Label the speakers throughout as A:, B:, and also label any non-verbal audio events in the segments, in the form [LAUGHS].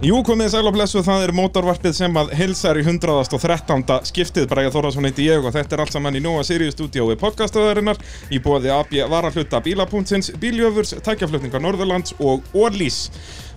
A: Jú, komið sæl og blessu, það er mótorvarpið sem að hilsar í 113. skiptið Bræða Þórðarsson heiti ég og þetta er allt saman í Nóa Sirius stúdíói podcastöðarinnar í bóði AB varahluta bílapúntsins, bíljöfurs, tækjaflutningar Norðurlands og Orlís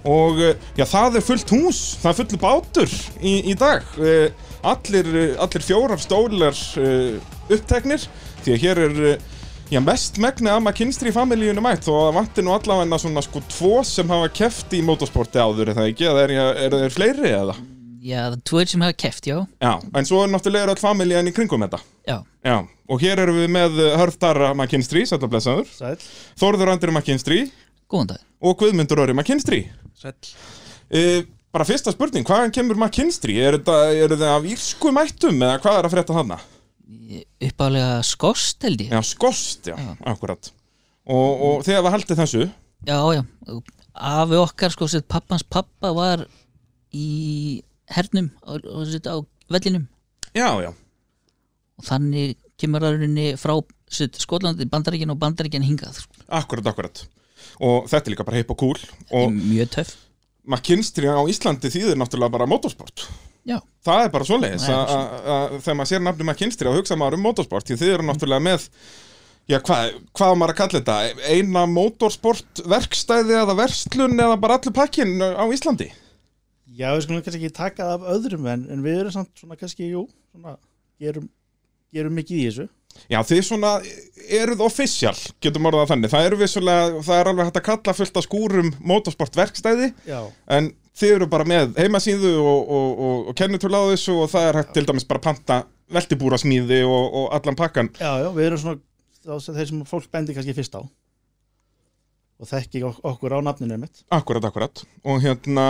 A: og eh, já, það er fullt hús, það er fullt bátur í, í dag Eh, allir, eh, allir fjórar stólar eh, uppteknir því að hér er eh, Já, mest megni að maður kynstri í familíunum mætt og það vanti nú allavega svona sko tvo sem hafa keft í motorsporti áður er það ekki, eða er, er þeir fleiri eða?
B: Já, það er tvoir sem hafa keft, já
A: Já, en svo er náttúrulega er öll familían í kringum þetta.
B: Já,
A: Já, og hér erum við með eh, Hörð Darra McKinstry, sætla blessaður,
C: Sæll
A: Þórður Andri McKinstry
B: góðan dag
A: og Guðmundur Öri McKinstry.
C: Sæll
A: E, bara fyrsta spurning, hvaðan kemur McKinstry? Er þetta, er þetta af írsku mættum eða hvað er að frétta þarna?
B: Uppálega skost, held ég Já,
A: Já, skost, já, akkurat. Og, og þegar við haldið þessu,
B: já, Afi okkar, sko, sér pappans pappa var í hernum á, á, sér, á vellinum
A: já, já,
B: og þannig kemur aðurinni frá sér, Skotlandi, Bandaríkinn og Bandaríkinn hingað sko.
A: Akkurat, akkurat Og þetta er líka bara heip og cool Og
B: Mjög töff
A: McKinstry á Íslandi þýðir náttúrulega bara motorsport
B: Já,
A: Það er bara svoleiðis
B: Nei,
A: að- að- að Þegar maður sér nafnum McKinstry og hugsa maður um motorsport Því þið eru náttúrulega með Já, hvað, hvað á maður að kalla þetta? Eina motorsport verkstæði eða verslun eða bara allur pakkin á Íslandi?
C: Já, við skulum kannski ekki taka það af öðrum en, en við erum samt svona kannski, jú, svona, gerum, gerum mikið í þessu
A: Já, þið svona eruð official, getum orðað það þannig. Það eru vissulega, það er alveg hægt að kalla fullt af skúrum motorsportverkstæði
C: Já
A: en þið eru bara með heimasíðu og, og, og, og kennitölu á þessu og það er hægt til dæmis bara að panta veltibúrasmíði og, og allan pakkan
C: Já, já, við erum svona þá sem þeir sem fólk bendir kannski fyrst á og þekki ok okkur á nafninu mitt
A: akkurat, akkurat og hérna,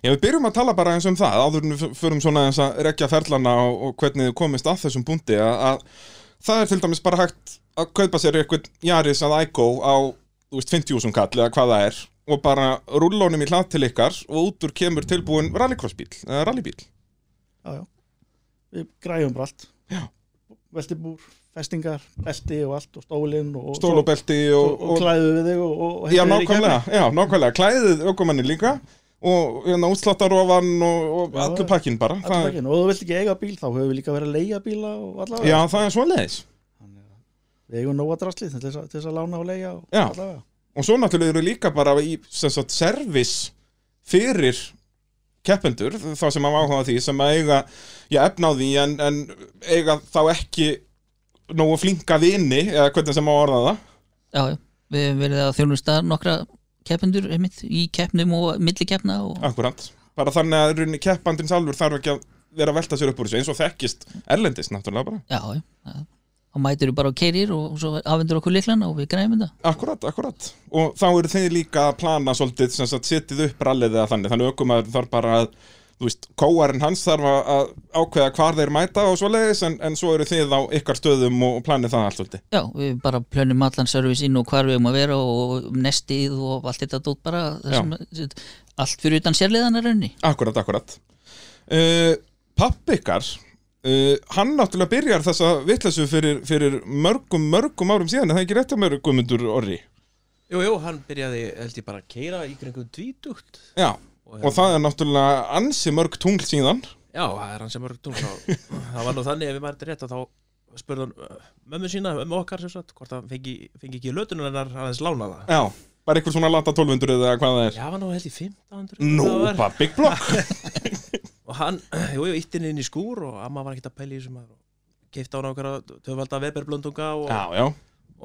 A: já við byrjum að tala bara eins um það áður en við f- förum svona eins að rekja ferlana og, og hvernig þið komist að þessum búndi að, að það er til dæmis bara hægt að kaupa sér eitthvað Jaris að Ico á, þú veist, 50.000 kall eða hvað það er og bara rullónum í hlað til ykkar og út úr kemur tilbúin rallycrossbíl, eða rallybíl
C: Já, já, við græjum bara allt
A: Já.
C: Veltibúr, festingar, belti og allt og stólinn og,
A: stólubelti og,
C: og, og klæðu við þig og, og
A: Já,
C: hendir þér í
A: nákvæmlega, já, nákvæmlega, klæðið ökumanni líka og hérna útsláttarofan og, og
C: Já,
A: allur pakkin bara
C: gegn-
A: það,
C: allan daginn. og þú vilt ekki eiga bíl þá höfum við líka verið að leiga bíla og allavega
A: Já, það er svoleiðis
C: Þannig að Við eigum nóga drasli til þess að, til þess að lána og leia og
A: Já.
C: allavega.
A: og svo náttúrulega eru líka bara í sem sagt, servis fyrir keppendur, þá sem að áhuga á því sem að eiga, já, efna á því en, en eiga þá ekki nógu flinka vini eða hvernig sem á orða það
B: já, já Við hefum verið að þjónusta nokkra keppendur einmitt í keppnum og milli keppna og
A: Akkurat, bara þannig að runni keppandins alvur þarf ekki að vera að velta sér upp úr þessu eins og þekkist erlendis náttúrulega bara
B: Já, já það- þá mætur við bara og keirir og svo afhendur okkur líklana og við græmum þetta
A: Akkurat, akkurat og þá eru þeir líka að plana svolítið sem sagt setið upp rallið eða þannig þannig aukumæður þarf bara að þú veist, kóarinn hans þarf að að ákveða hvar þeir mæta og svoleiðis en, en svo eru þið á ykkar stöðum og, og planið það allt svolítið
B: Já, við bara plönum allan servis inn og hvar við erum að vera og nestið og allt þetta dót bara
A: Já.
B: það sem, allt fyrir utan sérliðan er raunni
A: Akkurat, akkurat uh, Pappi ykkar uh, hann náttúrulega byrjar þessa vitleysu fyrir, fyrir mörgum, mörgum árum síðan en það er ekki rétt að mér guðmundur orri
D: Jú, jú, hann byrjaði, held ég bara að keira í kringum dvítugt
A: Já, og það er náttúrulega ansi mörg tungl síðan
D: Já, það er hann sem mörg tungl Það var nú þannig, ef ég maður þetta rétt að þá spurði hann uh, mömmu sína, mömmu okkar sem sagt, hvort hann fengi, fengi ekki lötunum hennar aðeins lána það
A: Já, bara eitthvað svona lata 1200 eða hvað það er
D: Já, hann var held ég 1500
A: Nú,
D: það var.
A: pappi blokk
D: Og hann, [CLEARS THROAT] jú, jú, ítti henni inn í skúr og amma var ekkert að pæla í þessum maður Keifti hann okkar að töfvalda veberblöndunga og
A: Já, já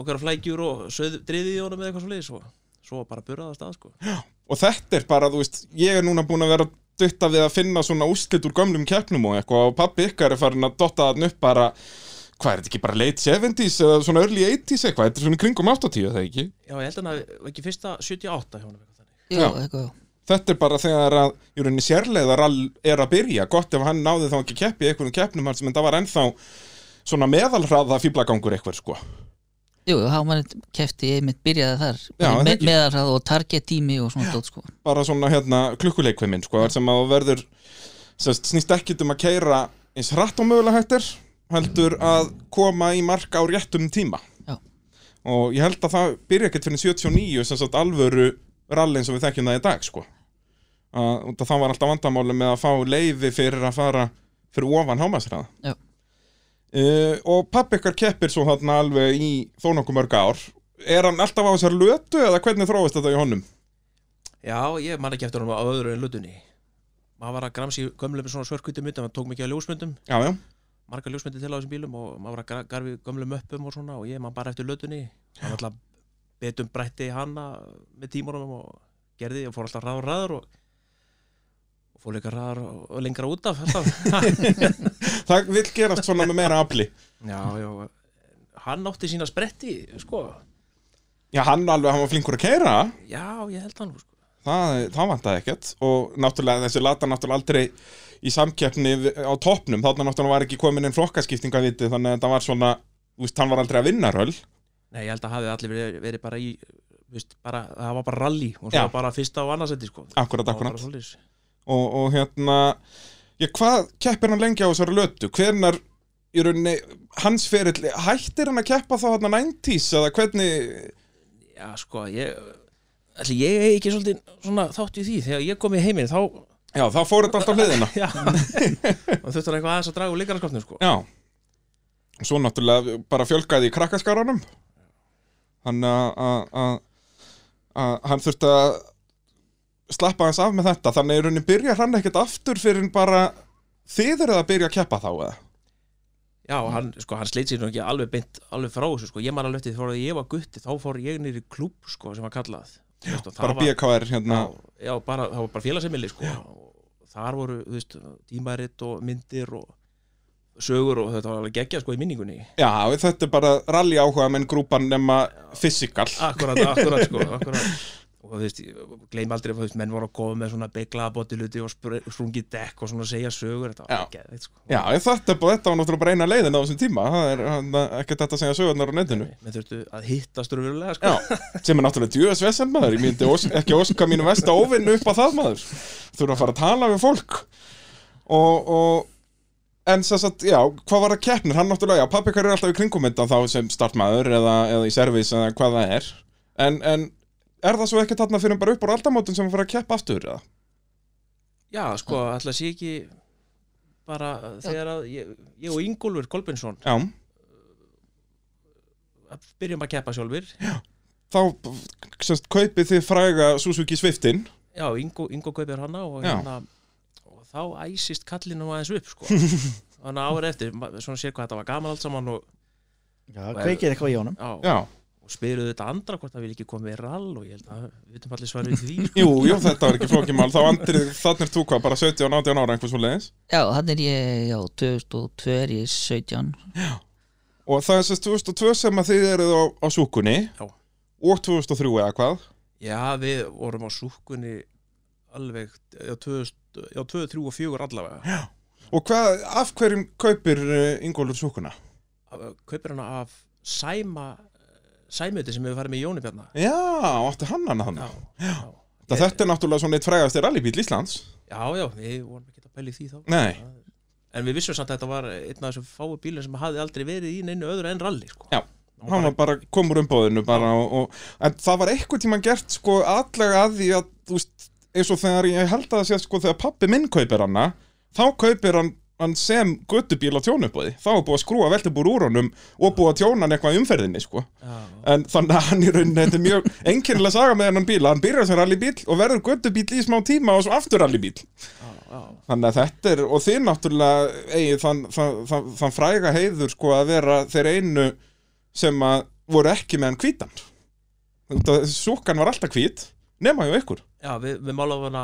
D: okkar flækjur og söð, driðið í honum eða eitthvað svo leiðis og svo bara burðaðast að sko
A: og þetta er bara, þú veist, ég er núna búin að vera dutta við að finna svona úslit úr gömlum keppnum og eitthvað og pappi ykkar er farin að dotta þann upp bara hvað er þetta ekki bara late 70s eða svona early 80s eitthvað, þetta er svona í kringum 80 er það ekki
D: Já, ég held hann að ekki fyrsta 78 hjá honum eitthvað þannig.
B: Já,
A: Já.
B: eitthvað, já.
A: þetta er bara þegar að í rauninni sérleiðar er að byrja gott ef hann náði þá ekki keppi í einhvern keppnum hans menn það var ennþá svona meðalhraða fýblagangur eitthvað sko
B: Jú, hann var eitt kefti einmitt byrjaði þar
A: Já, en
B: með,
A: ekki-
B: meðarhað og target tími og svona dót sko
A: bara svona hérna klukkuleikveimin sko, þar sem að þú verður sest, snýst ekkit um að keira eins hratt og mögulega hættir heldur að koma í marka á réttum tíma
B: Já.
A: og ég held að það byrja ekkert fyrir 79 sem sagt alvöru rallin sem við þekkjum það í dag sko að út af það var alltaf vandamáli með að fá leiði fyrir að fara fyrir ofan hámasræða
B: Já.
A: og pappi ykkar keppir svo þarna alveg í þó nokkuð mörg ár er hann alltaf á þessar lötu eða hvernig þróist þetta í honum
D: Já, ég man ekki eftir honum á öðru en lutunni Maður var að gramsi gömlum svona svörkvítum myndum, hann tók mikið af ljósmyndum
A: já, já,
D: margar ljósmyndir til á þessum bílum og maður var að gra- garfi gömlum öppum og svona og ég man bara eftir lutunni hann alltaf betum breytti hana með tímunum og gerði og fór alltaf ræður ræður og, og fór líka ræður og, og lengra út af alltaf
A: það vil gerast svona með meira afli
D: Já, já, hann átti sína spretti sko,
A: já, hann alveg, hann var flinkur að keira
D: já, ég held hann sko.
A: það, það vantaði ekkert og náttúrulega þessi lata náttúrulega aldrei í samkeppni við- á toppnum þarna náttúrulega var ekki komin inn flokkaskiptinga viti þannig að þetta var svona, þú veist, hann var aldrei að vinna röll
D: Nei, ég held að hafi allir verið, verið bara í Vist, bara, það var bara rally og
A: Já.
D: svo bara fyrsta og annarsetti sko.
A: akkurat,
D: Það var bara
A: akkurat
D: svoleiðis.
A: og, og hérna já, hvað keppir hann lengi á þessari lötu hvernar í rauninni hans ferill, hættir hann að keppa þá hérna 90s eða hvernig
D: Já, sko, ég Ætli, ég er ekki svolítið svona þátt í því þegar ég kom í heiminn þá [LAUGHS]
A: já þá fór þetta allt á hliðina
D: já, og þurftur eitthvað aðeins að draga úr líkarskapnum sko.
A: já og svo náttúrulega bara fjölgaði í krakkaskaranum hann að- að að- að hann þurfti að slappa hans af með þetta þannig í rauninni byrjar hann ekkert aftur fyrir bara þið eruð að byrja að keppa þá eða
D: já, hann, sko, hann sleit sér nú ekki alveg beint alveg frá þessu, sko. ég man alveg eftir því að ég var gutti þá fór ég niður í klúb, sko, sem var kallað já, Vistu,
A: bara BKR hérna
D: já, já, bara, það var bara félagsemili sko. Og þar voru, þú veist, tímaritt og myndir og sögur og þetta var alveg geggjað, sko, í minningunni
A: Já, þetta er bara rally áhuga menn grúpan nema fysikal [LAUGHS]
D: Akkurat, akkurat, sko, akkurat og þú veist, gleym aldrei þú veist, menn voru að koma með svona beiglaða botiluti og spr- sprungið dekk og svona segja sögur þetta
A: Já.
D: var geðveikt, sko.
A: Já, þetta, er bara- þetta var náttúrulega bara eina leiðin á þessum tíma Það er hann- ekkert þetta að segja sögurnar á netinu
D: menn þurftu að hittast raunverulega, sko.
A: Já, sem er náttúrulega djöðas vesen maður Ég myndi os, ekki óska mínu vesta óvinnu upp á það maður Þurfa að fara að tala við fólk Og, og En sem sagt, já, hvað var að keppnir? Hann náttúrulega, já, pappi hver er alltaf í kringum þetta þá sem startmaður eða, eða í servis eða hvað það er En, en er það svo ekki þarna fyrir bara upp úr aldamótin sem að fara að keppa aftur eða?
D: já, sko, alltaf sé ekki bara uh, þegar að ég, ég og Ingólfur Kolbensson
A: Já,
D: byrjum að keppa sjálfur
A: þá semst, kaupið þið fræga Suzuki Swiftin
D: já, Ingo, Ingo kaupir hana og,
A: Já.
D: hérna, og þá æsist kallinu aðeins upp, [LAUGHS] sko þannig að ára eftir, ma- svona sér hvað þetta var gaman allt saman og,
C: Já, kveikir eitthvað í honum
D: á,
A: Já,
D: og spyruðu þetta andra hvort það vil ekki koma með rall og ég held að við vitum allir svarið við því sko.
A: jú, jú, þetta var ekki flókimál Þá andrið, þannig er þú hvað, bara 17, 18 ára einhvers svo leiðis
B: Já, hann er ég, já, 2002 er ég 17
A: Og það er semst 2002 sem að þið eruð á, á súkunni
D: Já.
A: Og 2003 eða hvað
D: [LAUGHS] já við vorum á súkunni alveg já, 2000, já 2, 3 og 4 allavega
A: Og hvað, af hverjum kaupir uh, Ingólfur súkuna?
D: Af- kaupir hana af Sæma Sæmuti sem hefur farið með Jóni Bjarna
A: Já, átti hann hann hann
D: já, já,
A: Það þetta er náttúrulega svona eitt frægasti rallybíl Íslands
D: já, já, við vorum ekki að pæli því þá
A: Nei.
D: en við vissum samt að þetta var einn af þessum fáu bílum sem hafði aldrei verið í neinu öðru en rally sko.
A: Já. Hann var bara, komur umbóðinu bara og, og, En það var eitthvað tíman gert sko allega að því að þú veist, eins og þegar ég held að það sé sko þegar pappi minn kaupir hana þá kaupir hann, hann sem göttubíl á tjónubóði þá er búið að skrúa veltubúr úr honum og búið að tjóna hann eitthvað í umferðinni sko
D: já,
A: en þannig að hann í rauninni þetta er mjög einkennilega saga með hennan bíla hann byrjar sem rallybíl og verður göttubíl í smá tíma og svo aftur rallybíl
D: já, já.
A: Þannig að þetta er, og þið náttúrulega eigið þann, þann, þann, þann fræga heiður sko að vera þeir einu sem að voru ekki með hann hvítan Þetta súkan var alltaf hvít nema hjá ykkur
D: Já, við, við málaðum hana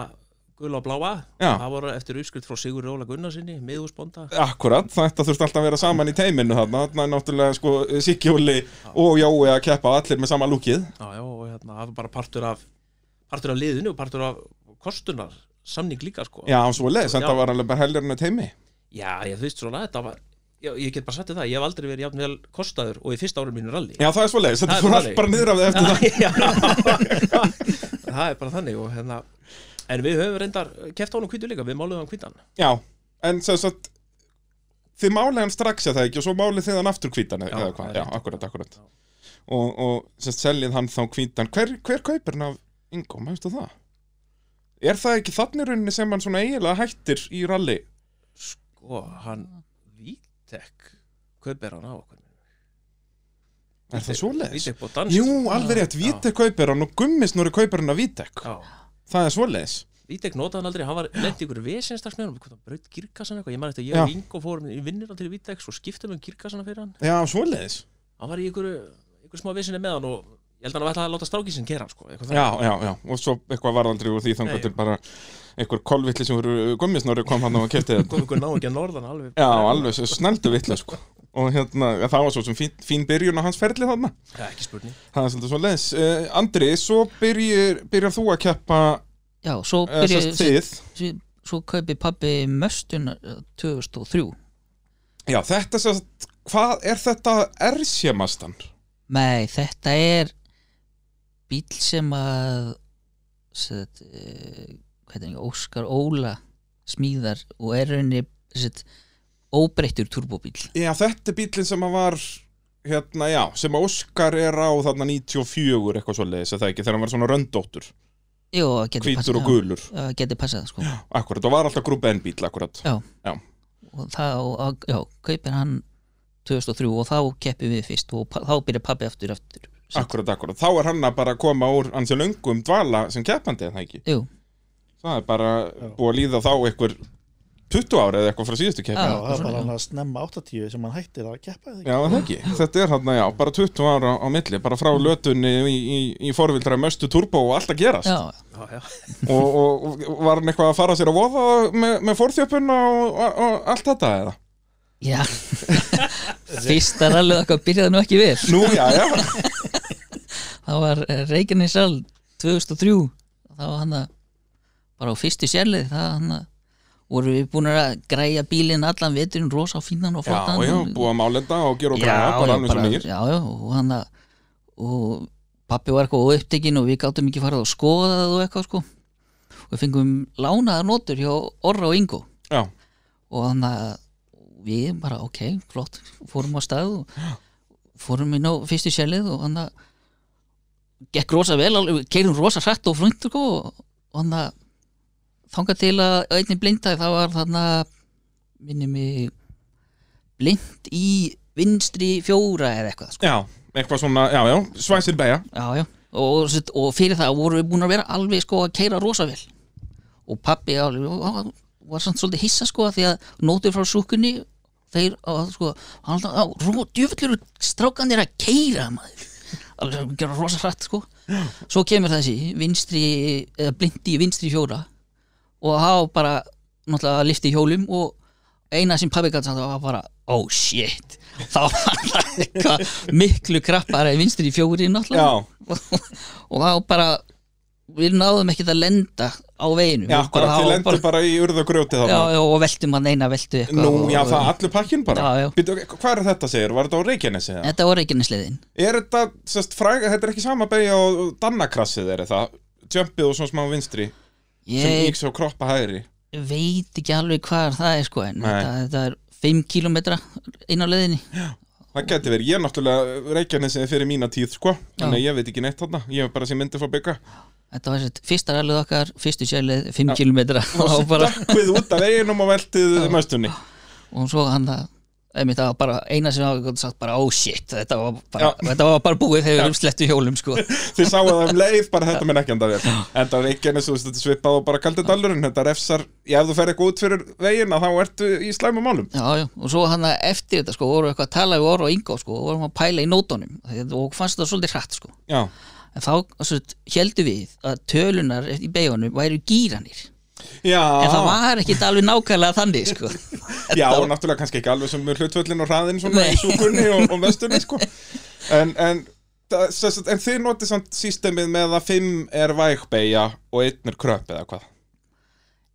D: gula og bláa
A: Já.
D: það voru eftir uppskrift frá Sigur Róla Gunnarsinni miðhúsbónda
A: Akkurat, þetta þurfti alltaf að vera saman í teiminu þarna Þarna er náttúrulega sko Sikkjóli og Jói að keppa allir með sama lúkið
D: já, já, og hérna, það var bara partur af partur af liðinu og partur af kostunar samning líka, sko
A: Já, svo leiðis,
D: Já.
A: þetta var alveg bara heljarinn að teimi
D: Já, ég þú veist svona, þetta var já, ég get bara sagt þér það, ég hef aldrei verið jafn vel kostaður og í fyrsta árum mínu rally
A: Já, það er svo leiðis, þetta
D: Það er
A: fór
D: bara
A: allt
D: þannig.
A: bara niður af því eftir það
D: Já, [LAUGHS] það er bara þannig og hérna en við höfum reyndar keft á hann hvítu líka, við máluðum hann hvítan
A: Já, en sem sagt þið málið hann strax eða það ekki og svo málið þið hann aftur hvítan eða
D: Já,
A: eða
D: það
A: hvað,
D: er
A: já,
D: rétt.
A: akkurat, akkurat
D: Já.
A: og, og sem sagt seljið hann þá hvítan hver, hver kaupir hann af Ingo, mæstu það? Er það ekki þannig rauninni sem hann svona eiginlega hættir í rally?
D: sko, hann Vítek kaupir hann á okkur
A: Er það svoleiðis?
D: Vítek búið dansk
A: Jú, alveg rétt, Vítek kaupir hann og gummisnúri kaupir hann að Vítek
D: Já,
A: Það er svoleiðis
D: Vítek notaði hann aldrei, hann var nefnt ykkur vesinstags með hann, hvort hann braut kirkassan eitthvað, ég man eftir að ég og Ingo fórum í vinnir til Vítek, svo skiptum við um kirkassana fyrir hann,
A: Já, svoleiðis
D: hann var í ykkur, ykkur smá vesinni með hann og ég held að hann var að láta strákísinn gera hann, sko, eitthvað
A: Já, já, já, og svo eitthvað varðaldri úr því þangar
D: Nei.
A: til bara einhver kolvilli sem voru gummisnúri kom hann og kefti þetta
D: kom ykkur náðu ekki að norðan alveg
A: Já, alveg, svo snældu vitlega sko Og hérna, ja, það var svo sem fín, fín byrjun á hans ferli þarna
D: Já, ekki spurning
A: Það er svolítið svo leiðis uh, Andri, svo byrjir, byrjar þú að keppa
B: já, svo
A: uh,
B: byrja,
A: sest, þið
B: svo, svo kaupi pabbi möstun 2003
A: Já, þetta sérst, hvað er þetta ersjamastan?
B: Nei, þetta er bíl sem að set, uh, hvað er það, Óskar Óla smíðar og er rauninni set, óbreyttur turbóbíl
A: Já, þetta er bílinn sem að var hérna, já, sem að Óskar er á þarna 94 eitthvað svo leiðis, það ekki, þegar hann var svona röndóttur
B: Jó, það getur
A: hvítur
B: passað,
A: og gulur,
B: já, já, getur passað sko.
A: akkurat, og var alltaf grúpa N bíl, akkurat
B: og þá, og- já, kaupir hann 2003 og þá keppum við fyrst og pa- þá byrjar pabbi aftur aftur sem-
A: Akkurat, akkurat, þá er hann að bara koma úr hans löngum dvala sem keppandi, er það ekki?
B: Jú,
A: Það er bara búið að líða þá einhver 20 ára eða eitthvað frá síðustu keppni
B: Já,
C: Já,
B: svona,
C: það er bara
B: já.
C: hann að snemma 80 sem hann hættir að keppa eða ekki?
A: Já, er það ekki. Þetta er hann, já, bara 20 ára á milli, bara frá lötunni í, í, í forvildra möstu turbo og allt að gerast.
B: já,
D: Já, já,
A: Og, og, og var hann eitthvað að fara sér að voða með, með forþjöpunna og, og, og allt þetta eða?
B: já [LAUGHS] Fyrsta rallið okkar byrjaði nú ekki við
A: Nú, já, já.
B: Það var eh, Reykjanesall 2003 Það var hann að bara á fyrstu sérlið það hann að voru við búin að græja bílinn allan veturinn rosa fínan og
A: Já,
B: flottan
A: já,
B: og-
A: búið að málenda og gera og græða,
B: já,
A: bara
B: já,
A: alveg svo nýr.
B: já, já, og hann að og pappi var eitthvað upptekinn og við gáttum ekki farið að skoða það og eitthvað sko og við fengum lánaða notur hjá Orra og Ingo
A: Já,
B: og hann að við bara ok, flott, fórum á stað og fórum inn á fyrstu sjælið og hann að gekk rosa vel, keirum rosa hrætt og frungt sko, og hann að þangað til að einni blindaði það var þarna minni mig blind í vinstri fjóra eða eitthvað sko.
A: já, eitthvað svona, já, já, svæsir beja.
B: já, já. Og, sitt- og fyrir það vorum við búin að vera alveg sko að keira rosa vel og pappi alveg, var, var samt svolítið hissa sko því að nótið frá súkunni þeir að sko hann alltaf, á, rú, djöfullur strákanir að keira maður alveg að gera rosa hrætt sko svo kemur þessi vinstri eða blindi í vinstri fjóra og þá bara náttúrulega lifti hjólum og eina sem pabbi gæti var bara oh shit þá var það eitthvað miklu krappar í vinstri fjóri náttúrulega
A: Já,
B: og þá bara við náðum ekkert að lenda á veginum
A: já,
B: Við bara,
A: akkurat, þið
B: þá
A: lendur bara í urðagrjóti
B: já,
A: þarna.
B: já, og veltum hann eina veltu eitthvað
A: Nú,
B: og,
A: já, það allur pakkin bara
B: Já, já.
A: Býttu, Hvað er þetta segir? Var þetta á Reykjanesi? eða?
B: þetta var reikinnesliðin
A: Er þetta, sérst, fræga, þetta er ekki sama beigja og og dannakrassið er það Jumpið og svona smá vinstri sem
B: ég
A: yks á kroppa hægri
B: veit ekki alveg hvar það er sko en
A: Nei.
B: þetta, þetta er 5 km inn á leiðinni
A: Það geti verið, ég náttúrulega Reykjanesi er fyrir mína tíð, sko Þannig að ég veit ekki neitt þarna, ég hef bara sem myndi fór byggja
B: þetta var sett fyrsta rallið okkar, fyrstu sjælið 5 km og, bara,
A: Dökkvið út af veginum og veltið möstunni
B: og svo hann það einmitt það var bara eina sem hafa sagt bara oh shit, þetta var bara,
A: Já.
B: þetta var bara búið þegar við erum slettu hjólum sko
A: Þið sáu það um leið, bara þetta minn ekki enda vel En það Reykjanesi, þú veist, þetta er svipað og bara kaldi dalurinn Þetta refsar, já, ef þú fer eitthvað út fyrir veginna þá ertu í slæmum málum
B: Já, já, og svo hann að eftir þetta sko vorum við eitthvað að tala við orð og yngo sko og vorum að pæla í nótunum og fannst það svolítið hratt sko
A: Já,
B: en þá svo, heldur við að tölunar í beigunum væri gýranir
A: já
B: en það var ekki alveg nákvæmlega þannig sko
A: [LAUGHS] Já,
B: Þetta
A: og náttúrulega kannski ekki alveg sem hlutvöllin og hraðin svona
B: Nei.
A: í súkunni og, og vestunni
B: [LAUGHS]
A: sko. en, en, það- sem sagt, en þið notið samt sístemið með að 5 er vægbeigja og 1 er kröp eða hvað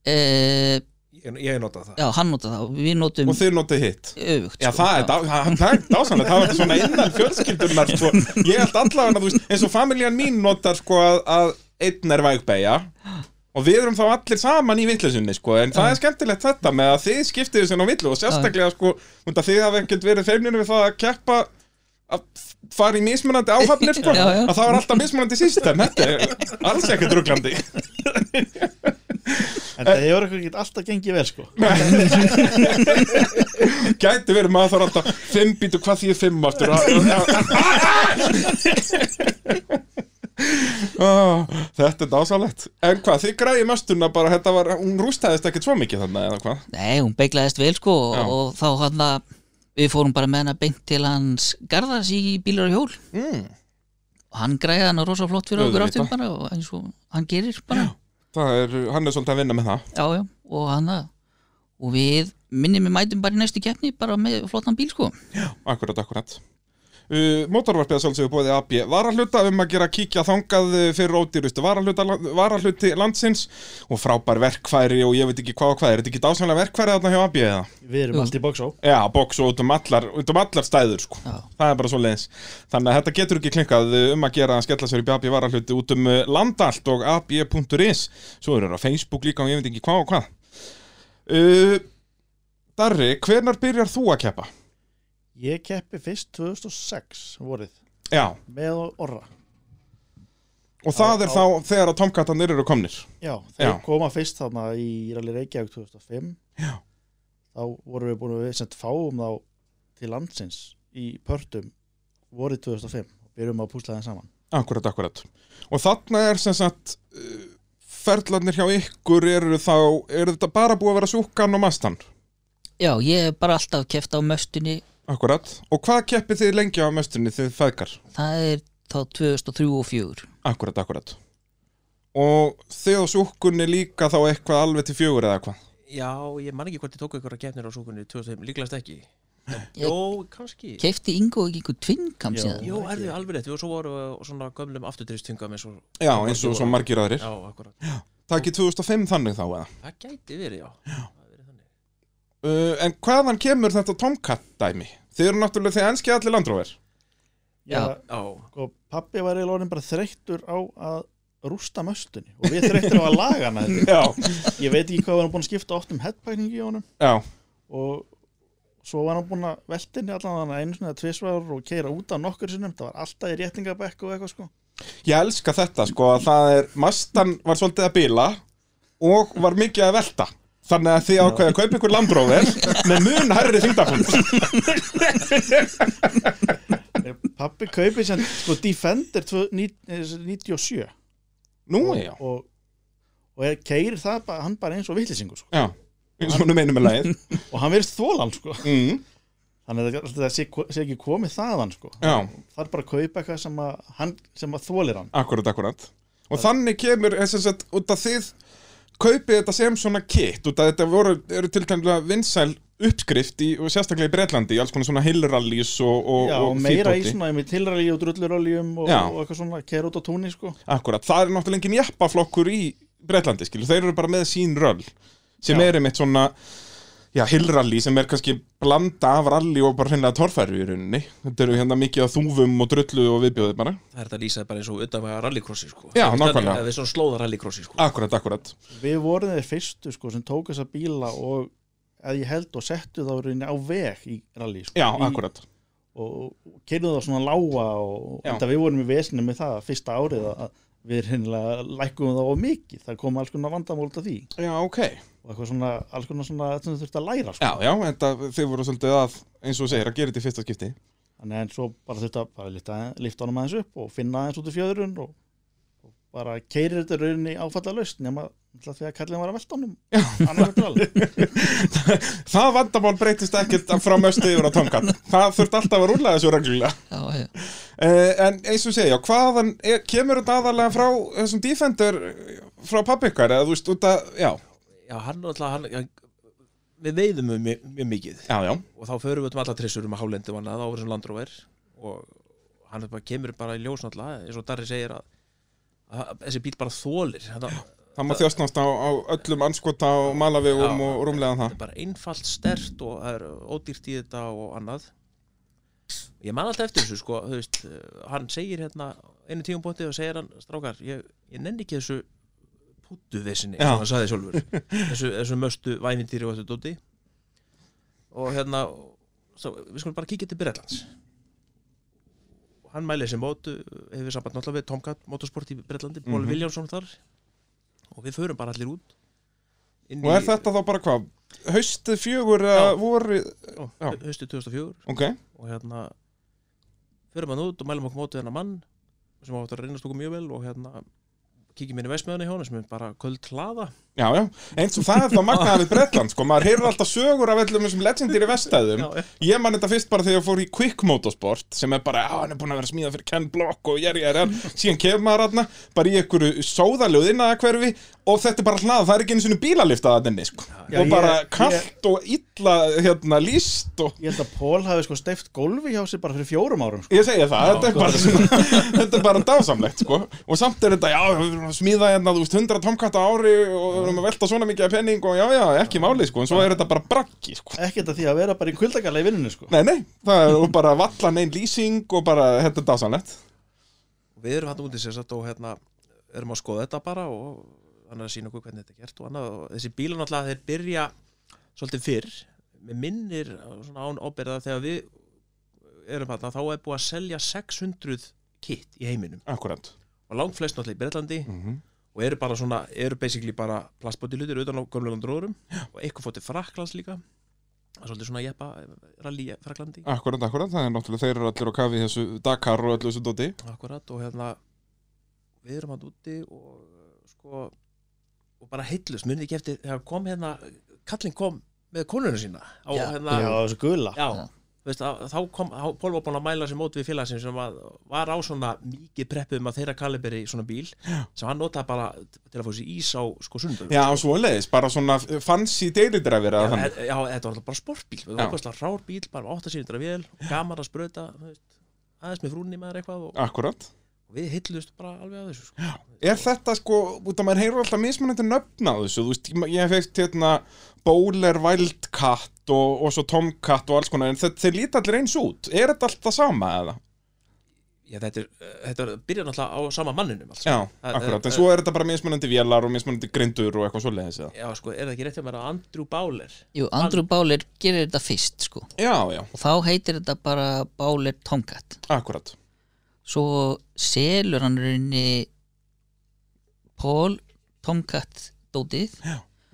B: e,
D: ég, ég nota það
B: Já, hann nota það og við notum
A: og þið notið hitt
B: öfugt
A: Já,
B: sko.
A: það er, dá, það, það er dásanlega, það var þetta svona innan fjölskyldunar sko. Ég held allavega, þú veist, eins og familjan mín notar sko að, að einn er vægbeigja og við erum þá allir saman í vittlusunni sko, en það er skemmtilegt þetta með að þið skiptið þessin á villu og sérstaklega sko, út að þið hafa ekkert verið feimninu við það að keppa að fara í mismunandi áhafnir sko,
B: [LAUGHS] Já, já.
A: að það var alltaf mismunandi system þetta er alls ekkert ruglandi
C: En það hefur eitthvað ekki alltaf gengið vel sko
A: gæti verið maður þarf alltaf fimm býtu hvað því er fimm aftur Ah, að- að- að- Ó, Ah, þetta er dásalett en hvað, þið græði mestuna bara þetta var, hún rústaðist ekkert svo mikið þannig eða hvað
B: Nei, hún beiglaðist vel sko
A: Já.
B: og, og þá hann að við fórum bara með hana beint til hans garðas í bílar og hjól
A: mm,
B: og hann græði hana rosa flott fyrir okkur
A: Auðvitað.
B: áttum bara og eins og hann gerir bara
A: það er, hann er svolítið að vinna með það
B: já, já, og hann að og við minnum við mætum bara í næstu keppni bara með flottan bíl sko
A: Akkurat, akkurat Uh, Mótorvarpið að sjálfsögðu bóði AB varahluta um að gera kíkja þangað uh, fyrir ódýrustu varahluta, varahluti landsins og frábær verkfæri og ég veit ekki hvað og hvað, er þetta ekki dásanlega verkfæri þarna hjá AB eða?
C: Við erum
B: Jú.
C: allt í box á
A: Já, box og út um allar, út um allar stæður sko,
B: Já.
A: það er bara svo leiðis þannig að þetta getur ekki klinkað uh, um að gera að skella sér upp í AB varahluti út um uh, landallt og AB.is svo eru það á Facebook líka og ég veit ekki hvað og hvað uh, Darri, hvenar byrjar þú að keppa?
C: Ég keppi fyrst 2006 vorið
A: Já,
C: með orra
A: og það
C: Á-
A: er
C: á-
A: þá þegar að tomkattanir eru komnir
C: Já, þeir
A: Já.
C: koma fyrst þarna í Rally Reykjavík 2005
A: Já.
C: Þá vorum við búin að við sem fáum þá til landsins í pörtum vorið 2005 og byrjum að púsla þeim saman
A: Akkurat, akkurat Og þarna er sem sagt uh, ferlarnir hjá ykkur eru þá eru þetta bara búið að vera súkan og mastan
B: já, ég er bara alltaf keft á möstunni
A: Akkurat, og hvað keppið þið lengi á mestunni þið feðgar?
B: það er þá 2003 og 4
A: Akkurat, akkurat Og þið á súkunni líka þá eitthvað alveg til fjögur eða hvað?
D: Já, ég man ekki hvort ég tók einhverja keppnir á súkunni 2005, líklast ekki
B: Ég-
D: Jó, kannski
B: kefti Ingo ekki einhver tvinnkamp
C: Já.
B: síðan
D: Jó, er þið alveg rétt, við svo voru svona gömlum afturtrýstingum eins og
A: Já, eins og svo margir aðrir
D: Já, akkurat
A: Það ekki 2005 þannig þá eða?
D: Það gæti verið, já, Það verið þannig.
A: Uh, en hvaðan kemur þetta tomkatt dæmi? Þið eru náttúrulega þið enski allir landróver
B: Já.
D: Já,
C: Og pappi Sko, var eiginlega orðin bara þreyttur á að rústa möstunni og við þreyttur á að laga hana þetta.
A: Já,
C: Ég veit ekki hvað var hann búin að skipta oft um headpækningi í honum
A: já,
C: og svo var hann búin að veltinni allan hann einu svona tvisvar og keira út af nokkur sinnum, það var alltaf í réttingabekk og eitthvað sko
A: Ég elska þetta sko að það er Mastan var svolítið að bila og var mikið að velta Þannig að þið ákveðið að kaupa ykkur landróver með mun herri þingdafund
C: Pappi kaupið sem sko Defender 2 ní- eh, 97
A: Nú
C: og,
A: já,
C: og, og er, keirir það bara, hann bara eins og vitlisingur sko.
A: já eins og hún meinum með lagið
C: og hann verðist þólan sko.
A: mm,
C: þannig að það- það sé, sé ekki komið þaðan sko.
A: Já,
C: það er bara að kaupa eitthvað sem að, hann, sem að þólir hann
A: akkurat, akkurat Og þannig kemur þess að út af þið kaupið þetta sem svona kit út af þetta voru, eru tilkæmlega vinsæl uppskrift í, og sérstaklega í Bretlandi í alls konar svona hillrallís og, og,
C: Já, og
A: og
C: meira í
A: fítóti.
C: svona með tilrali og drulluröljum og,
A: Já.
C: og eitthvað svona keira út á túnni sko.
A: Akkurat, það er náttúrulega engin jeppaflokkur í Breitlandi, skilur, þeir eru bara með sín röll sem
C: Já.
A: er einmitt svona já, hillrally sem er kannski blanda af rally og bara hreinlega torfæru í rauninni þetta eru hérna mikið af þúfum og drullu og viðbjóði bara
D: það er þetta að lýsa bara eins og utanvæga rallycrossi sko.
A: Já,
D: Þannig-
A: nákvæmlega.
D: Það er svona slóða rallycrossi sko.
A: Akkurat, akkurat
C: við vorum þeir fyrstu sko, sem tók þessa bíla og að ég held og settu þá í rauninni á veg í rally sko.
A: Já,
C: í,
A: akkurat
C: og kynnuðu það svona lága og
A: Já.
C: þetta við vorum í vesinu með það fyrsta árið að við hennilega lækkum það á mikið, það kom alls konar vandamál út af því
A: Já, ok
C: og eitthvað svona, alls konar svona þetta þurfti að læra sko.
A: Já, já, þetta, þið voru svolítið að eins og þú segir, að gera þetta í fyrsta skipti
C: þannig en svo bara þurfti að bara lifta, lifta honum aðeins upp og finna aðeins út í fjöðurinn og, og bara keirir þetta í rauninni áfalla laust nema alltaf því að kallin var að velta honum annarkvæmt vel
A: Það vandamál breytist ekkert frá möstu yfir á tónkan Það þurft alltaf að rúlla þessu reglulega
B: já, já.
A: Uh, en eins og segja, hvaðan er, kemur þetta aðalega frá þessum Defender eh, frá pappi ykkar, eða þú veist út að, já,
D: Já, hann er alltaf hann, já, Við veiðum mjög, mjög- mjög mikið
A: já, já,
D: Og þá förum við út um alla trissur um að hálendum hann Það áfyrir sem landróver Og hann er bara, kemur bara í ljós náttúrulega Eins og Darri segir að, að, að þessi bíl bara þólir Þetta
A: það má þjóstnast á, á öllum anskota og malavegum
D: Já.
A: og rúmlega það.
D: þetta er bara einfalt stert Og það er ódýrt í þetta og annað Ég man alltaf eftir þessu sko þú veist, eh, Hann segir hérna Einu tíum bóti og segir hann Strákar, ég, ég nenni ekki þessu pútuvesinni
A: Já.
D: Svo hann sagði sjálfur þessu, þessu möstu væmintýri og þessu dóti og hérna svo, við skulum bara kíkja til Bretlands hann mælið sem mótu hefur samband náttúrulega við Tomcat Motorsport í Breitlandi, Paul
A: Mhm.
D: Williamson þar og við förum bara allir út inn
A: Og er
D: í-
A: þetta þá bara hvað? Haustið fjögur
D: Já.
A: eða voru
D: já,
A: já.
D: haustið 2004
A: Ok,
D: og hérna förum hann út og mælum okkur mótið hennar mann sem áttur að reynast okkur mjög vel og hérna kíkjum inn í veismöðunni hjá hann sem er bara köld hlaða
A: já, já Eins og það er þá magnaðar við Bretland sko Maður heyrir alltaf sögur af öllum þessum legendir í vestæðum
D: já,
A: Ég man þetta fyrst bara þegar ég fór í Quick Motorsport sem er bara, á, hann er búin að vera smíðað fyrir Ken Block og jæri, jæri, jæri, síðan kemur maður aðna bara í einhverju sóðaljóð innan að hverfi og þetta er bara hlaða, það er ekki einu sinni bílalifta að þenni, sko,
C: Já,
A: og bara
C: ég-
A: kallt og illa, hérna, líst og
C: Ég held að Pól hafi sko steift gólfi hjá sér bara fyrir fjórum árum sko.
A: Ég segja það, þetta er bara svona, [LAUGHS] þetta er bara dásamlegt sko og samt er þetta, já, við erum að smíða hérna, þú veist, 100 tomkatta á ári og við erum að velta svona mikið af penning og já, já, ekki máli sko en svo er þetta bara braggi sko
C: Ekkert að því að vera bara í kvildagalla í vinnunni sko.
A: Nei, nei, það er og bara vallan einn lýsing og bara, þetta er dásamlegt
D: við erum hann úti sér satt og hérna erum að skoða þetta bara og hann er að sína okkur hvernig þetta er gert og annað og þessi bílar náttúrulega þeir byrja svolítið fyrr með minnir svona án ábyrða þegar við erum hann þá er búið að selja 600 kit í heiminum
A: Akkurat
D: og langt flest náttúrulega í Bretlandi
A: Mhm.
D: og eru bara svona, eru basically bara plastbóti hlutir utan á gömlunum dróðurum og eitthvað fótið fraklands líka það er svolítið svona jeppa eh, rally í fraklandi
A: Akkurat, akkurat, það er náttúrulega, þeir eru allir á kafi í þessu Dakar og öllu þessu dóti
D: Akkurat og hérna við erum hann úti og uh, sko og bara heitlust, munið ekki eftir þegar kom hérna, kallinn kom með konunum sína á
B: Já.
D: hérna
C: Já, þessu gula
D: já, þú Veist, að, þá kom, þá Pól var búin að mæla sér mót við félagsinn sem að, var á svona mikið preppuð um að þeirra kaliberi í svona bíl já. sem hann notaði bara til að fá sér ís á sko sundum
A: Já, svo leiðis, bara svona fancy deilidræfir eða
D: Já,
A: þannig
D: e- já, þetta var alltaf bara sportbíl þetta
A: Já.
D: var opaslega rár bíl, bara 8 sínindra vél og gaman að sprauta þú veist, aðeins með frúnni með eitthvað og,
A: e- Akkurat
D: og við hillust bara alveg að þessu sko.
A: Er þetta sko, út að maður heyrur alltaf mismunandi nöfn á þessu, þú veist, ég hef eitt hérna Bowler Wildcat og, og svo Tomcat og alls konar, en þeir, þeir líta allir eins út, er þetta alltaf sama eða?
D: Já, þetta, er, þetta er, byrjar náttúrulega á sama manninum alls.
A: Já,
D: Það-
A: akkurat, en
D: það-
A: svo er þetta bara mismunandi vélar og mismunandi grindur og eitthvað svoleiðis eða?
D: Já, sko, er það ekki rétt hjá mér að Andrew Bowler
B: Jú, Andrew Báler gerir þetta fyrst sko
A: Já, já,
B: og þá heitir þetta bara Báler Tomcat
A: akkurat,
B: svo selur hann rauninni Paul Tomcat dótið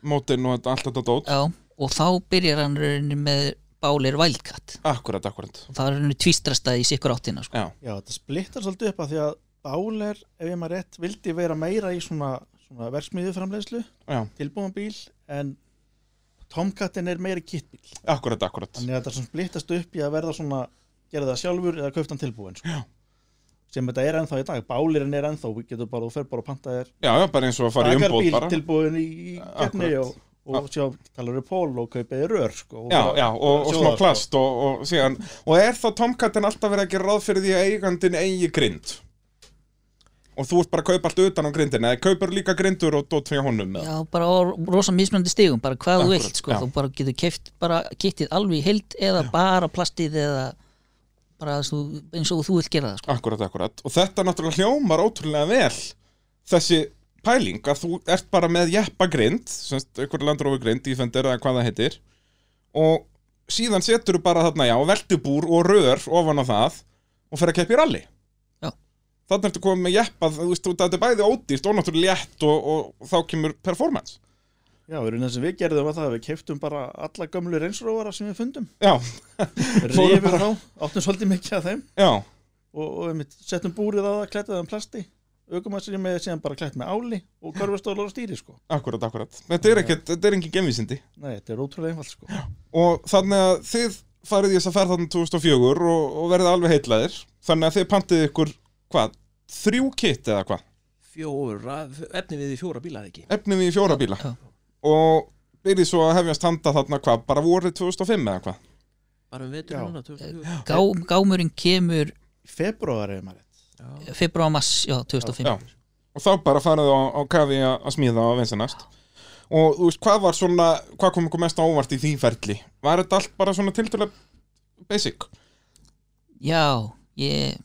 A: mótin og þetta- allt þetta dót,
B: já, og þá byrjar hann rauninni með Báler Wildcat
A: akkurat, akkurat,
B: og það er rauninni tvístrastaði í sikkur áttina sko.
A: já,
C: Já, þetta splittar svolítið upp að því að Báler, ef ég maður rétt, vildi vera meira í svona, svona verksmiðuframleiðslu
A: já,
C: tilbúin bíl, en Tomcatin er meira kittbíl
A: akkurat, akkurat,
C: þannig að þetta svona splittast upp í að verða svona gera það sjálfur eða kaupt hann tilbúin sko. sem þetta er ennþá í dag bálirinn er ennþá, við getum bara, þú fer bara og panta þér
A: já, já, bara eins og að fara í umbóð
C: dagarbíl
A: bara.
C: tilbúin í í gefni
A: Akkurat.
C: og, og sjá, talar við pól og kaupið þér rör sko, og
A: Já,
C: bara-
A: já, og, og
C: sjóða,
A: smá
C: sko.
A: plast og, og, síðan, og er þá Tomcatin alltaf verið að gera ráð fyrir því að eigandin eigi grind og þú ert bara að kaupa allt utan á grindin eða kaupur líka grindur og dót fyrir honum með
B: já, bara á rosa mismunandi stigum bara hvað þú
A: Akkúrat,
B: vilt, sko,
A: já.
B: þú bara getur keft bara kittið alveg í heild eða bara plastið eða bara þú, eins og þú vilt gera það sko.
A: Akkurat, akkurat og þetta náttúrulega hljómar ótrúlega vel þessi pæling að þú ert bara með jeppa grind semst ykkur landrófi grind, Defender eða hvað það heitir og síðan setur þú bara þarna já, veltubúr og rör ofan á það og fer að keppa í rally
B: Já.
A: þannig ertu komið með jeppa þú veist, þú- þetta er bæði ódýrt og náttúrulega létt og, og þá kemur performance
C: já, við erum það sem við gerðum að það við keiftum bara alla gömlu reynsróvara sem við fundum
A: já, Fórum
C: rifum þá, áttum svolítið mikið af þeim
A: já,
C: og, og einmitt, settum búrið á það, klættaðum plasti aukumæsturinn með síðan bara klætt með áli og körfastólar og stýri sko
A: akkurat, akkurat þetta er ekkert, þetta er engin gemvísindi
C: Nei, þetta er ótrúlega einfalt sko
A: og þannig að þið farið í þess að ferð þarna 2004 og, og verðið alveg heitlaðir þannig að þið pantið ykkur, hvað, þrjú kitt eða hvað,
D: fjóra, efni við í fjóra bíla eða ekki
A: efnum í fjóra bíla
B: Já.
A: og byrjið svo að hefjast handa þarna hvað, bara vorið 2005 eða hvað
D: bara um
C: Já.
D: vetur núna 2004.
B: Gá, gámurinn kemur
C: Februar ef maður rétt
D: Já.
B: februar mars, já, 2005
A: Já. og þá bara farið á, á kafi að að smíða á vinsanast og þú veist, hvað var svona, hvað kom ykkur mest á óvart í því ferli, var þetta allt bara svona tiltölu basic,
B: Já, ég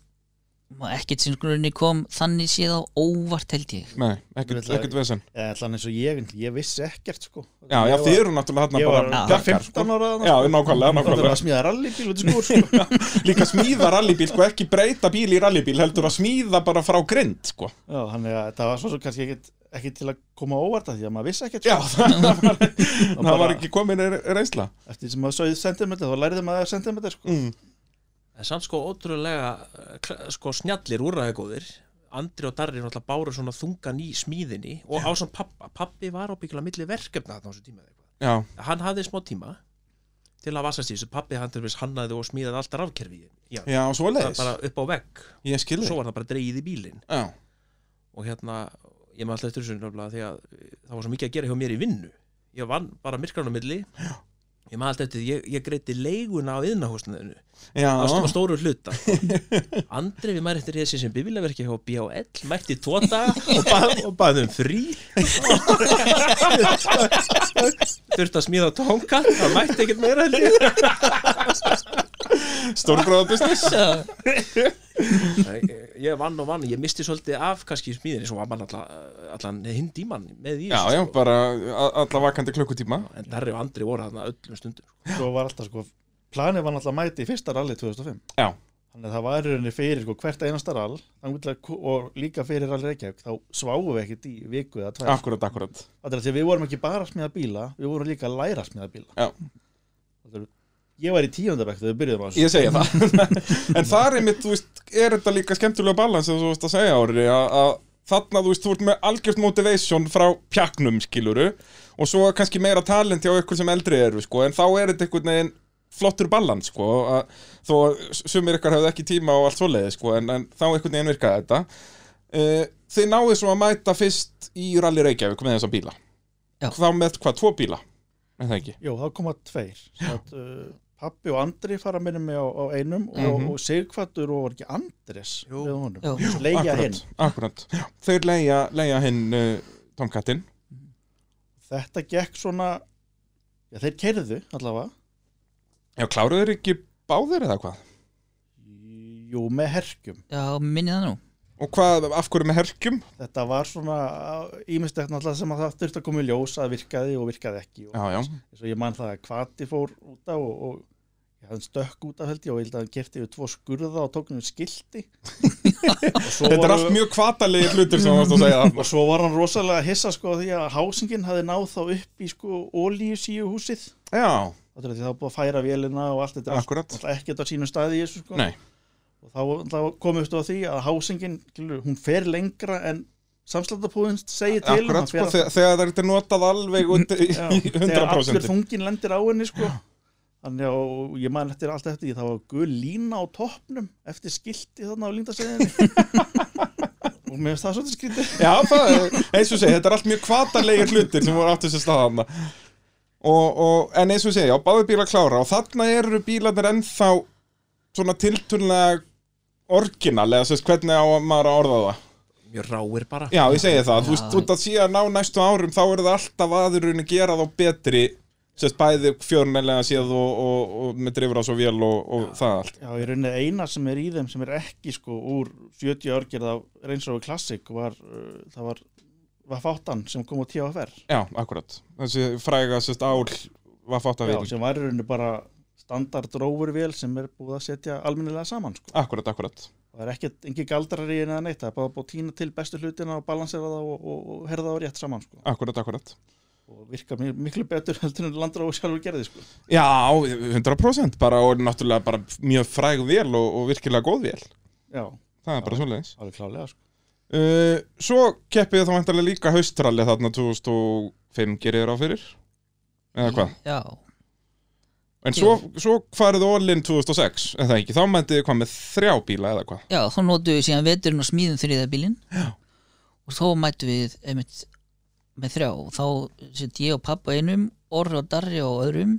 B: ekkert sem grunni kom þannig séð á óvart held ég
A: Nei, ekkert,
C: Vill-
A: ekkert vesen
C: Eða allan eins og ég, ég vissi ekkert sko
A: Já, já, þið eru náttúrulega
C: Ég
A: hérna
C: var
A: bara
C: bara
A: gakkar, sko.
C: 15 ára þarna,
A: Já,
C: sko.
A: nákvæmlega,
C: Það var
A: nákvæmlega
C: að smíða rallybíl út í skúr sko.
A: [LAUGHS] Líka smíða rallybíl, sko, ekki breyta bíl í rallybíl heldur að smíða bara frá grind, sko
C: Já, þannig að það var svo sem kannski ekkit, ekki til að koma á óvart að því að maður vissi ekkert
A: Já, [LAUGHS]
C: sko.
A: það var, það var
C: bara-
A: ekki komin re- reynsla
C: Eftir því sem maður sögði sentimeter, þá læriði maður sentimeter sko.
A: mm.
D: En samt sko ótrúlega eh, kl- sko snjallir úrræðagóðir Andri og Darri náttúrulega báru svona þungan í smíðinni og ásamt pappa Pappi var ábyggilega milli verkefna þarna á þessu tíma
A: Já,
D: Hann hafði smá tíma til að vasast í þessu Pappi hann til þess hannaði og smíðaði alltaf rafkerfi Já,
A: já, svo
D: bara,
A: leiðis
D: bara upp á vegg
A: Ég skil
D: Svo
A: þig
D: var það bara dreigið í bílinn
A: Já,
D: og hérna, ég maður alltaf eftir þessu nöfnilega því að eh, það var svo mikið að gera hjá mér í vinnu ég vann bara myrkranum milli Já. ég maður alltaf eftir, því, ég, ég greiti leiguna á yðnahúsnaðinu,
A: já,
D: það stóð stóru hluta sko. Andri við maður eftir þessi sem bíbílaverki hjá B.O.L. mætti í tvo daga og, bað, og baði um frí þurfti að smíða tónka það mætti ekkert meira held ég.
A: stórgráða business
D: ég ég vann og vann, ég misti svolítið af kannski í smíðinni, svo var mann allan, allan hind í mann með í
A: Já,
D: þessu,
A: já,
D: sko.
A: bara a- alla vakandi klukkutíma
D: en Darri og Andri voru þarna öllum stundum sko.
C: Svo var alltaf sko, planið var náttúrulega að mæti í fyrsta rally 2005
A: Já,
C: Þannig að það var í rauninni fyrir sko, hvert einasta rall þangað til að ko- og líka fyrir rally Reykjavík þá sváum við ekkit í viku eða tvær
A: akkurat, akkurat
C: Það er að því að við vorum ekki bara að smíða bíla við vorum líka að læra að smíða bíla
A: Já.
C: Það er- Ég var í tíundabæk þegar við byrjuðum á þessu
A: Ég segja það [LAUGHS] En þar einmitt, þú veist, er þetta líka skemmtilega balans sem þú veist að segja ári að, að þarna, þú veist, þú ert með algjört motivation frá pjaknum, skiluru og svo kannski meira talent hjá ykkur sem eldri eru, sko, en þá er þetta einhvern veginn flottur balans, sko að, þó að sumir ykkar hefðu ekki tíma og allt svoleiði, sko, en, en þá einhvern veginn virkaði þetta uh, Þið náðu svo að mæta fyrst í Rally Reykjavík með þessa bíla
B: Já.
A: Þá með hvað, tvo bíla? Er það ekki?
C: Jó, þá koma tveir Satt, uh, Pappi og Andri fara minni mig á, á einum og, og Sigvartur og var ekki Andres
D: Jú.
C: með honum
B: Jú. Jú,
C: Leigja hinn
A: Akkurat, akkurat. Já, Þeir leia, leia hinn uh, Tomkatin
C: Þetta gekk svona Já, þeir keirðu allavega
A: Já, kláruðu þeir ekki báðir eða hvað?
C: Jú, með herkjum
B: já, minni það nú
A: Og hvað, af hverju með herkjum?
C: Þetta var svona ímyndstækt náttúrulega sem að það þurfti að koma í ljós að virkaði og virkaði ekki og
A: Já, já,
C: eins og ég man það að Kvati fór út af og, og ég hafði stökk út af held ég og ég held að hann kerti við tvo skurða og tóknum
A: [LAUGHS]
C: skilti Og svo
A: þetta er
C: voru-
A: allt mjög kvatalegi hlutir sem þú varst að segja
C: og [LAUGHS]
A: þarna.
C: svo var hann rosalega hissa sko því að hásingin hafði náð þá upp í sko ólíusíu húsið
A: Já,
C: þá er því það var búið að færa vélina og allt þetta
A: Akkúrat.
C: allt, ekki á sínum staði í þessu sko
A: nei,
C: og þá, þá komist þú að því að hásingin skilur, hún fer lengra en samslættapúðin segir til
A: akkurat,
C: hann fer
A: sko,
C: alltaf-
A: þegar, þegar þetta er notað alveg
C: [LAUGHS]
A: út í
C: Já,
A: í
C: þegar allur
A: 100%
C: þungin lendir á henni sko Þannig að og ég man eftir allt eftir því, það var gul lína á toppnum eftir skilti þarna á líndasæðinni og mér finnst það svolítið skrítið
A: Já, það er, eins og segja, þetta er allt mjög kvatalegi hlutir sem voru átt þessu staðana og, og, En eins og segja, já, báðir bílar klára og þarna eru bílarnir ennþá svona tiltunlega orginal, eða sérst, hvernig á maður að orða það?
D: mjög ráir bara
A: Já, ég segi það, þú veist,
B: Já.
A: út að síðan á næstu árum þá er það alltaf aðurinn að gera þá betri sérst bæði fjörnælega séð og, og, og með drifur á svo vel og, og það allt
C: Já, í rauninni eina sem er í þeim sem er ekki sko úr 70 örgjörð af reynsóðu klassik var, uh, það var var fátan sem kom á TFR
A: Já, akkurat, þessi fræga sérst ál var fátt að
C: já,
A: við
C: sem var í rauninni bara standard rófurvél sem er búið að setja almennilega saman sko.
A: Akkurat, akkurat
C: það er ekkert, engin galdrar í henni að neitt það er bara búið að tína til bestu hlutina og balansera það og, og, og herða það rétt saman sko.
A: Akkurat, akkurat
C: og virka mi- miklu betur [LAUGHS] heldur en landra og sjálfur gerði sko.
A: Já, 100% bara og náttúrulega bara mjög fræg vel og, og virkilega góð vel
C: já,
A: Það er bara
C: Já.
A: svoleiðis
C: alveg klálega sko.
A: uh, Svo keppið þá vantarlega líka haustralli þarna 2005 gerir þér á fyrir Eða hvað?
B: já,
A: En svo, svo farið all-in 2006, eða ekki, þá mæntið þið hvað með þrjá bíla eða hvað?
B: já, þá notu við síðan veturinn og smíðum þriða bílinn og þá mætu við einmitt með þrjá og þá set ég og pappa einum Orri og Darri og öðrum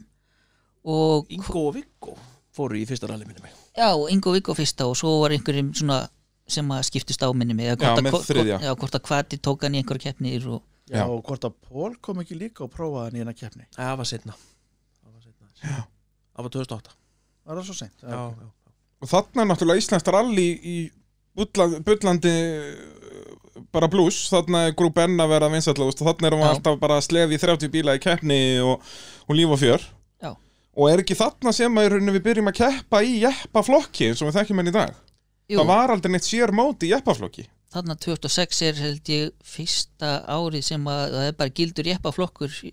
B: og
D: Ingo og Viggo fóru í fyrsta rally minni mig
B: já, Ingo og Viggo fyrsta og svo var einhverjum svona sem að skiptist á minni mig
A: Já,
B: eða hvort að-
A: með
B: hvort-
A: þriðja.
B: já, hvort að hvati tók hann í einhverja keppnir og
C: já,
A: Já.
C: og hvort að Pól kom ekki líka og prófaði hann í hennar keppni
D: það var setna það var setna já það var 2008
C: var það svo seint
D: já, já.
A: Og þarna er náttúrulega Íslands rally í bulla- bullandi uh, bara blús, þarna er grúp N að vera vinsallagust og þarna erum við
B: Já.
A: alltaf bara sleði í 30 bíla í keppni og, og líf og fjör
B: Já.
A: og er ekki þarna sem að í rauninni við byrjum að keppa í jeppaflokki eins og við þekkjum henni í dag
B: Jú,
A: það var aldrei neitt sér móti í jeppaflokki
B: þarna 26 er held ég fyrsta árið sem að það er bara gildur jeppaflokkur í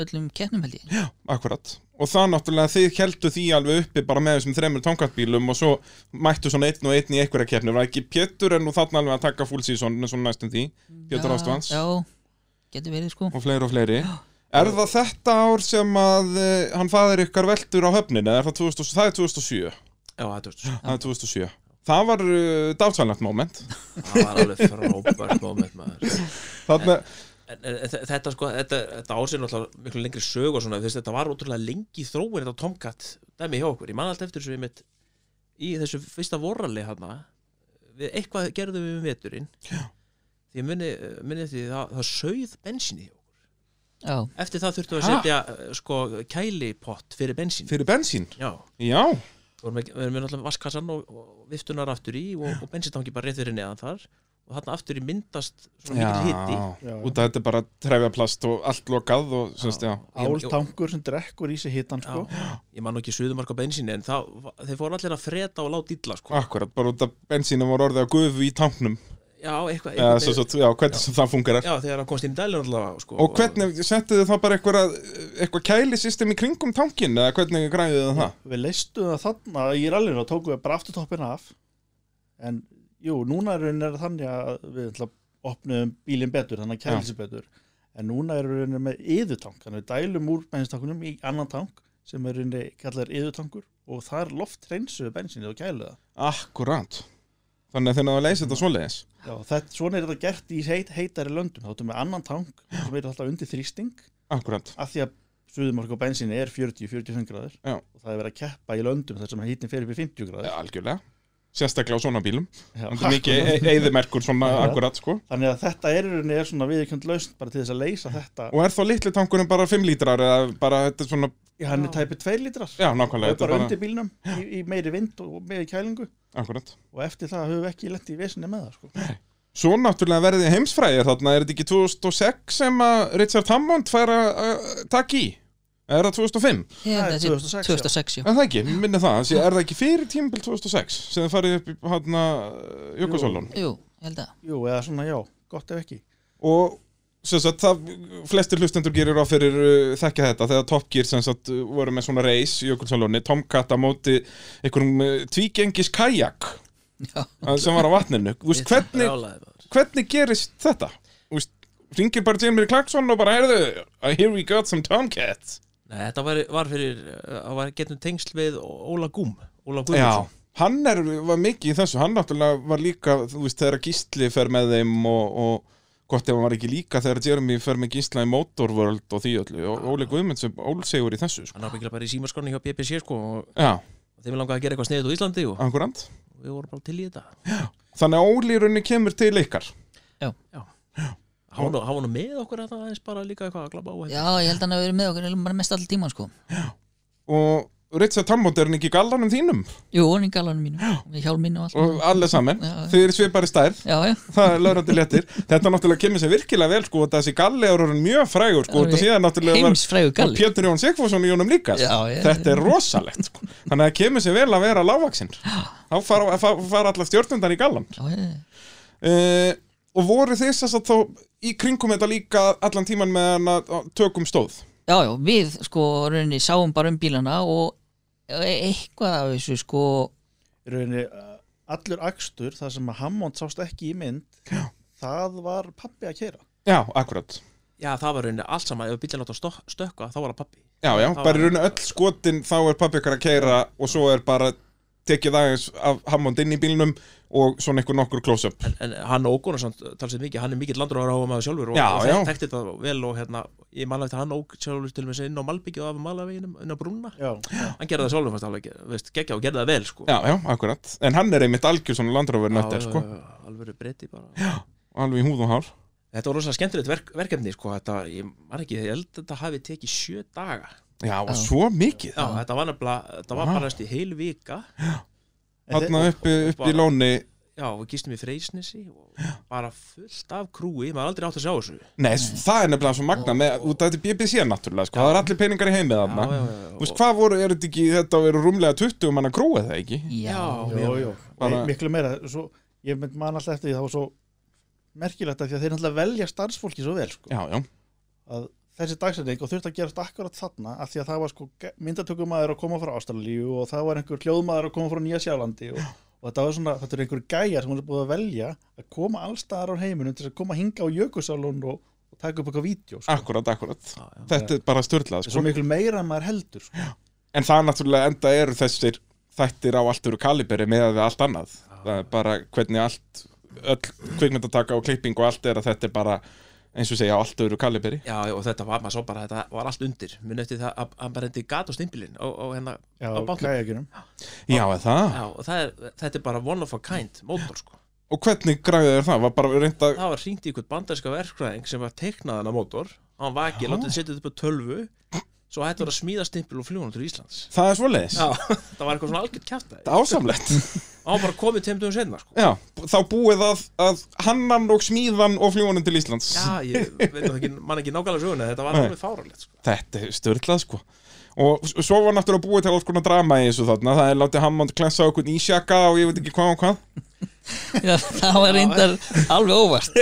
B: öllum keppnum held ég.
A: akkurat og það náttúrulega þið keldu því alveg uppi bara með þessum þremur tankatbílum og svo mættu svona einn og einn í einhverja keppni var ekki Pétur en nú þarna alveg að taka full season svona næstum því, Pétur
B: Já,
A: Ástvans
B: Já, getur verið sko.
A: og fleiri og fleiri Er það þetta ár sem að eh, hann fæðir ykkar veldur á höfninu eða er það, 2000, það er 2007
D: Já, þetta er svo
A: það er 2007 Það var uh, dátvælnætt moment
D: Það var alveg frábært moment maður
A: Þarna,
D: en, en, en þe- þetta sko, þetta, þetta ásinn alltaf miklu lengri sög og svona, þú veist, þetta var ótrúlega lengi í þróin þetta Tomcat dæmi hjá okkur, ég man allt eftir þessu einmitt í þessu fyrsta vorrali hana við eitthvað gerðum við um veturinn Já. því ég muni, muni eftir því það, það sauð bensinni hjá okkur.
B: Já,
D: eftir það þurftum við að
A: Ha?
D: setja eh, sko kælipott fyrir bensin
A: [LAUGHS] Fyrir bensín
D: Já,
A: Já,
D: við erum með, við erum með náttúrulega vaskassan og, og viftunar aftur í og, og bensintangi bara reyð fyrir neðan þar og þarna aftur í myndast svona
A: já.
D: mikil hitti
C: Já.
A: Út að þetta er bara trefjaplast og allt lokað og semst, já.
C: Áltankur sem drekkur í sig hittan sko.
D: Já, ég man nú ekki suðumark á bensinni en það, þeir fóru allir að freda og láta illa sko.
A: Akkurat, bara út að bensínum voru orðið að gufu í tanknum
D: já, eitthvað,
A: eða,
D: eitthvað
A: svo, svo, já, hvernig sem það fungerar
D: já, þegar það komst inn í dælun allavega sko,
A: Og hvernig, settu þið þá bara eitthvað, eitthvað kælisystem í kringum tankin eða hvernig græðið þið það?
C: Við leistum það þarna í rallinu og tókum við bara afturtoppin af en jú, núna er raunin er það þannig að við ætla, opnum bílinn betur, þannig að kæla sér betur en núna er raunin með yðutank þannig að við dælum úr bensintankunum í annan tank sem er raunin kallar yðutankur og það er loft reynsuðu bensinni og kælu það
A: Akkurat Þannig að þeir náðu að leysa þetta svoleiðis
C: Já, þetta, svona er þetta gert í heit, heitari löndum þá erum við annan tank sem er alltaf undir þrýsting
A: Akkurat
C: af því að suðumorku á bensinni er 40-45 gráður
A: Já.
C: og það er verið að keppa í löndum þar sem hítin fer upp í 50 gráður
A: Já, algjörlega Sérstaklega á svona bílum
C: Já.
A: Það er mikið eðimerkur svona
C: Já.
A: akkurat sko
C: [LAUGHS] Þannig að þetta er, í rauninni er svona viðkjönd lausn bara til þess að leysa þetta
A: Og er þá litli tankurinn bara 5 lítrar eða bara þetta er svona
C: Já, hann er tæpið 2 lítrar
A: Já,
C: og
A: nákvæmlega
C: er
A: þetta er
C: bara undir bílnum í, í meiri vind og meiri kælingu
A: Akkurat
C: og eftir það höfum við ekki lett í vesinni með það sko.
A: Svo náttúrulega verðið heimsfræðir þarna er þetta ekki 2006 sem að Richard Hammond fær að að taka í Eða Er það 2005?
B: Ég held að
C: er
B: þetta sé
C: 2006,
B: 2006, já.
A: En það ekki, mér minni það Þessi, Er það ekki fyrir tímabil 2006 sem þið farið upp í hérna, hana Jökulsólun
B: Jú, ég held að.
C: Jú, eða svona já, gott ef ekki
A: og sem sagt, það, flestir hlustendur gerir á fyrir uh, þekkja þetta þegar Top Gear sem sagt uh, voru með svona reis í Jökulsalóni, Tomcat að móti einhverjum uh, tvígengis kajak
B: Já.
A: að- sem var á vatninu Þú veist, hvernig,
D: hvernig
A: hvernig gerist þetta? Þú veist, ringir bara Jamie Clarkson og bara, heyrðu, I hear we got some Tomcats
D: Nei, þetta var, var fyrir að var getum tengsl við Óla Gúm Óla
A: Já,
D: Guðmundsson
A: hann er, var mikið í þessu hann náttúrulega var líka, þú veist, þegar Gísli fer með þeim og, og gott ef hann var ekki líka þegar Jeremy fer með Gísla í Motorworld og því öllu og Óli Guðmunds er ólsegur í þessu sko.
D: hann ábyggilega bara í símaskonni hjá BBC sko, og
A: Já,
D: þeim langaði að gera eitthvað sniðið á Íslandi og
A: akkurant
D: við vorum bara til í þetta
A: Þannig að Óli í rauninni kemur til ykkar
D: hann var nú- hann var nú með okkur þetta aðeins bara líka eitthvað að glabba á hérna.
B: já, ég held að hann hafi verið með okkur eiginlega bara mest allir tíman sko.
A: Og Richard Hammond er hann ekki í gallanum þínum
B: Jú, hann í galanum mínum, með hjálm mínu og allt.
A: Og allir saman,
B: Já, já.
A: þið eru svipari stærð
B: Já, já,
A: Það er laurandi léttir Þetta náttúrulega kemur sér virkilega vel sko og Þessi galli er orðin mjög frægur sko og Þetta
B: Alveg
A: síðan náttúrulega var
B: heimsfrægur galli.
A: Pétur Jón Sigfússon í honum líka sko.
B: Já, já,
A: Þetta er rosalegt sko Þannig að það kemur sér vel að vera lágvaksinn Þá fara, fara, fara allar stjórnundar í gallan
B: Já, já, já.
A: uh, Og voru þið þess að þá í kringum þetta líka allan tíman meðan að að tökum stóð
B: já, já, við sko rauninni sáum bara um bílana og e- eitthvað af þessu sko
C: Í rauninni, uh, Allur akstur, það sem að Hammond sást ekki í mynd
A: Já.
C: það var pappi að keira
A: Já, akkurat
D: Já, það var rauninni allt saman, ef bíljan átt að stokk- stökkva þá var það pappi
A: Já, já,
D: Það
A: bara í
D: var-
A: rauninu öll skotin þá er pappi ykkar að keira og svo er bara tekið aðeins af Hammond inn í bílnum og svona einhver nokkur close-up
D: en, en hann ógóna samt talsið mikið, hann er mikill landur ára á maður sjálfur og,
A: Já,
D: og
A: já.
D: þek- þekkti það vel og hérna, ég manna eftir að hann óg sjálfur til með sér inn á Malbyggju og af Malaveginum inn á Brúna,
C: Já,
D: hann gerði það sjálfur fannst alveg, veist, geggja og gerði það vel sko.
A: Já, já, akkurat En hann er einmitt algjör svona landrófur
D: Já,
A: nöttir, sko
D: já, já, alveg breyti eh, bara já.
A: Alveg í húð og hár
D: þetta var rosa skemmtilegt verk, verkefni sko, þetta, ég man ekki, ég held að þetta hafi tekið sjö daga,
A: Já, og
B: Já.
A: svo mikið
D: já, þetta var nefnilega þetta var
A: Vá.
D: bara næst í heil vika
C: En
A: Þarna uppi, uppi í lóni
D: já, við gistum í Freysnesi og bara fullt af krúi, maður aldrei átt að sjá þessu já,
A: Nei, s- það er nefnilega svo magna með, út af þetta er BBC náttúrulega, sko, það er allir peningar í heimið þarna.
D: já, já, já,
A: Þú veist, hvað voru, er þetta ekki, þetta eru rúmlega 20 manna krúið það ekki?
B: já,
D: já,
C: Jó, jó,
A: Bara-
C: miklu meira svo, ég mynd man alltaf eftir því það var svo merkilegt að því að þeir náttúrulega velja starfsfólki svo vel sko,
A: Já, já.
C: að þessi dagsending og þurfti að gerast akkurat þarna að því að það var sko ge- myndatökumaður að koma frá Ástralíu og það var einhver hljóðmaður að koma frá Nýja Sjálandi og, og þetta var svona, þetta er einhver gæjar sem hún er búið að velja að koma allstaðar á heiminum til þess að koma hinga á jökusalun og, og taka upp eitthvað vídeo sko.
A: Akkurat, akkurat.
D: já, já.
A: Þetta er bara störtlað,
C: Það er svo
A: Ah, sko.
C: miklu meira en maður heldur sko.
A: En það er náttúrulega enda eru þessir þættir á allt eru kaliberi meðan við allt annað. Það er bara hvernig allt, öll kvikmyndataka og klipping og allt er að þetta er bara, eins og segja, á allt eru kaliberi.
D: já, og þetta var, maður sá bara, að þetta var allt undir minn eftir það að hann bara endi gat á stimpilinn og, og hérna,
C: Já,
D: á bátnum
C: gæjagjunum
A: Já, er það.
D: já, og það er, þetta er bara one of a kind mótor, sko,
A: Og hvernig græðið er það? Var bara reynd að,
D: það var hringt í einhvern bandarska verkfræðing sem var teiknað hann á mótor hann vakið, látið setja þetta upp á tölvu svo hættu var að smíða stimpil og fljóna til Íslands
A: það er svoleiðis.
D: já, [LAUGHS] það var eitthvað svona algjört kjæftæði
A: Þetta er Ásamlegt.
D: hann var bara komið tveim dögum senna, sko
A: Já, þá búið að, að hannan og smíðan og fljónin til Íslands.
D: Já, ég veit nú ekki, man ekki nákvæmlega söguna þetta var
A: Nei.
D: alveg fáralegt sko.
A: Þetta er störtlað sko Og s- svo var náttúrulega búið til alls konar drama í þessu þarna Það er látið Hammond klensa á okkur nýsjaka og ég veit ekki hvað og hvað
B: [LAUGHS] já, það var reyndar alveg óvart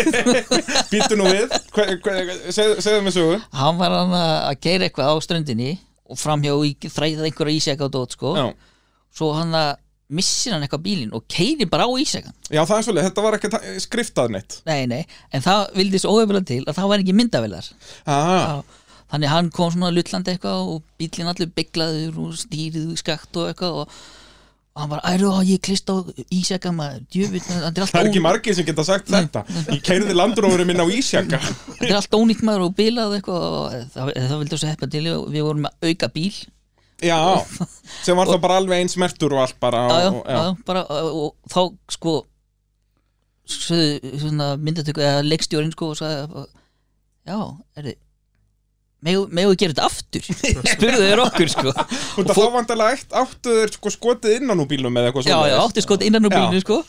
A: Býttu nú
B: [LAUGHS]
A: við, hver, hver, seg, segðu mig sögu
B: hann var hann að geira eitthvað á ströndinni og framhjá í, þræðið einhverja ísjaka og dót sko,
A: Já,
B: svo hann að missir hann eitthvað bílinn og keiri bara á ísjakan
A: Já það er svolítið, þetta var ekki ta- skriftað neitt
B: nei, nei, en það vildi svo óhefilega til að það var ekki myndavelar
A: ah,
B: Já, þannig hann kom svona lullandi eitthvað og bílinn allur bygglaður og stýrið skakt og eitthvað og, og hann var, æru, á, ég klist á ísjaka maður, djöfull,
A: [LAUGHS]
B: maður, þetta er
A: Það er
B: allt
A: ekki
B: ón-
A: margið sem geta sagt þetta Ég keirði landrófurinn minn á
B: [LAUGHS]
A: ísjaka
B: þetta er allt ónýtt maður og bilað eitthvað og það, það vildi svo heppa til og við vorum með auka bíl já,
A: Já, sem var það bara alveg eins mertur og allt bara og,
B: já,
A: og-
B: já, bara, og, og þá sko sögðu, svona myndatöku eða leikstjórin sko og sagði bara, já, er þið megum við gera þetta
A: [LAUGHS]
B: aftur spurðu þeir okkur sko
A: Og það þá vandalega eitt áttuður sko, skotið innan úr bílum eða eitthvað
B: já, já,
A: svoleiðis.
B: átti skot innan úr bílinu sko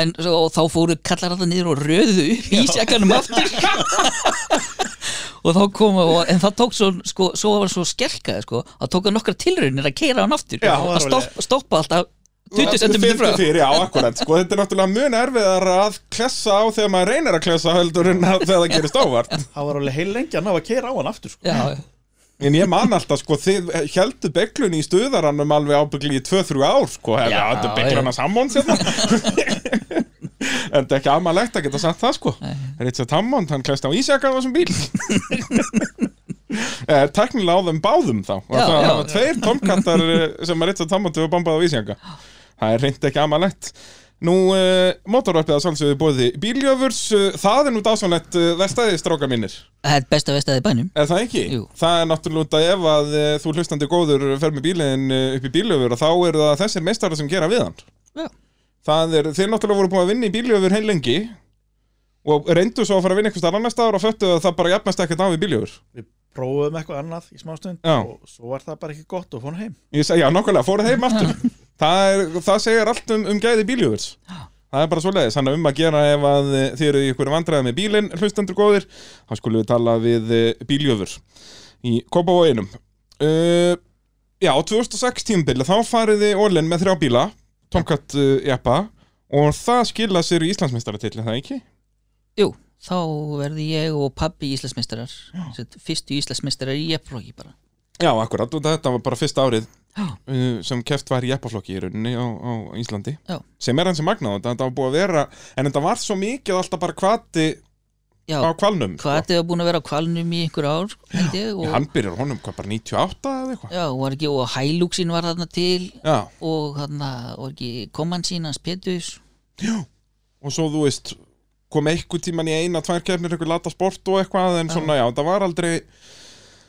B: en svo, og þá fóru kallar alltaf niður og röðu upp í sjakkanum aftur og þá kom og, en það tók svo, sko, svo var svo skelkað sko, að tók hann nokkra tilraunir að keira hann aftur
A: Já,
B: að stopp, stoppa alltaf 20 cm
A: 50
B: frá
A: fyrir, já, akkurat sko, þetta er náttúrulega mun erfiðar að klessa á þegar maður reynir að klessa heldur en að þegar það gerist ávart
C: Það var alveg heil lengi að ná að keira á hann aftur sko.
B: já,
A: en ég man alltaf, sko, þið heldur beglun í stuðaranum alveg ábyggli í 2-3 ár, sko, hefði
B: Já,
A: að þetta beglun að sammónd sérna en þetta er ekki amalegt að geta sagt það, sko Richard Hammond, hann klesta á ísjaka á þessum bíl Eh, Tæknilega á þeim báðum þá og
B: Já,
A: það
B: já.
A: hafa tveir tomkattar eh, sem að Richard Hammond hefur bombað á Ísjanga Það er reynd ekki amalett Nú, uh, motorvarpið að sálsögðu bóði bíljöfurs, uh, það er nú dásanlegt uh, verstaði stráka mínir,
B: það er besta vestaði bænum
A: er það ekki?
B: Jú.
A: Það er náttúrulega út að ef að uh, þú hlustandi góður fer með bílinn uh, upp í bíljöfur og þá eru það þessir meistarar sem gera við hann
B: Já.
A: Það er, þeir náttúrulega voru búin að vinna í bíljöfur heil lengi og reyndu svo að fara að vinna eitthvað annar staðar og föttu að það bara jafnast ekkert á við bíljöfur
C: Við prófum eitthvað annað í smástönd
A: Já.
C: og svo var það bara ekki gott og fór hann heim
A: Ég segi, já, nokkulega, fóruð heim aftur það, er, það segir allt um, um gæði bíljúðurs Það er bara svoleiðis, hann er um að gera ef að eh, þið eru í ykkur vandræði með bílinn hlustendur góðir, þá skulum við tala við bíljöfur í Kópavóinum uh, Já, á 2006 tímabili þá fariði Ólinn með þrjá bíla Tomcat uh, Jeppa og það skila sér í Íslandsmeistaratill, er það ekki?
B: jú, þá verði ég og pabbi íslensmeistarar Sett fyrstu íslensmeistarar í jefnflóki bara
A: Já, akkurat, og þetta var bara fyrsta árið
B: Já.
A: uh, sem keft var í eppaflokki í rauninni á, á Íslandi
B: Já.
A: sem er hans sem magnað, þetta- þetta var búið að vera en þetta var svo mikið alltaf bara kvati
B: já,
A: á sko. kvalnum
B: hvað þetta var búin að vera á kvalnum í einhver ár held ég,
A: sko.
B: og,
A: hann byrjar honum hvað bara 98 eða eitthvað
B: já, og, var ekki, og hæluxin var þarna til
A: Já,
B: og hann var ekki koman sín hans Petus
A: og svo þú veist kom einhver tíman í eina, tvær kefnir eitthvað lata sport og eitthvað, en svona já, það var aldrei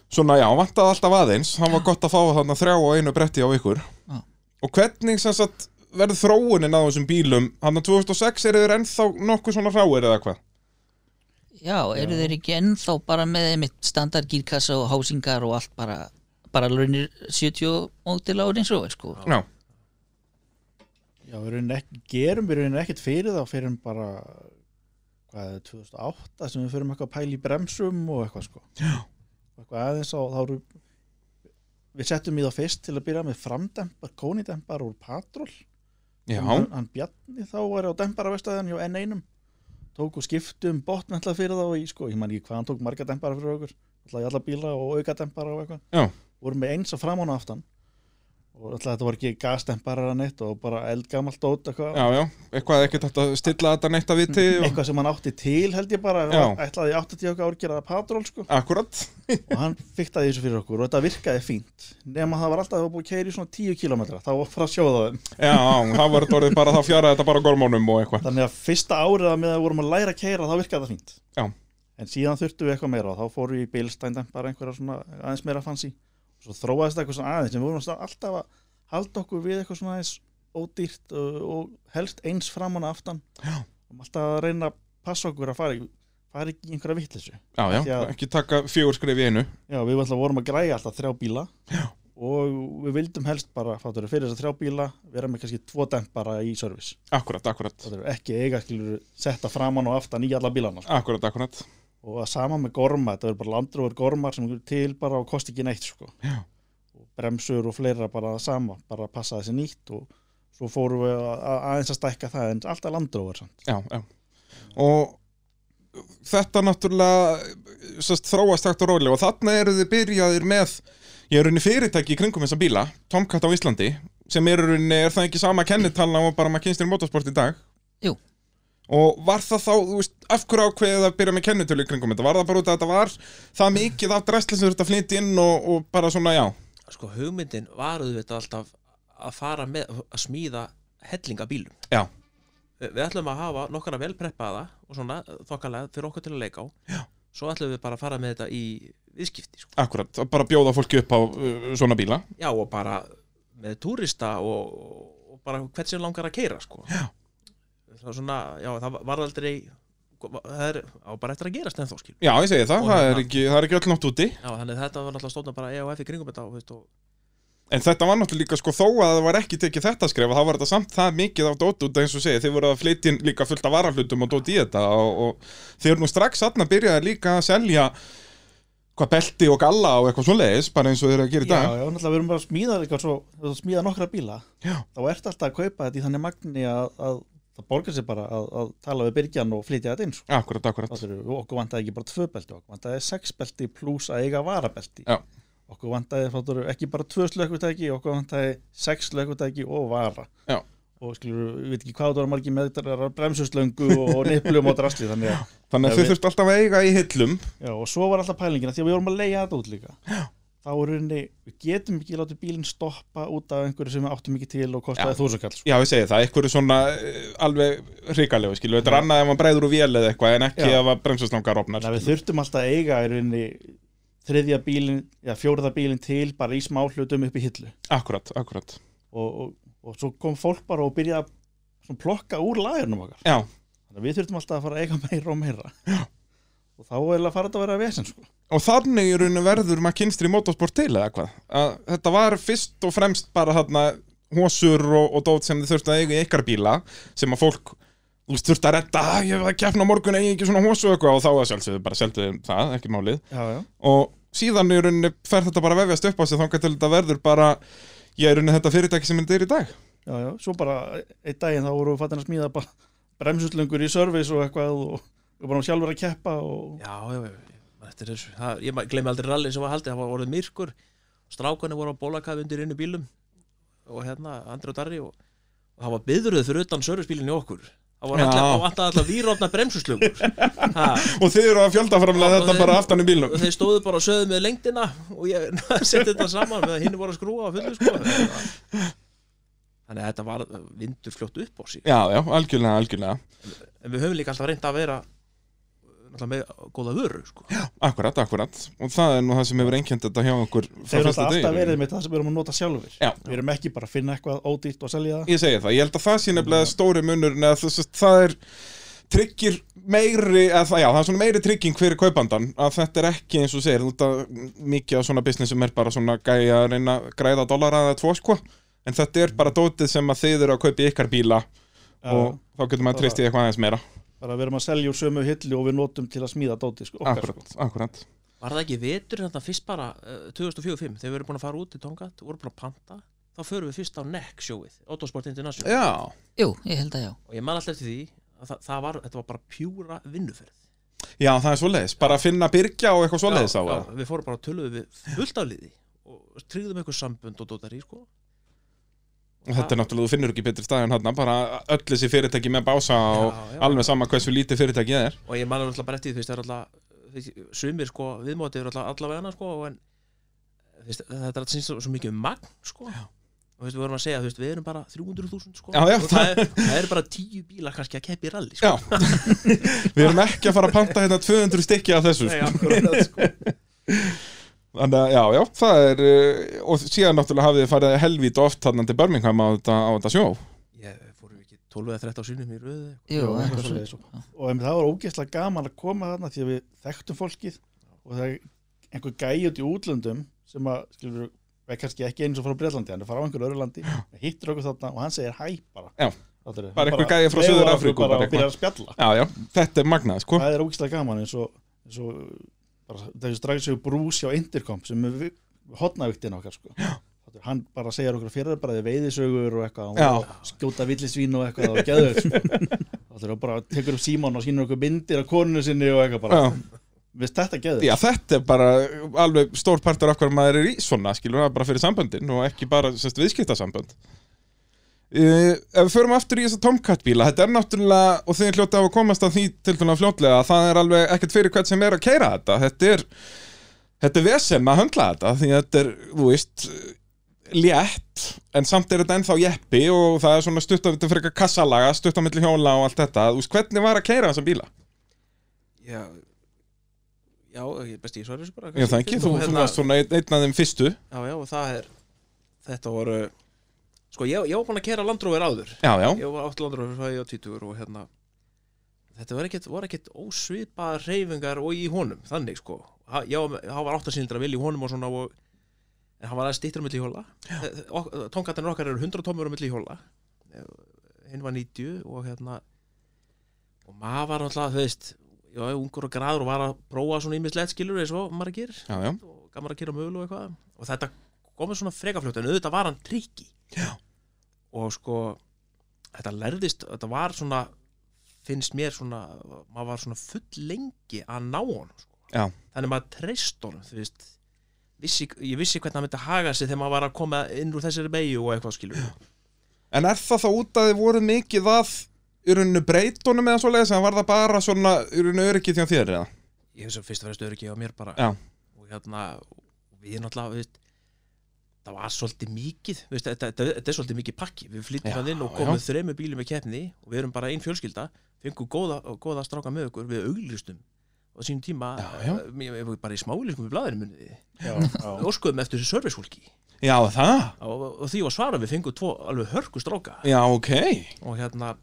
A: svona já, vantaði alltaf aðeins hann var gott að fá þarna þrjá og einu bretti á ykkur
B: Já.
A: og hvernig sem sagt verður þróunin á þessum bílum hann 2006 eru þeir ennþá nokkuð svona hráir eða hvað
B: já, eru þeir ekki ennþá bara með einmitt standard gírkassa og hásingar og allt bara bara launir 70 mótil ári eins og er sko
A: Já,
C: Já, Já, við raunin ekki, gerum við raunin ekkert fyrir þá fyrir bara hvað er 2008 sem við fyrir eitthvað að pæla í bremsum og eitthvað sko
A: Já.
C: eitthvað aðeins á þá eru við settum í þá fyrst til að byrja með framdempar, kónidempar úr Patról
A: Já,
C: hann, hann Bjarni þá var á demparavestæðan hjá N1 tók og skiptum botn alltaf fyrir þá í sko, ég man ekki hvað hann tók marga dempara fyrir okkur alltaf í alla bíla og auka dempara og
A: Já.
C: eitthvað vorum með eins að framána aftan og alltaf þetta voru ekki gasdemparar að neitt og bara eldgamalt dót eitthvað,
A: já, já, eitthvað ekkert hægt að stilla þetta neitt að viti og...
C: eitthvað sem hann átti til held ég bara,
A: Já.
C: ætlaði í 80 okkar árgerða patról sko
A: Akkurat,
C: og hann fiktaði þessu fyrir okkur og þetta virkaði fínt nema það var alltaf að það var búið að keira í svona 10 km þá var frá sjóða þeim
A: já, þá var þetta orðið bara þá fjara þetta bara gormónum og eitthvað
C: Þannig að fyrsta árið að með að vorum að læra að keira þá virkaði það fínt
A: Já.
C: En síðan þurftum við eitthvað meira og þá fórum við í bilstændan bara einhverja svona aðeins meira fancy Svo þróaðist eitthvað svona aðeins en við vorum svona alltaf að halda okkur við eitthvað svona aðeins ódýrt og, og helst eins framan og aftan
A: Já.
C: um Alltaf að reyna að passa okkur að fara ekki, fara ekki í einhverja vittlissu
A: Já, já,
C: Já.
A: ekki taka fjögur skrif í einu
C: Já, við alltaf vorum að græja alltaf þrjá bíla Já. og við vildum helst bara fattur, fyrir þess að þrjá bíla vera með kannski tvo dempara í service
A: Akkurat, akkurat,
C: Fattur, ekki eiga skilur setta framan og aftan í alla bílana sko.
A: akkurat, akkurat
C: og að sama með gorma, þetta verður bara landrúver gormar sem eru til bara og kosti ekki neitt sko.
A: Já.
C: og bremsur og fleira bara það sama, bara að passa þessi nýtt og svo fórum við að, að aðeins að stækka það en alltaf landrúver samt
A: Já, já Og þetta náttúrulega sest, þróast hægt og rólega og þarna eru þið byrjaðir með ég er unni fyrirtæki í kringum þessa bíla Tomcat á Íslandi sem er unni, er það ekki sama kennitalna og bara maður kynst í motorsport í dag
B: Jú.
A: Og var það þá, þú veist, af hverju ákveðið að byrja með kennitölu í kringum þetta? Var það bara út að þetta var það mikið af dræsli sem þurfti að flytja inn og, og bara svona, já,
D: sko hugmyndin var auðvitað alltaf að fara með að smíða hellinga bílum
A: Já.
D: Við- við ætlum að hafa nokkara vel preppaða og svona eh, þokkalega fyrir okkur til að leika á Já. svo ætlum við bara að fara með þetta í viðskipti sko.
A: akkurat, bara bjóða fólki upp á uh, svona bíla
D: Já og bara með túrista og, og bara hvert sem langar að keira sko. Já. Það, er svona, já, það var aldrei það er á bara eftir að gerast ennþá skil
A: Já, ég segi það,
D: Og
A: það er,
D: hérna-
A: ekki, það er ekki öll nátt úti
D: Já, þannig að þetta var náttúrulega stóðna bara EOF í kringum þetta og, veist, og
A: En þetta var náttúrulega líka sko þó að það var ekki tekið þetta skref að það var þetta samt það mikið af dót út eins og segja, þið voru að flytja inn líka fullt af varahlutum og dót í þetta og, og þið eru nú strax aðna byrjaði líka að selja hvað belti og galla og eitthvað svoleiðis bara eins og þið eru að gera í dag
C: já, náttúrulega við erum bara að smíða líka svo, þú smíða nokkra bíla
A: Já.
C: þá ertu alltaf að kaupa þetta í þannig magni að, að það borgar sér bara að, að tala við byrgjan og flytja þetta inn sko.
A: Akkurat, akkurat,
C: Fattur, okkur vantaði ekki bara tvö belti okkur vantaði sex belti pluss að eiga varabelti
A: Já.
C: okkur vantaði fattur, ekki bara tvö slökkutæki okkur vantaði sex slökkutæki og vara
A: Já.
C: og skilur, við veit ekki hvað það var margir með bremsuslöngu og, og nipplum og drasli þannig að
A: þannig
C: Já,
A: að þið
C: við-
A: þurft alltaf að eiga í hillum
C: Já, og svo var alltaf pælingina því að við vorum að leiða þetta út líka Já. þá er rauninni, við getum ekki látið bílinn stoppa út af einhverju sem við áttum ekki til og kostaði þúsakall sko.
A: Já, ég segi það, eitthvað svona eh, alveg hrikalegu, skilu, þetta er annað ef maður breyður úr vél eða eitthvað en ekki
C: Já.
A: ef að bremsuslangar opnar
C: Þannig að við þurftum alltaf að eiga í rauninni þriðja bílinn, já, fjóraða bílinn til bara í smá hlutum upp í hillu
A: Akkurat, akkurat
C: og, og, og svo kom fólk bara og byrjaði að svona plokka úr lagernum okkar
A: Já,
C: þannig að við þurftum alltaf að fara að eiga meira og meira Já. og þá er að fara þetta að vera vesen sko.
A: og þannig í rauninu verður maður kynstri motorsport til eða hvað að þetta var fyrst og fremst bara hérna hósur og, og dót sem þið þurftu að eiga í ykkar bíla sem að fólk þú veist, þurftu að redda, "Ah, ég hef að keppna á morgun eigi ekki svona hósu og eitthvað og þá að sjálfsögðu bara seldu þeim það, ekki málið
C: Já, já.
A: og síðan í rauninu fer þetta bara að vefjast upp á sig þangar til þetta verður bara ég er rauninu þetta fyrirtæki sem þetta er í dag
C: Já, svo bara einn daginn þá vorum við fattin að smíða bara bremsuslöngur í service og eitthvað og við vorum sjálfur að keppa og
D: Já, já, já, já, maður eftir þessu það, Ég ma- gleymi aldrei rallið sem var haldið, það var orðið myrkur Strákunni voru á bólakaði undir innu bílum Og hérna, Andri og Darri Og, og það var byðruð fyrir utan sörfisbílinni okkur Það var
A: Já.
D: alltaf, það var alltaf, alltaf výrófna bremsuslögur ha,
A: og þið eru að fjöldaframlega
D: Og
A: þetta
D: þeir-
A: bara aftan í bílum
D: Og þeir stóðu bara og sögðu með lengdina Og ég [LAUGHS] seti þetta saman með að hinn voru að skrúa á fullu sko Þannig að þetta var vindur fljótt upp á sig
A: Já, já, algjörlega, algjörlega
D: En við höfum líka alltaf reynd að vera eh, Náttúrulega með góða vöru sko.
A: Akkurat, akkurat Og það er nú það sem hefur einkjönd þetta hjá okkur frá
C: þeir eru
A: fyrsta
C: alltaf
A: degi,
C: alltaf
A: í
C: verið með það sem við erum að nota sjálfur
A: Já.
C: við erum ekki bara að finna eitthvað ódýrt og selja það
A: Ég segi það, ég held að það sé nefnilega stóri munur neða, það, það er tryggir meiri, eða, það- já það er svona meiri trygging fyrir kaupandan að þetta er ekki eins og þú segir, þú ert að mikið af svona businessum er bara svona gæja að reyna að græða dollara eða tvo sko en þetta er bara dótið sem að þið eru að kaupa í ykkar bíla og þá getur maður
C: Bara-
A: tristið eitthvað aðeins meira
C: bara við erum að selja úr sömu hillu og við notum til að smíða dóti sko, okkar,
A: akkurat, akkurat
D: Var það ekki vetur þetta fyrst bara uh, 2004-05 þegar við erum búin að fara út í Tongat vorum búin að panta, þá förum við fyrst á NEC sjóið, Autosport International
A: já,
B: Jú, ég held að já
D: og ég man alltaf eftir því að það, það var, þetta var bara pjúra vinnuferð
A: já það er svoleiðis, bara að finna byrgja og eitthvað svoleiðis á
D: já,
A: það
D: Við fórum bara að töluðu við fullt af liði og tryggðum eitthvað sambund og dótar í sko
A: og þetta er náttúrulega, þú finnur ekki betri stað en hann bara öll þessi fyrirtæki með bása og
D: já, já.
A: alveg sama hversu lítið fyrirtæki það er
D: og ég man alltaf bara eftir því þú veist, það er alltaf þú veist, sumir sko, viðmótið eru alltaf allavega hana sko en þú veist, þetta er alltaf síns svo mikið um magn sko já. og þú veist, við vorum að segja, þú veist, við erum bara 300.000 sko
A: Já, já,
D: og það, er, það er bara 10 bílar kannski að keppi í rally sko.
A: já, við erum ekki að fara að panta hérna 200 stykki af þessu
D: Nei, akkurat, sko.
A: Þannig að, já, já, það er uh, og síðan náttúrulega hafið þið farið helvít oft þarna til Birmingham á þetta, á þetta sjó
D: ég fórum ekki 12 eða 13 sinum í röðu
B: Jú,
C: Jú,
B: eitthvað
C: eitthvað
B: svoleiðis.
C: svoleiðis. sko. og em, það var ógeðslega gaman að koma þarna því að við þekktum fólkið og það er einhver gæi út í útlöndum sem að, skilur, er kannski ekki eins og frá Breitlandi, hann er frá einhverju öðru landi hittur okkur þarna og hann segir hæ bara
A: Já.
C: Fattarðu?
A: Bara einhver gæi frá
C: veifar
A: Suður
C: okkur
A: Afríku,
C: bara
A: bara
C: og byrjar að spjalla
A: Já, já, þetta er magnað, sko
C: það er ógeðslega gaman eins og, eins og bara, það er strax sér brús hjá Intercom sem er hotnavíktin okkar sko. Fattarðu? hann bara segir okkur fyrir bara veiðisögur og eitthvað
A: Já.
C: og skjóta villisvín og eitthvað og geður það er bara tekur upp síman og sínur okkur myndir af konunni sinni og eitthvað bara
A: já,
C: Við þetta geður
A: já, þetta er bara alveg stór partur af hverju maður er í svona, skilur það er bara fyrir samböndin og ekki bara sérst, viðskiptasambönd Uh, ef við förum aftur í þessa Tomcat bíla þetta er náttúrulega, og þið hljóta á að komast að því til dæmis fljótlega, það er alveg ekkert fyrir hvern sem er að keira þetta þetta er, þetta er vesen að höndla þetta því að þetta er, þú veist létt, en samt er þetta ennþá jeppi og það er svona stutt að þetta er frekar kassalaga, stutt á milli hjóla og allt þetta þú veist, hvernig var að keira þessa bíla?
D: já, já, ég besti í svari þessu bara
A: Já, það ekki, þú, þú varst svona einn, einn af þeim fyrstu
D: hérna- já, já, og það er þetta voru sko, ég, ég var búin að kera landrófir áður
A: Já, já,
D: ég var átt landrófir frá ég á títur og hérna þetta voru ekkert, voru ekkert ósvipaðar reyfingar og í honum, þannig sko Ha- já, hann var áttasýndra vil í honum og svona og, en hann var aðeins stýttur á milli hjóla Eh, tónkatarnir okkar eru 100 tómur á milli hjóla Eh, hinn var 90 og hérna og maður var náttúrulega, þú veist já, ungur og graður og var að prófa svona ímislegt skilur eins og margir
A: já, já,
D: og gaman að kýra mögul og eitthvað og þetta komið svona frekafljótt en auðvitað var hann trikki
A: Já.
D: og sko þetta lærðist, þetta var svona finnst mér svona, maður var svona full lengi að ná honum sko.
A: Já.
D: þannig maður treyst honum þú veist vissi, ég vissi hvernig hann myndi haga sig þegar maður var að koma inn úr þessari beigju og eitthvað skilur
A: En er það þá út að þið voru mikið að í rauninu breytunum eða svoleiðis en var það bara svona í rauninu öryggi því að þér eða?
D: ég hef svo fyrst að vera stöður ekki á mér bara
A: Já.
D: og hérna, við náttúrulega við, veist, það var svolítið mikið við, veist, þetta, þetta, þetta er svolítið mikið pakki við
A: Já,
D: flyttum hann inn og
A: já.
D: komum þreymu bílum í keppni og við erum bara einn fjölskylda fengum góða, góða stráka með okkur við auglistum á sínum tíma
A: Já, já.
D: eh, Ég, ég, bara í smáliskum við blæðinu muniði
C: Já, já.
D: við óskuðum eftir þessu servicehólki
A: Já, það?
D: og, og því var svara við fengum tvo alveg hörku stráka
A: Já, ok
D: og hérna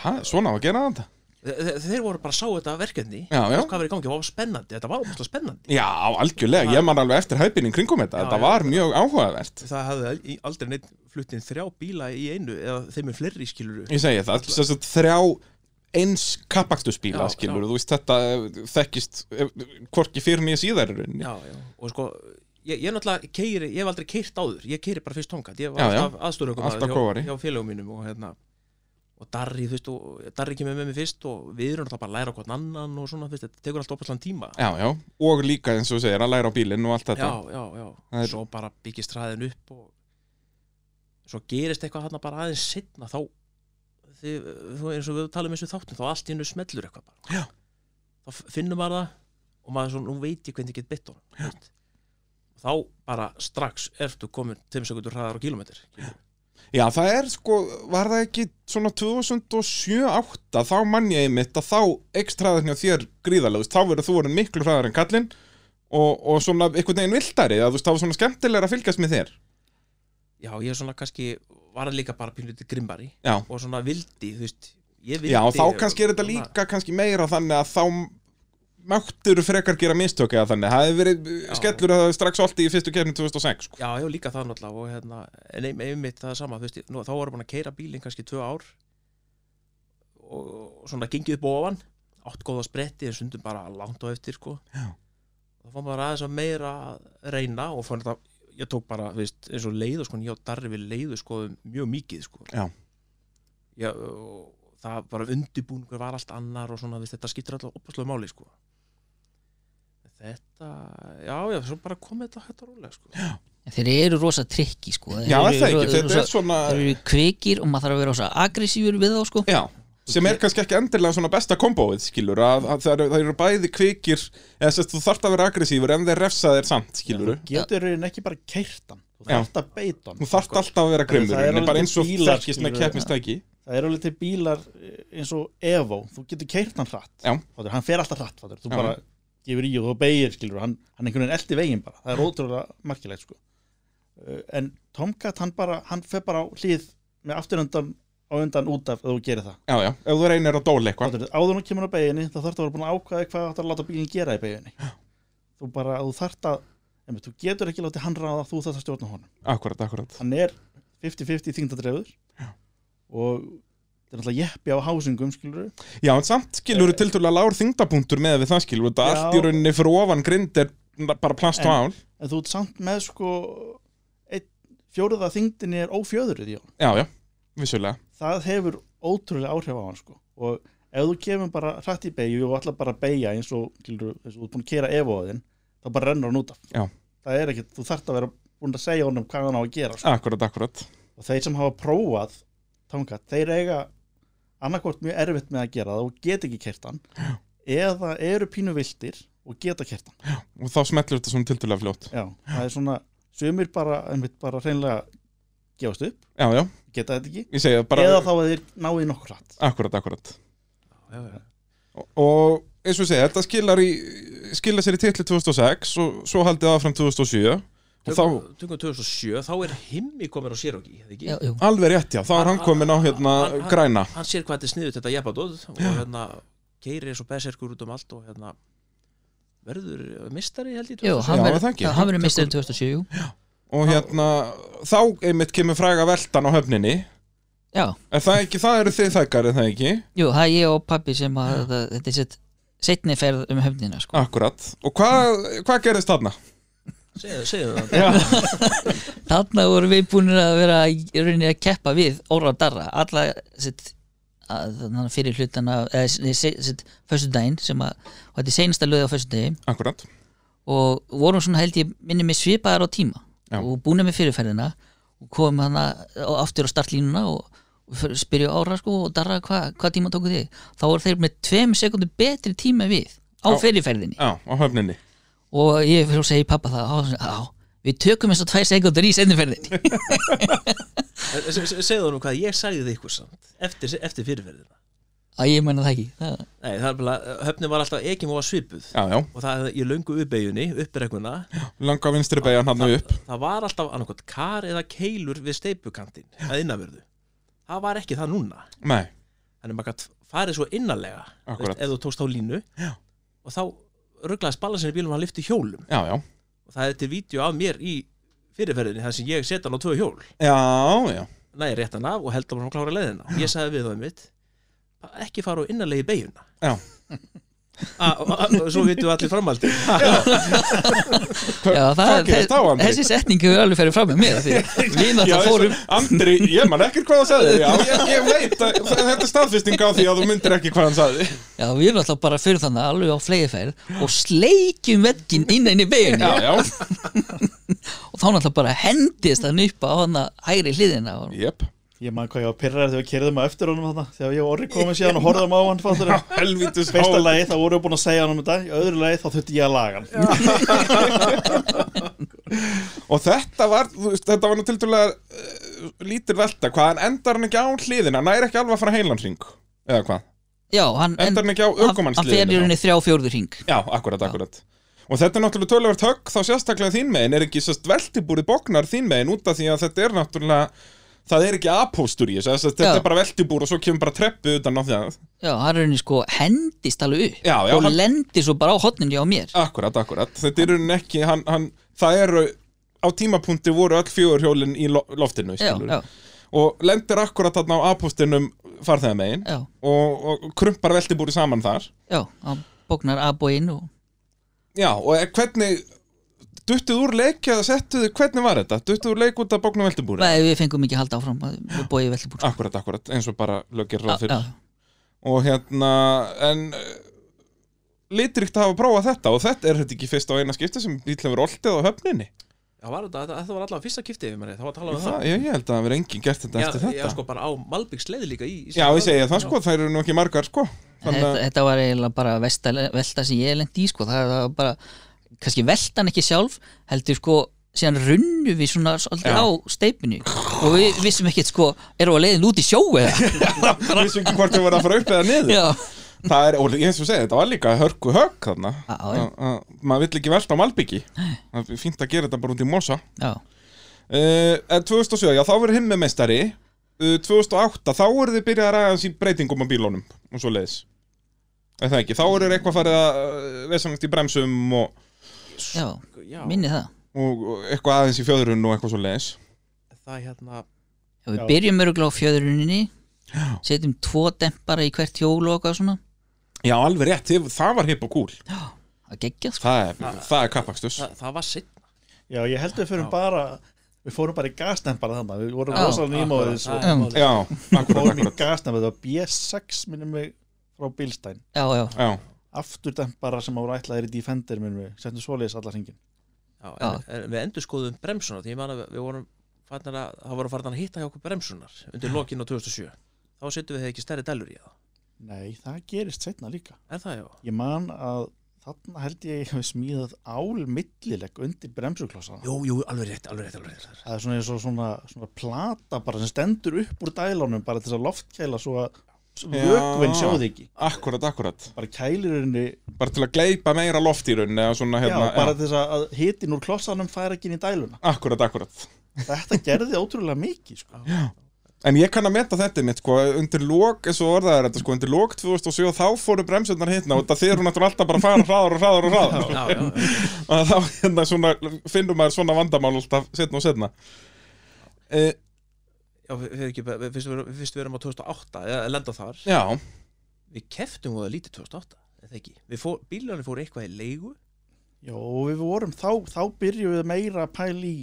A: það, Svona á að gera þetta
D: þe- þe- þeir voru bara að sá þetta verkefni
A: Já, já
D: hvað var í gangi, það var spennandi þetta var ómestlega spennandi
A: Já, algjörlega, ég man alveg eftir hæpinni kringum þetta
D: Já,
A: Þetta
D: já.
A: var mjög áhugavert
D: það hafði al- í- aldrei neitt fluttin þrjá bíla í einu eða þeim er fleiri skiluru
A: Ég segi það, þess að þrjá eins kappakstusbíla
D: Já,
A: skilur
D: já.
A: Þú veist þetta eh, þekkist eh, hvorki fyrir nýja síðar í rauninni
D: já, já. og sko ég, ég náttúrulega keiri, ég hef aldrei keirt áður ég keiri bara fyrst tóngat, ég
A: Já,
D: var
A: já.
D: alltaf aðstóru
A: Alltaf kóari.
D: hjá, hjá félögum mínum og hérna og Darri, þú veist, og Darri kemur með mér fyrst og við erum náttúrulega bara að læra okkur annan og svona, þú veist, þetta tekur alltaf opaslan tíma
A: já, já, og líka eins og þú segir að læra á bílinn og allt þetta
D: já, já, já,
A: Það er-
D: svo bara byggist hraðin upp og svo gerist eitthvað hann bara aðeins setna þá því, þú eins og við talum eins og þáttum þá allt í hennu smellur eitthvað bara
A: Já.
D: þá f- finnum maður það og maður svo, nú veit ég hvernig ég get bett honum þú veist. og þá bara strax ertu komin 5 sekundur hraðar á kilometr
A: Já, það er sko, var það ekki svona 2007-08, þá mann ég einmitt að þá ekstra hraðarni á þér gríðalegust, þá verður þú orðin miklu hraðar en kallinn og, og svona einhvern veginn viltari, að þú veist, þá var svona skemmtilegra að fylgjast með þér.
D: já, ég er svona kannski var líka bara pínlítið grimbari
A: Já,
D: og svona vildi, þú veist ég vildi,
A: já og þá kannski er þetta líka kannski meira þannig að þá máttur frekar gera mistök eða þannig það hefði verið
D: Já.
A: skellur að það hefði strax olti í fyrstu kefni 2006 sko.
D: Já, já, líka það náttúrulega og hérna, en ein- einmitt það er sama, þú veist, nú, þá vorum við að keira bílinn kannski tvö ár og, og svona gengið upp ofan, átt góða spretti, en sundum bara langt á eftir, sko.
A: Já.
D: Og þá var maður aðeins að meira að reyna og fann þetta, ég tók bara, þú veist, eins og leiðu, sko, en ég og Darri við leiðu, sko, mjög mikið, sko.
A: Já.
D: Já, og það bara undirbúningur var allt annar og svona, þú veist, þetta skiptir alltaf opaslega máli, sko. Þetta, já, já, svo bara komið þetta hægt að rólega, sko. Já.
B: En þeir eru rosa trikki sko. Þeir
A: Já, er
B: eru-
A: það ekki,
B: eru-
A: þetta er
B: rosa-
A: svona
B: Þeir eru kvikir og maður þarf að vera rosa agressífur við þá sko.
A: Já, sem er kannski ekki endilega svona besta kombóið skilur, að, að það, eru, það eru bæði kvikir eða sérst þú þarft að vera aggressífur en þeir refsa þér samt skilur
C: getur raunin ekki bara keirt hann þú
A: Já.
C: þarft að beita hann
A: þú þarft alltaf að vera grimmur
C: Það eru
A: en bara
C: alveg
A: eins og
C: bílar,
A: þekkist með
C: skilurðu.
A: keppnistæki
C: það eru alveg til bílar eh, eins og Evo þú getur keirt hann hratt
A: Já.
C: fattur, hann fer alltaf hratt fattur, þú
A: Já.
C: bara gefur í og þú beigir skilur hann, hann einhvern veginn eldi veginn bara
A: Mm.
C: það er ótrúlega markilegt sko. Eh, en Tomcat hann bara hann fer bara á hlið með afturöndan á undan út af ef þú gerir það
A: Já, já, ef þú reynir að dóla eitthvað
C: fattur, áður hún kemur á beiginni þá þarf það að vera búin að ákvaða hvað þarf að láta bílinn gera í beiginni þú bara þú þarft að emi, þú getur ekki látið hann ráða þú þarft að stjórna honum
A: Akkurat, akkurat
C: hann er 50-50 þingdadrefur og þetta er náttúrulega jeppi á hásingum skilur
A: Já, en samt skilur þú tiltúrulega lár þingdapunktur með við það skilur þetta
C: Eh. Já.
A: allt í rauninni fyrir ofan grind er bara plast og ál
C: en þú ert samt með sko einn, fjóruða þingdin er ófjöðruð já.
A: Já, já, vissulega
C: það hefur ótrúlega áhrif á hann sko og ef þú kemur bara hratt í beigju og allar bara að beigja eins og skilur, eins og þú ert búin að kera evoðin þá bara rennur hann út af
A: Já.
C: það er ekki, þú þarft að vera búin að segja honum hvað hann á að gera sko.
A: Akkurat, akkurat
C: og þeir sem hafa prófað tangat, þeir eiga annarkvort mjög erfitt með að gera það og geta ekki kert hann eða eru pínu viltir og geta kert hann
A: Og þá smellur þetta svona tiltúrulega fljótt
C: Já, það er svona, sumir bara, einmitt, bara hreinlega gefast upp,
A: Já, já,
C: geta þetta ekki
A: ég segja bara
C: eða þá að þeir náið nokkur hratt
A: Akkurat, akkurat
D: Já, já, já.
A: Og- og eins og ég segja, þetta skilar í skila sér í titli 2006 og svo haldið áfram 2007 og þá,
D: Tökum tökum 2007, þá er himmi komin á Siroki, eða ekki?
B: Já, jú.
A: alveg rétt já, þá er hann komin á hérna
D: Hann- hann-
A: græna
D: Hann sér hvað þetta er sniðut þetta jeppadóð og hérna keirir eins og beserkur út um allt og hérna verður mistari held ég
B: Jú, hann
A: Já,
B: verður-
A: það ekki.
B: já, hann verður meistarinn 2007 jú.
A: og hérna, þá einmitt kemur fræga veltan á höfninni
B: Já,
A: er það ekki, það eru þið þækkar er það ekki,
B: jú, það er ég og pabbi sem að þetta- þetta er sitt setni ferð um höfnina sko.
A: akkurat og hvað hva gerist þarna?
D: Segðu segðu það
A: Já,
B: Þarna vorum við búinir að vera í rauninni að keppa við Óra og Darra alla sitt að, þarna fyrir hlutana eða sitt, sitt, sitt föstudaginn sem að, og þetta er seinasta löði á föstudagi
A: akkurat
B: og vorum svona held ég minni mig svipaðar á tíma
A: Já.
B: og búinir með fyrirferðina og komum hann aftur á startlínuna og, og för- spyrjum ára sko og darra hva, hvað tíma tóku þig þá voru þeir með tveim sekundu betri tíma en við á
A: Já.
B: fyrirferðinni
A: já, á höfninni
B: og ég fyrir að segja í pappa það á, á, við tökum þess að tvær sekundur í seinniferðinni
D: En se- se- Segðu hann hvað ég sagði þið ykkur samt eftir, eftir fyrirverðina
B: að ég menna það ekki það,
D: Nei, það er bara, höfnum var alltaf ekki móa svipuð
A: já, já,
D: og það er í löngu uppeyjunni, uppreikuna
A: langa vinstri beigjan hann upp
D: það var alltaf annarkot kar eða keilur við steipukantinn að innanverðu það var ekki það núna
A: nei,
D: þannig maður gætt farið svo innarlega
A: Akkurat.
D: veist, ef þú tókst á línu
A: Já.
D: og þá rugglaðist balansin í bílum og hann lyfti hjólum
A: já, já
D: og það er til vídeo af mér í fyrirferðinni þar sem ég set hann á tvö hjól
A: já, já,
D: næ, rétt hann af og held að hann klára leiðina og ég sagði við það mitt ekki fara á innarlegi beiguna
A: Já.
D: A- og- og- og svo vitum við allir
A: [LAUGHS]
D: framaldi
A: Hva-
B: já, það,
A: hvað gerist á Andri?
B: þessi setning hefur alveg ferið fram með mér
A: [LAUGHS]
B: því að
A: Já,
B: við náttúrulega
A: þessi-
B: fórum
A: Andri, ég man ekkert hvað það sagði Já, ég, ég veit, að, þetta er staðfisting á því að þú myndir ekki hvað hann sagði
B: Já, við erum alltaf bara fyrir þannig alveg á fleiðferð og sleikjum veggin innan í beginni
A: Já, já,
B: og þá náttúrulega bara hendist hann upp á hann hægri hliðina og
A: jep
C: ég man hvað ég var pyrrar þegar við kerðum á eftir honum þarna þegar ég og Orri komið síðan og horfðum á hann fattur
A: Helvítus
C: fyrsta
A: hál
C: lagi þá voru við búin að segja hann um þetta í öðru lagi þá þurfti ég að laga hann
A: Og þetta var, þú veist, þetta var nú tildulega uh, lítil velta Hvað, en endar hann ekki á hliðina? Nær ekki alveg að fara heilan hring Eða hvað?
B: Já, hann
A: Endar hann ekki á
B: hann fer í
A: ökumannsliðinu?
B: rauninni þrjá fjórðu ring
A: Já, akkurat, akkurat Og þetta er náttúrulega töluvert högg þá sérstaklega þín megin er ekki sérst veltibúrið bóknar þín megin út af því að þetta er náttúrulega það er ekki apóstur í þessu þess að þetta
B: Já.
A: er bara veltibúr og svo kemur bara treppu utan á það
B: Já, það er rauninni sko hendist alveg upp
A: Já, já,
B: og
A: hann-
B: lendir svo bara á hotnin hjá mér
A: Akkurat, akkurat, þetta er í rauninni ekki hann, hann, það eru, á tímapunkti voru öll fjögur hjólin í lo loftinu
B: Já,
A: skilurðu.
B: já,
A: og lendir akkurat þarna á apóstinum farþega megin
B: já,
A: og, og krumpar veltibúri saman þar
B: já hann bóknar abóinn og
A: Já, og er- hvernig duttuð úr leik eða settuð, hvernig var þetta? Duttuð úr leik út af bóknum veltibúri?
B: Nei, við fengum ekki að halda áfram að- við bóið veltibúr
A: Akkurat, akkurat, eins og bara lögir ráð
B: Já,
A: fyrir og hérna, en eh, litríkt að hafa prófað þetta og þetta er þetta ekki fyrst á eina skipti sem bíl hefur oltið á höfninni
D: Já, var þetta, þetta- þetta var allavega fyrsta kipti yfir mér þá var að tala um
A: það,
D: það
A: ég, ég held að það verið enginn gert þetta
D: Já,
A: eftir
D: já,
A: þetta
D: sko, bara á Malbyggs leið líka í, í
A: Já, ég segja það sko, það eru nú ekki margar sko
B: þetta,
A: Þannig að,
B: þetta var eiginlega bara velta, velta sem ég lendi í sko. það, það var bara, kannski velta hann ekki sjálf heldur sko, síðan runnu við svona svolítið
A: Já.
B: á steipinu og við vissum ekkert sko, erum við að leiðin út í sjó eða?
A: við vissum ekki hvort þau voru að fara upp eða niður
B: Já,
A: Það er, og eins og segja, þetta var líka hörku högg þarna
B: Já, já.
A: Að- að Maður vill ekki velta á Malbyggi Það er fínt að gera þetta bara út í mosa
B: já,
A: Uh, en 2007, já, þá verður hinn með meistari uh, 2008, þá eru þið byrjað að ræða hans í breytingum á bílónum og svo leiðis Er það ekki? Þá eru þeir eitthvað farið að uh, vesanast í bremsum og,
B: já,
D: Já,
B: minni það
A: og og eitthvað aðeins í fjöðrun og eitthvað svo leiðis
D: það hérna
B: já, Við
C: Já.
B: byrjum öruglega á fjöðruninni setjum tvo dempara í hvert hjól og eitthvað svona
A: Já, alveg rétt, þið- það var hipp og cool
B: að gegja sko.
A: Það er, það er kappakstus
D: það, það var sitt
C: Já, ég held við fyrir
D: Já.
C: bara Við fórum bara í gasnempara þannig Við vorum
B: Já,
C: rosalega nýmóðis og
B: Um.
A: Já, akkurat,
C: fórum í
A: akkurat
C: gasnempara Það var B6 minnum við frá Bílstæn
B: Já, já,
A: Já,
C: Afturdempara sem voru ætlaðir í Defender minnum við Settum svoleiðis allar hringin
D: Já, en, en við endur skoðum bremsuna því ég man að við, við vorum farnar að það voru farnar að hitta hjá okkur bremsunar undir lokin á 2007 þá setjum við þeir ekki stærri dælur í það
C: Nei, það gerist setna líka
D: en það já,
C: Ég man að þarna held ég að ég hef smíðað ál millileg undir bremsuklossana.
D: jú, jú, alveg rétt, alveg rétt, alveg rétt.
C: Það er svona eins og svona, svona plata bara sem stendur upp úr dælunum bara til þess að loftkæla svo að vökvinn sjóði ekki.
A: akkurat, akkurat
C: Bara kælirinni,
A: Bara til að gleypa meira loft í rauninni eða svona
C: hérna,
A: hérna
C: já, bara til þess að hitin úr klossanum fær ekki inn í dæluna.
A: Akkurat, akkurat
C: Þetta gerði ótrúlega mikið, sko.
A: En ég kann að meta þetta mitt, sko, undir lók, eins og orðað er þetta, sko, undir lók 2007 þá fóru bremsundar hérna og þetta þeir eru náttúrulega alltaf bara að fara hraðar og hraðar og hraðar
D: Já, já, já.
A: og þá hérna, svona, finnum maður svona vandamál alltaf setna og setna e,
D: já við, við, ekki, við, fyrst, við, fyrst við erum á 2008 eða lenda þar,
A: Já,
D: við keftum og það lítið 2008, eða ekki við fór, bílarnir fóru eitthvað í leigu
C: Já, og við vorum, þá, þá byrjuðum við meira að pæla í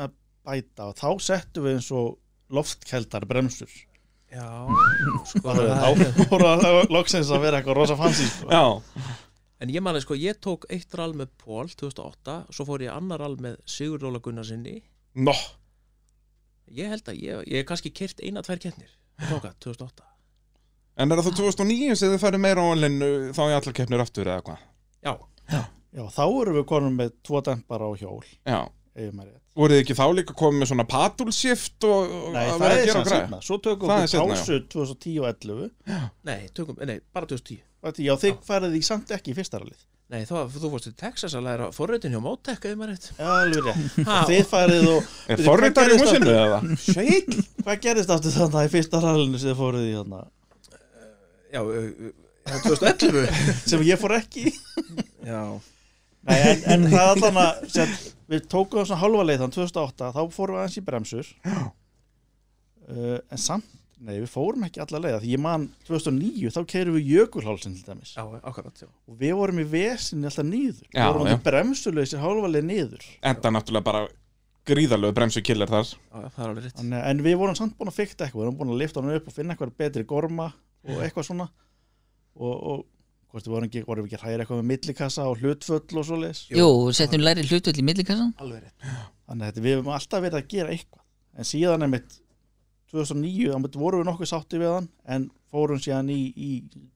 C: að bæta og þá settum við eins og loftkældar bremsur. [LAUGHS]
D: já, sko
C: Þá voru það loksins að vera eitthvað rosa fancy, sko.
A: já,
D: en ég mani sko, ég tók eitt rall með Pól 2008, svo fór ég annar rall með Sigur Róla Gunnarsinni
A: nó,
D: ég held að ég, ég hef kannski kert eina, tvær keppnir ég tók að 2008
A: en er það þá 2009 sem þið færi meira á online þá í allar keppnir aftur eða hvað
D: já,
C: Já, þá erum við konum með tvo dempar á hjól
A: Já,
C: ef maður rétt.
A: voruð þið ekki þá líka komið með svona patulshift og og
C: Nei,
A: að
C: það
A: vera að gera
C: er
A: og
C: sann
A: græja?
C: setna Svo tökum
A: Það er
C: við
A: seinna,
C: pásu 2010 og 11
D: nei, tökum, nei, bara 2010
C: Þetta, Já, þig farið því samt ekki í fyrsta rallið
D: nei, þá, þú fórst til Texas að læra forröðin hjá Mótek, ef maður rétt
C: Já, alveg rétt
D: Ha,
C: Þið farið og
A: Er forritar í húsinu eða?
C: Sveik Hvað gerist aftur þannig í fyrsta rallinu sem þið fórið í þarna
D: já, ö, ö, já, 2011 [LAUGHS]
C: sem ég fór ekki í?
D: já,
C: Nei, en,
A: [LAUGHS]
C: en það allan að sem, við tókum það svona halva leið þann 2008 þá fórum við aðeins í bremsur uh, en samt Nei, við fórum ekki alla leiða, því ég man 2009, þá keirum við jökulhálsinn til dæmis
D: já, akkurat já.
C: og við vorum í vesinni alltaf nýður
A: Já,
C: við vorum
A: já.
C: alltaf bremsuleysir hálfalega nýður
A: Enda náttúrulega bara gríðalög bremsukillar þar
D: Já, það er alveg rétt
C: en, en við vorum samt búin að fykta eitthvað við vorum búin að lifta hann upp og finna eitthvað betri gorma og eitthvað svona og, og hvort við vorum ekki, vorum við ekki að hræra eitthvað með millikassa og hlutföll og svoleiðis
B: Jú, setjum læri hlutull í millikassan
D: alveg rétt
C: þannig að þetta, við hefum alltaf verið að gera eitthvað en síðan einmitt 2009, þannig vorum við nokkuð sátti við hann en fórum síðan í, í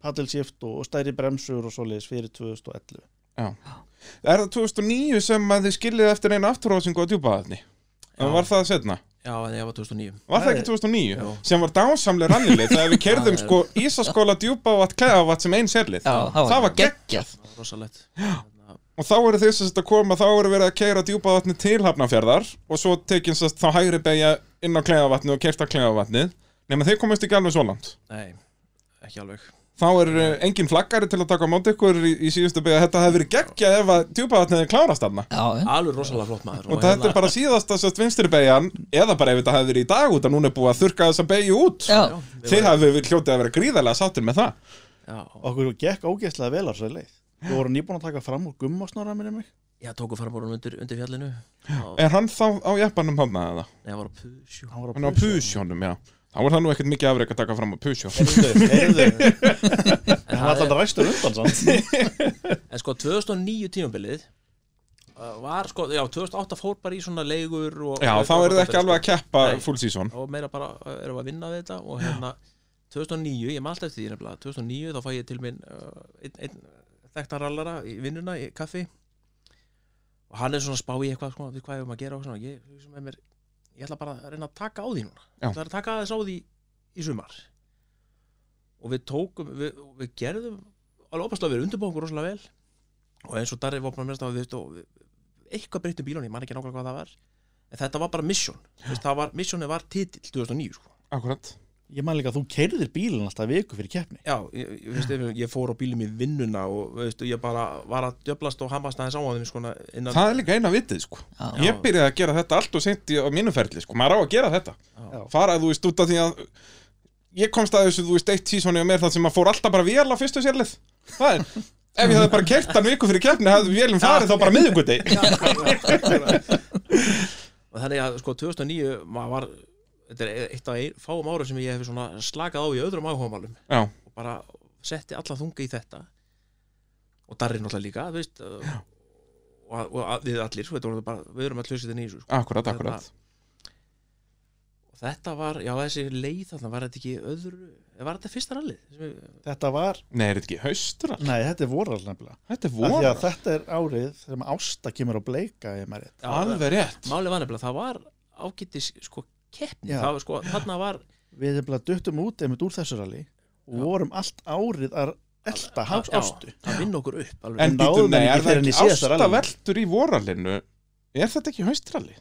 C: paddelshift og, og stærri bremsur og svoleiðis fyrir 2011
A: Er það 2009 sem að þið skiljið eftir einu afturhásingu á djúpaðatni?
D: Já.
A: Var það setna?
D: já, en ég var 2009
A: Var það
C: Nei.
A: ekki 2009?
D: Jú.
A: Sem var dásamlega rannilið þegar við kerðum
D: Já, já.
A: sko Ísaskóla djúpaðat, kleðavat sem einn serlið
B: Já,
A: Það var
B: geggjað
D: það var rosalegt Þannig að
A: og þá eru þess að koma, þá eru verið að keira djúpaðvatni til hafnafjörðar og svo tekin sérst þá hægri beigja inn á kleiðavatni og keirta kleiðavatnið nema þeir komast ekki alveg svo langt
D: Nei, ekki alveg
A: þá er uh, engin flaggari til að taka á móti ykkur í, í síðustu beigja, þetta hefði verið geggja ef að djúpaðvatnið er klárast þarna
B: já, já,
D: Alveg rosalega flott maður hérna-
A: og hérna- þetta er bara síðasta sérst vinstri beigjan eða bara ef þetta hefði verið í dag út að núna er búið að þurka þessa beigju út
B: já,
A: þeir hefði hljótið að vera gríðarlega sáttir með það
D: Já,
C: Okkur gekk ógeðslega vel á svo leið Við vorum nýbúin að taka fram úr gummasnóra minni mig
D: ég tóku farmórunum undir, undir fjallinu
A: er hann þá á jeppanum hann eða?
D: Ég var á pusjú
C: Hann var
A: hann er á pusjónum, já þá er það nú ekkert mikið afrek að taka fram á pusjó
C: Heyrðu, heyrðu [LAUGHS]
D: En,
C: Hann var
D: það
C: alltaf ræstur undan samt
D: er- en sko 2009 tímabilið uh, var sko, já 2008 fór bara í svona leigur og,
A: Já,
D: og,
A: þá eru þið ekki alveg að keppa
D: Nei.
A: full season
D: og meira bara uh, erum við að vinna við þetta og hérna 2009, ég maður alltaf eftir því nefnilega 2009 þá fæ ég til minn uh, einn ein, þekktar allara í vinnuna í kaffi og hann er svona að spá í eitthvað sko, við hvað hefum að gera og svona ég, hugsa með mér, ég ætla bara að reyna að taka á því núna
A: Já.
D: ég ætla að taka þess á því í sumar og við tókum við, við gerðum alveg opaslega við undirbúum okkur rosalega vel og eins og Darri var bara mérst að við, og við eitthvað breytum bílunni, ég man ekki nákvæmlega hvað það var en þetta var bara mission Þú veist, það var, missionið var titill 2009 sko.
A: Akkurat
C: Ég man líka að þú keirðir bílinn alltaf viku fyrir keppni
D: já, ég, ég, veist, ég- ég fór á bílum í vinnuna og veist, ég bara var að djöblast og hamast aðeins á hann sko, innan,
A: Það er líka eina vitið sko
B: Já.
A: Ég byrjaði að gera þetta allt og seint í- á mínu ferli sko Maður á að gera þetta
D: Já.
A: Faraði þú veist út af því að Ég komst að þessu þú veist eitt sísoni og mér það sem að fór alltaf bara vél á fyrstu sérlið Það er Ef ég hefði bara kert hann viku fyrir keppni hefði vélum farið þá bara miðugundi
C: [LAUGHS]
D: og þannig að sko, 2009 maður var þetta er eitt af ein, fáum árum sem ég hef svona slakað á í öðrum áhugamálum
A: Já,
D: og bara setti alla þunga í þetta og Darri náttúrulega líka þú veist, og, og, og að- við allir við, bara, við erum að hlusta þetta nýjum sko.
A: akkurat, akkurat
D: og þetta var, já þessi leið þarna var þetta ekki öðru, eh, var þetta fyrsta rallið sem við
C: Þetta var,
A: Nei, er þetta ekki haustur?
C: nei þetta er voral nefnilega
A: Þetta er
C: Af því
A: voru
C: að Þetta er árið sem Ásta kemur á bleika ég maður rétt
D: Já,
A: Alveg rétt
D: Málið var nefnilega, það var ágættis sko keppni,
C: Já.
D: það var sko, þarna var
C: Við erum bara duttum út einmitt úr þessu rally og
D: Já.
C: vorum allt árið að elta hans
D: Já,
C: Ástu
D: það vinn okkur upp alveg.
A: En
C: Við náðum
A: býtum, nei, er það
C: henni ekki fyrr en í
A: ekki
C: síðasta rallinu.
A: ástaveltur í voralinu? Er þetta ekki haustralli?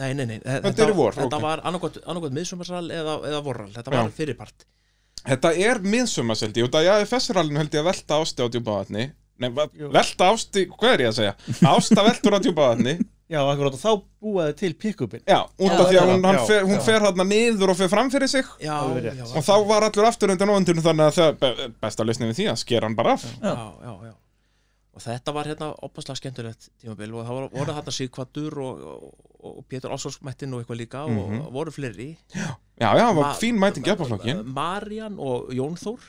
D: Nei, nei, nei, þetta,
A: er í vor,
D: þetta
A: ok.
D: var annarkvæmt miðsumarsal eða, eða vorral, þetta var
A: Já.
D: fyrirpart
A: Þetta er miðsumas held ég, út af að FS-rallinu held ég að velta ásti á djúpaðatni Nei, va- velta ásti, hvað er ég að segja? Ásta veltur á djúpaðatni
C: Já, akkurat og þá búaði til pick-upin
A: Já, út
B: Já,
A: af því að
C: já,
A: hún, hann
C: já,
A: fer, hún
C: já.
A: fer hann niður og fer fram fyrir sig
D: Já,
C: Alveg
D: já,
C: rétt.
A: Og þá var allur aftur undan óvendinu þannig að það be- besta lausnin við því að skera hann bara af
D: já, já, já Og þetta var hérna opaslega skemmtilegt tímabil og það var, voru þarna Sigvatur og, og, og Pétur Ásvarsmættin og eitthvað líka og voru fleiri
A: Já, já, Mhm. það var
D: Ma-
A: fín mæting í öpaflokkin
D: Marjan og Jón Þór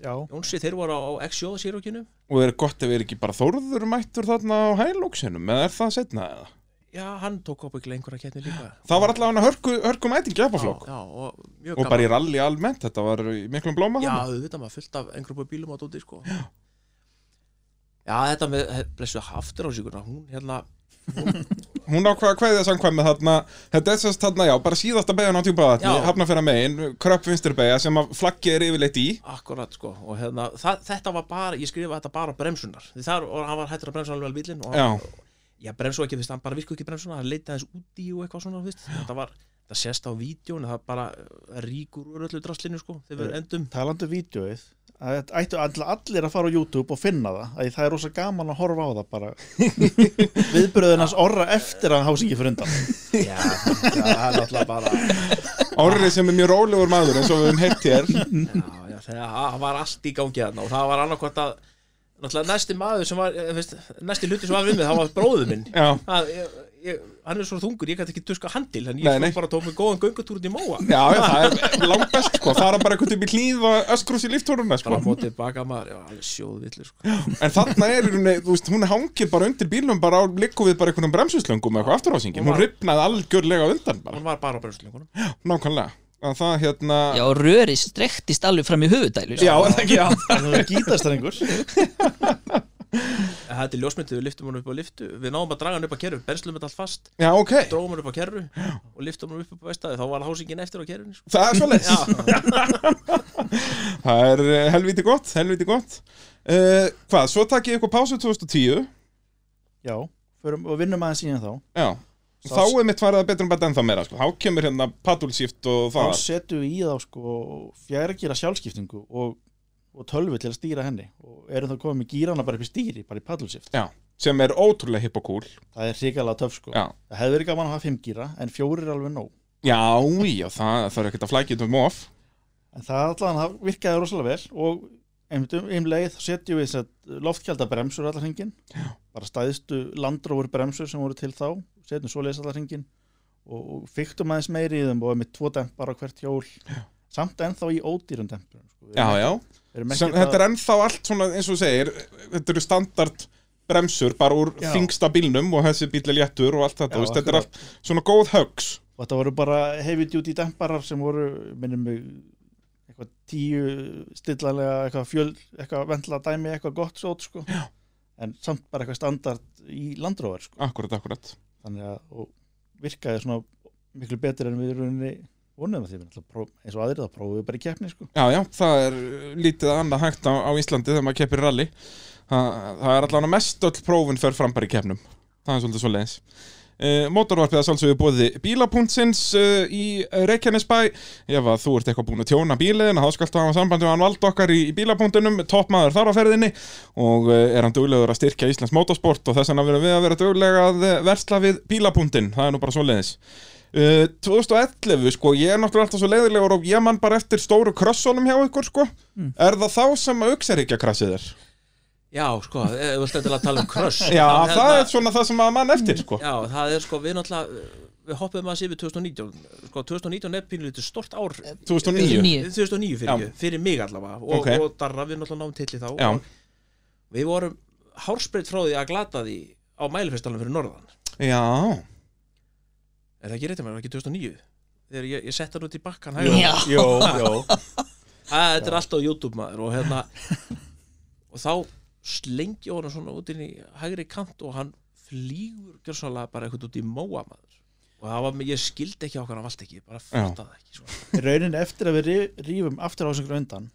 C: Já,
D: Jónsi, þeir voru á, á XJ sírókinu
A: Og er gott ef er ekki bara Þórður mættur þarna á hælóksinum Eða er það setna eða?
D: Já, hann tók upp ykkur einhverja keppni [GASPS] líka
A: Það var allavega hörku, hörku mæting í öpaflokk
D: já, já, og,
A: Og
D: mjög gaman.
A: bara í rally almennt, þetta var í miklum blóma
D: Já,
A: þarna
D: auðvitað maður fullt af einhverjum bílum á dóti sko. Já þetta með, he- blessuð haftir á síkuna Hún hérna,
A: hún ákvaða kveðið samkvæmið þarna þetta er sérst þarna, já, bara síðasta beigjan á djúpaðatni
D: Já.
A: hafnafjara megin, kröpp vinstur beigja sem að flaggi er yfirleitt í
D: akkurat sko Og hérna, það, þetta var bara, ég skrifa þetta bara á bremsunar Því þar, og hann var hættur að bremsa alveg vel bílinn og
A: já,
D: hann, Já, bremsu ekki, þú veist, hann bara virku ekki bremsuna Hann leitaði aðeins út í og eitthvað svona, þú veist Þetta var, það sést á vídjón Það bara uh, rýkur úr öllu draslinu sko Þegar við endum
C: talandi um vídjóið að þetta ættu all- allir að fara á YouTube og finna það að það er rosa gaman að horfa á það [LAUGHS] bara viðbröðin hans orra eftir að hann hási ekki fyrir undan
D: Já, það er alltaf bara
A: orrið sem er mjög rólegur maður eins og við höfum heitt
D: [LAUGHS]
A: hér
D: já, já, þegar það var allt í gangi þarna og það var annarkvæmt að náttúrulega næsti maður sem var eh, veist, næsti hluti sem var við mig, það var bróður minn
A: já,
D: það, ég, ég, hann er svo þungur, ég gæti ekki duska handil en
A: Nei,
D: ég
A: nei.
D: fór bara að tók mig góðan göngutúr út í móa
A: já, já, það er langbest sko, fara bara einhvern veginn í hlýð og öskrús í líftúruna
D: bara
A: sko.
D: að fóta tilbaka maður, já, alveg sjóðvillu sko.
A: en þarna er, hún, þú veist, hún hangir bara undir bílum bara á likku við bara einhvernum bremsuslöngum eða eitthvað afturhásingin, hún ripnaði algjörlega á undan bara,
D: hún var bara á bremslingunum
A: nákvæmlega að það hérna,
B: já röri strektist alveg fram í höfudælu sko.
A: já, er það ekki, já
C: þannig að gítastrengur
D: það er ljósmyndið, við liftum hann upp á liftu við náðum að draga hann upp á kerru, benslum þetta allt fast
A: já, ok,
D: dróðum hann upp á kerru og liftum hann upp upp á vestæði, þá var hásingin eftir á kerrunni sko.
A: það er svo
D: já,
A: Það er eh, helviti gott, helviti gott uh, Hvað, svo takk ég eitthvað pásu 2010
C: já, förum, og vinnum aðeins síðan þá
A: Já,
C: Sá-
A: þá er mitt farið að betra en bara ennþá meira sko. Þá kemur hérna paddulshift og
C: þá
A: það
C: setjum við í þá sko fjærgýra sjálfskiptingu og, og tölvu til að stýra henni og erum þá komið með gýrana bara upp í stýri, bara í paddlesift
A: Já, sem er ótrúlega hipp og cool
C: það er hrikalega töf sko
A: Já,
C: það hefði verið gaman að hafa fimm gýra en fjórir er alveg nóg
A: já, já það, það er ekkert að flækja um of
C: en það allan það virkaði rosalega vel og einmitt um um leið þá setjum við loftkjálda bremsur allar hringin bara stæðstu landrófur bremsur sem voru til þá setjum svoleiðis allar hringin og, og fyktum aðeins meiri í þeim og með tvo dempar á hvert hjól já. samt ennþá í ódýrum dempur sko.
A: Já, já, sem, þetta er ennþá allt svona eins og þú segir Þetta eru standard bremsur bara úr
C: Já.
A: þingsta bílnum og þessi bíl er léttur og allt þetta,
C: Já,
A: þú veist, þetta er
C: akkurat.
A: allt svona góð högs
C: og þetta voru bara heavy duty demparar sem voru, minnum mig eitthvað tíu stillanlega eitthvað fjöl, eitthvað vendla dæmi eitthvað gott sót sko Já. en samt bara eitthvað standard í landróðar sko
A: Akkurat, akkurat
C: þannig að og virkaði svona miklu betur en við rauninni vonuðum að því við náttúrulega pró- eins og aðrið að prófum við bara í keppni sko
A: Já, já, það er uh, lítið annað hægt á, á Íslandi þegar maður keppir rally Það, það er allavega mest öll prófin fer fram bara í keppnum Það er svolítið svoleiðis Uh, Mótorvarpið að sjálfsögðu bóði bílapunktsins uh, í Reykjanesbæ ef að þú ert eitthvað búin að tjóna bíliðin þá skaltu hafa sambandi við hann vald okkar í, í bílapunktunum toppmaður þar á ferðinni og uh, er hann duglegur að styrkja Íslands motorsport og þess vegna verðum við að vera duglega að eh, versla við bílapunktin, það er nú bara svoleiðis Uh, 2011 sko, ég er náttúrulega alltaf svo leiðilegur og ég mann bara eftir stóru krossunum hjá ykkur sko Er það þá sem að auksaríkja krassið er?
D: Já, sko, ef þú ert endilega að tala um crush
A: Já,
D: þá,
A: það
D: hérna,
A: er svona það sem að mann eftir sko
D: Já, það er sko, við náttúrulega við hoppum að sé við 2019 sko, 2019 er pínlítið stort ár
A: 2009
B: Níu.
D: 2009 fyrir,
A: Já.
D: ekki, fyrir mig allavega og,
A: Ok.
D: og Darra, við náttúrulega náum tilli þá
A: Já.
D: og við vorum hárspreitt frá því að glata því á mælifestalum fyrir norðan
A: Já,
D: er það ekki rétt að mér, var ekki 2009 þegar ég, ég sett hann út í bakkan hægra.
B: Já,
C: Jó, jó
D: að þetta er allt á YouTube maður og hérna [LAUGHS] og þá slengi honum svona út inn í hægri kant og hann flýgur gjörsanlega bara eitthvað út í móa maður og það var, ég skildi ekki okkar hann vald ekki, ég bara fattaði ekki sko. svona.
C: Í rauninni eftir að við rí- rífum aftur á þessu undan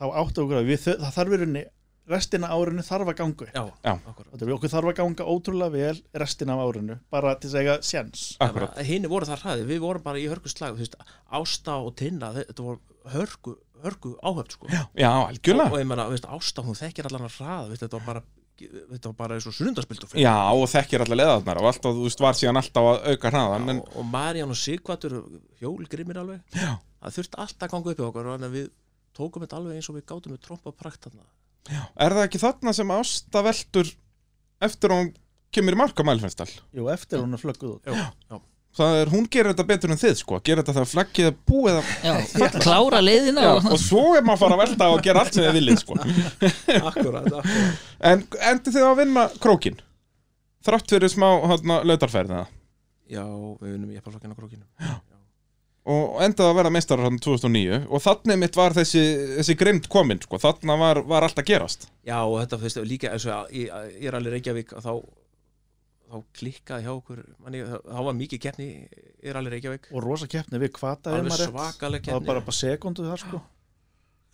C: þá áttu okkur að við, þau- það þarf í rauninni restina af árinu þarf að ganga upp
D: já,
A: Já.
D: akkurat.
C: Þetta er- okkur þarf að ganga ótrúlega vel restina af árinu bara til að eiga sjens
A: akkurat
D: hinn voru það hraði, við vorum bara í hörku slag þú veist, Ásta og Tinna, þe- þetta voru hörku, hörku áhöfn sko. og,
A: Já,
D: og
A: algjörlega
D: ég meina, þú veist, Ásta hún þekkir allan að hraða, veist, þetta var bara þetta var bara eins og sunnundarspild og
A: Já, og þekkir allar leðarnar og alltaf, þú veist, var síðan alltaf að auka hraðan en,
D: og, og Marjan og Sigvatur hjólgrimir alveg
A: Já.
D: það þurfti alltaf að ganga upp í okkur þannig að við tókum þetta alveg eins og við gátum við trompa prakt þarna
A: Er það ekki þarna sem Ásta veltur eftir að hún kemur í mark á mælfinnstall?
C: Jú, eftir hún er flögguð út
D: já, já.
A: Það er, hún gerir þetta betur en þið sko Gerir þetta þegar flaggið er búið að
B: já, klára leiðina
A: Já,
B: og,
A: og svo er maður að fara að velta og gera allt sem þið viljið sko
D: akkurat, akkurat.
A: En endi þið á að vinna krókin Þrátt fyrir smá hérna, lautarferðina
D: já, við unum ég bara flokkinn á krókinum
A: Og endaði að vera meistarar hann 2009 Og þannig mitt var þessi, þessi grind komin sko. Þannig var, var allt að gerast
D: já, og þetta finnst líka eins og að- ég, ég er alveg Reykjavík að þá þá klikkaði hjá okkur manni, þá, þá var mikið keppni, ég er alveg Reykjavík
C: og rosa keppni við kvataði
D: alveg
C: maður rétt
D: svakaleg
C: það var
D: keppni
C: bara bara sekundu þar sko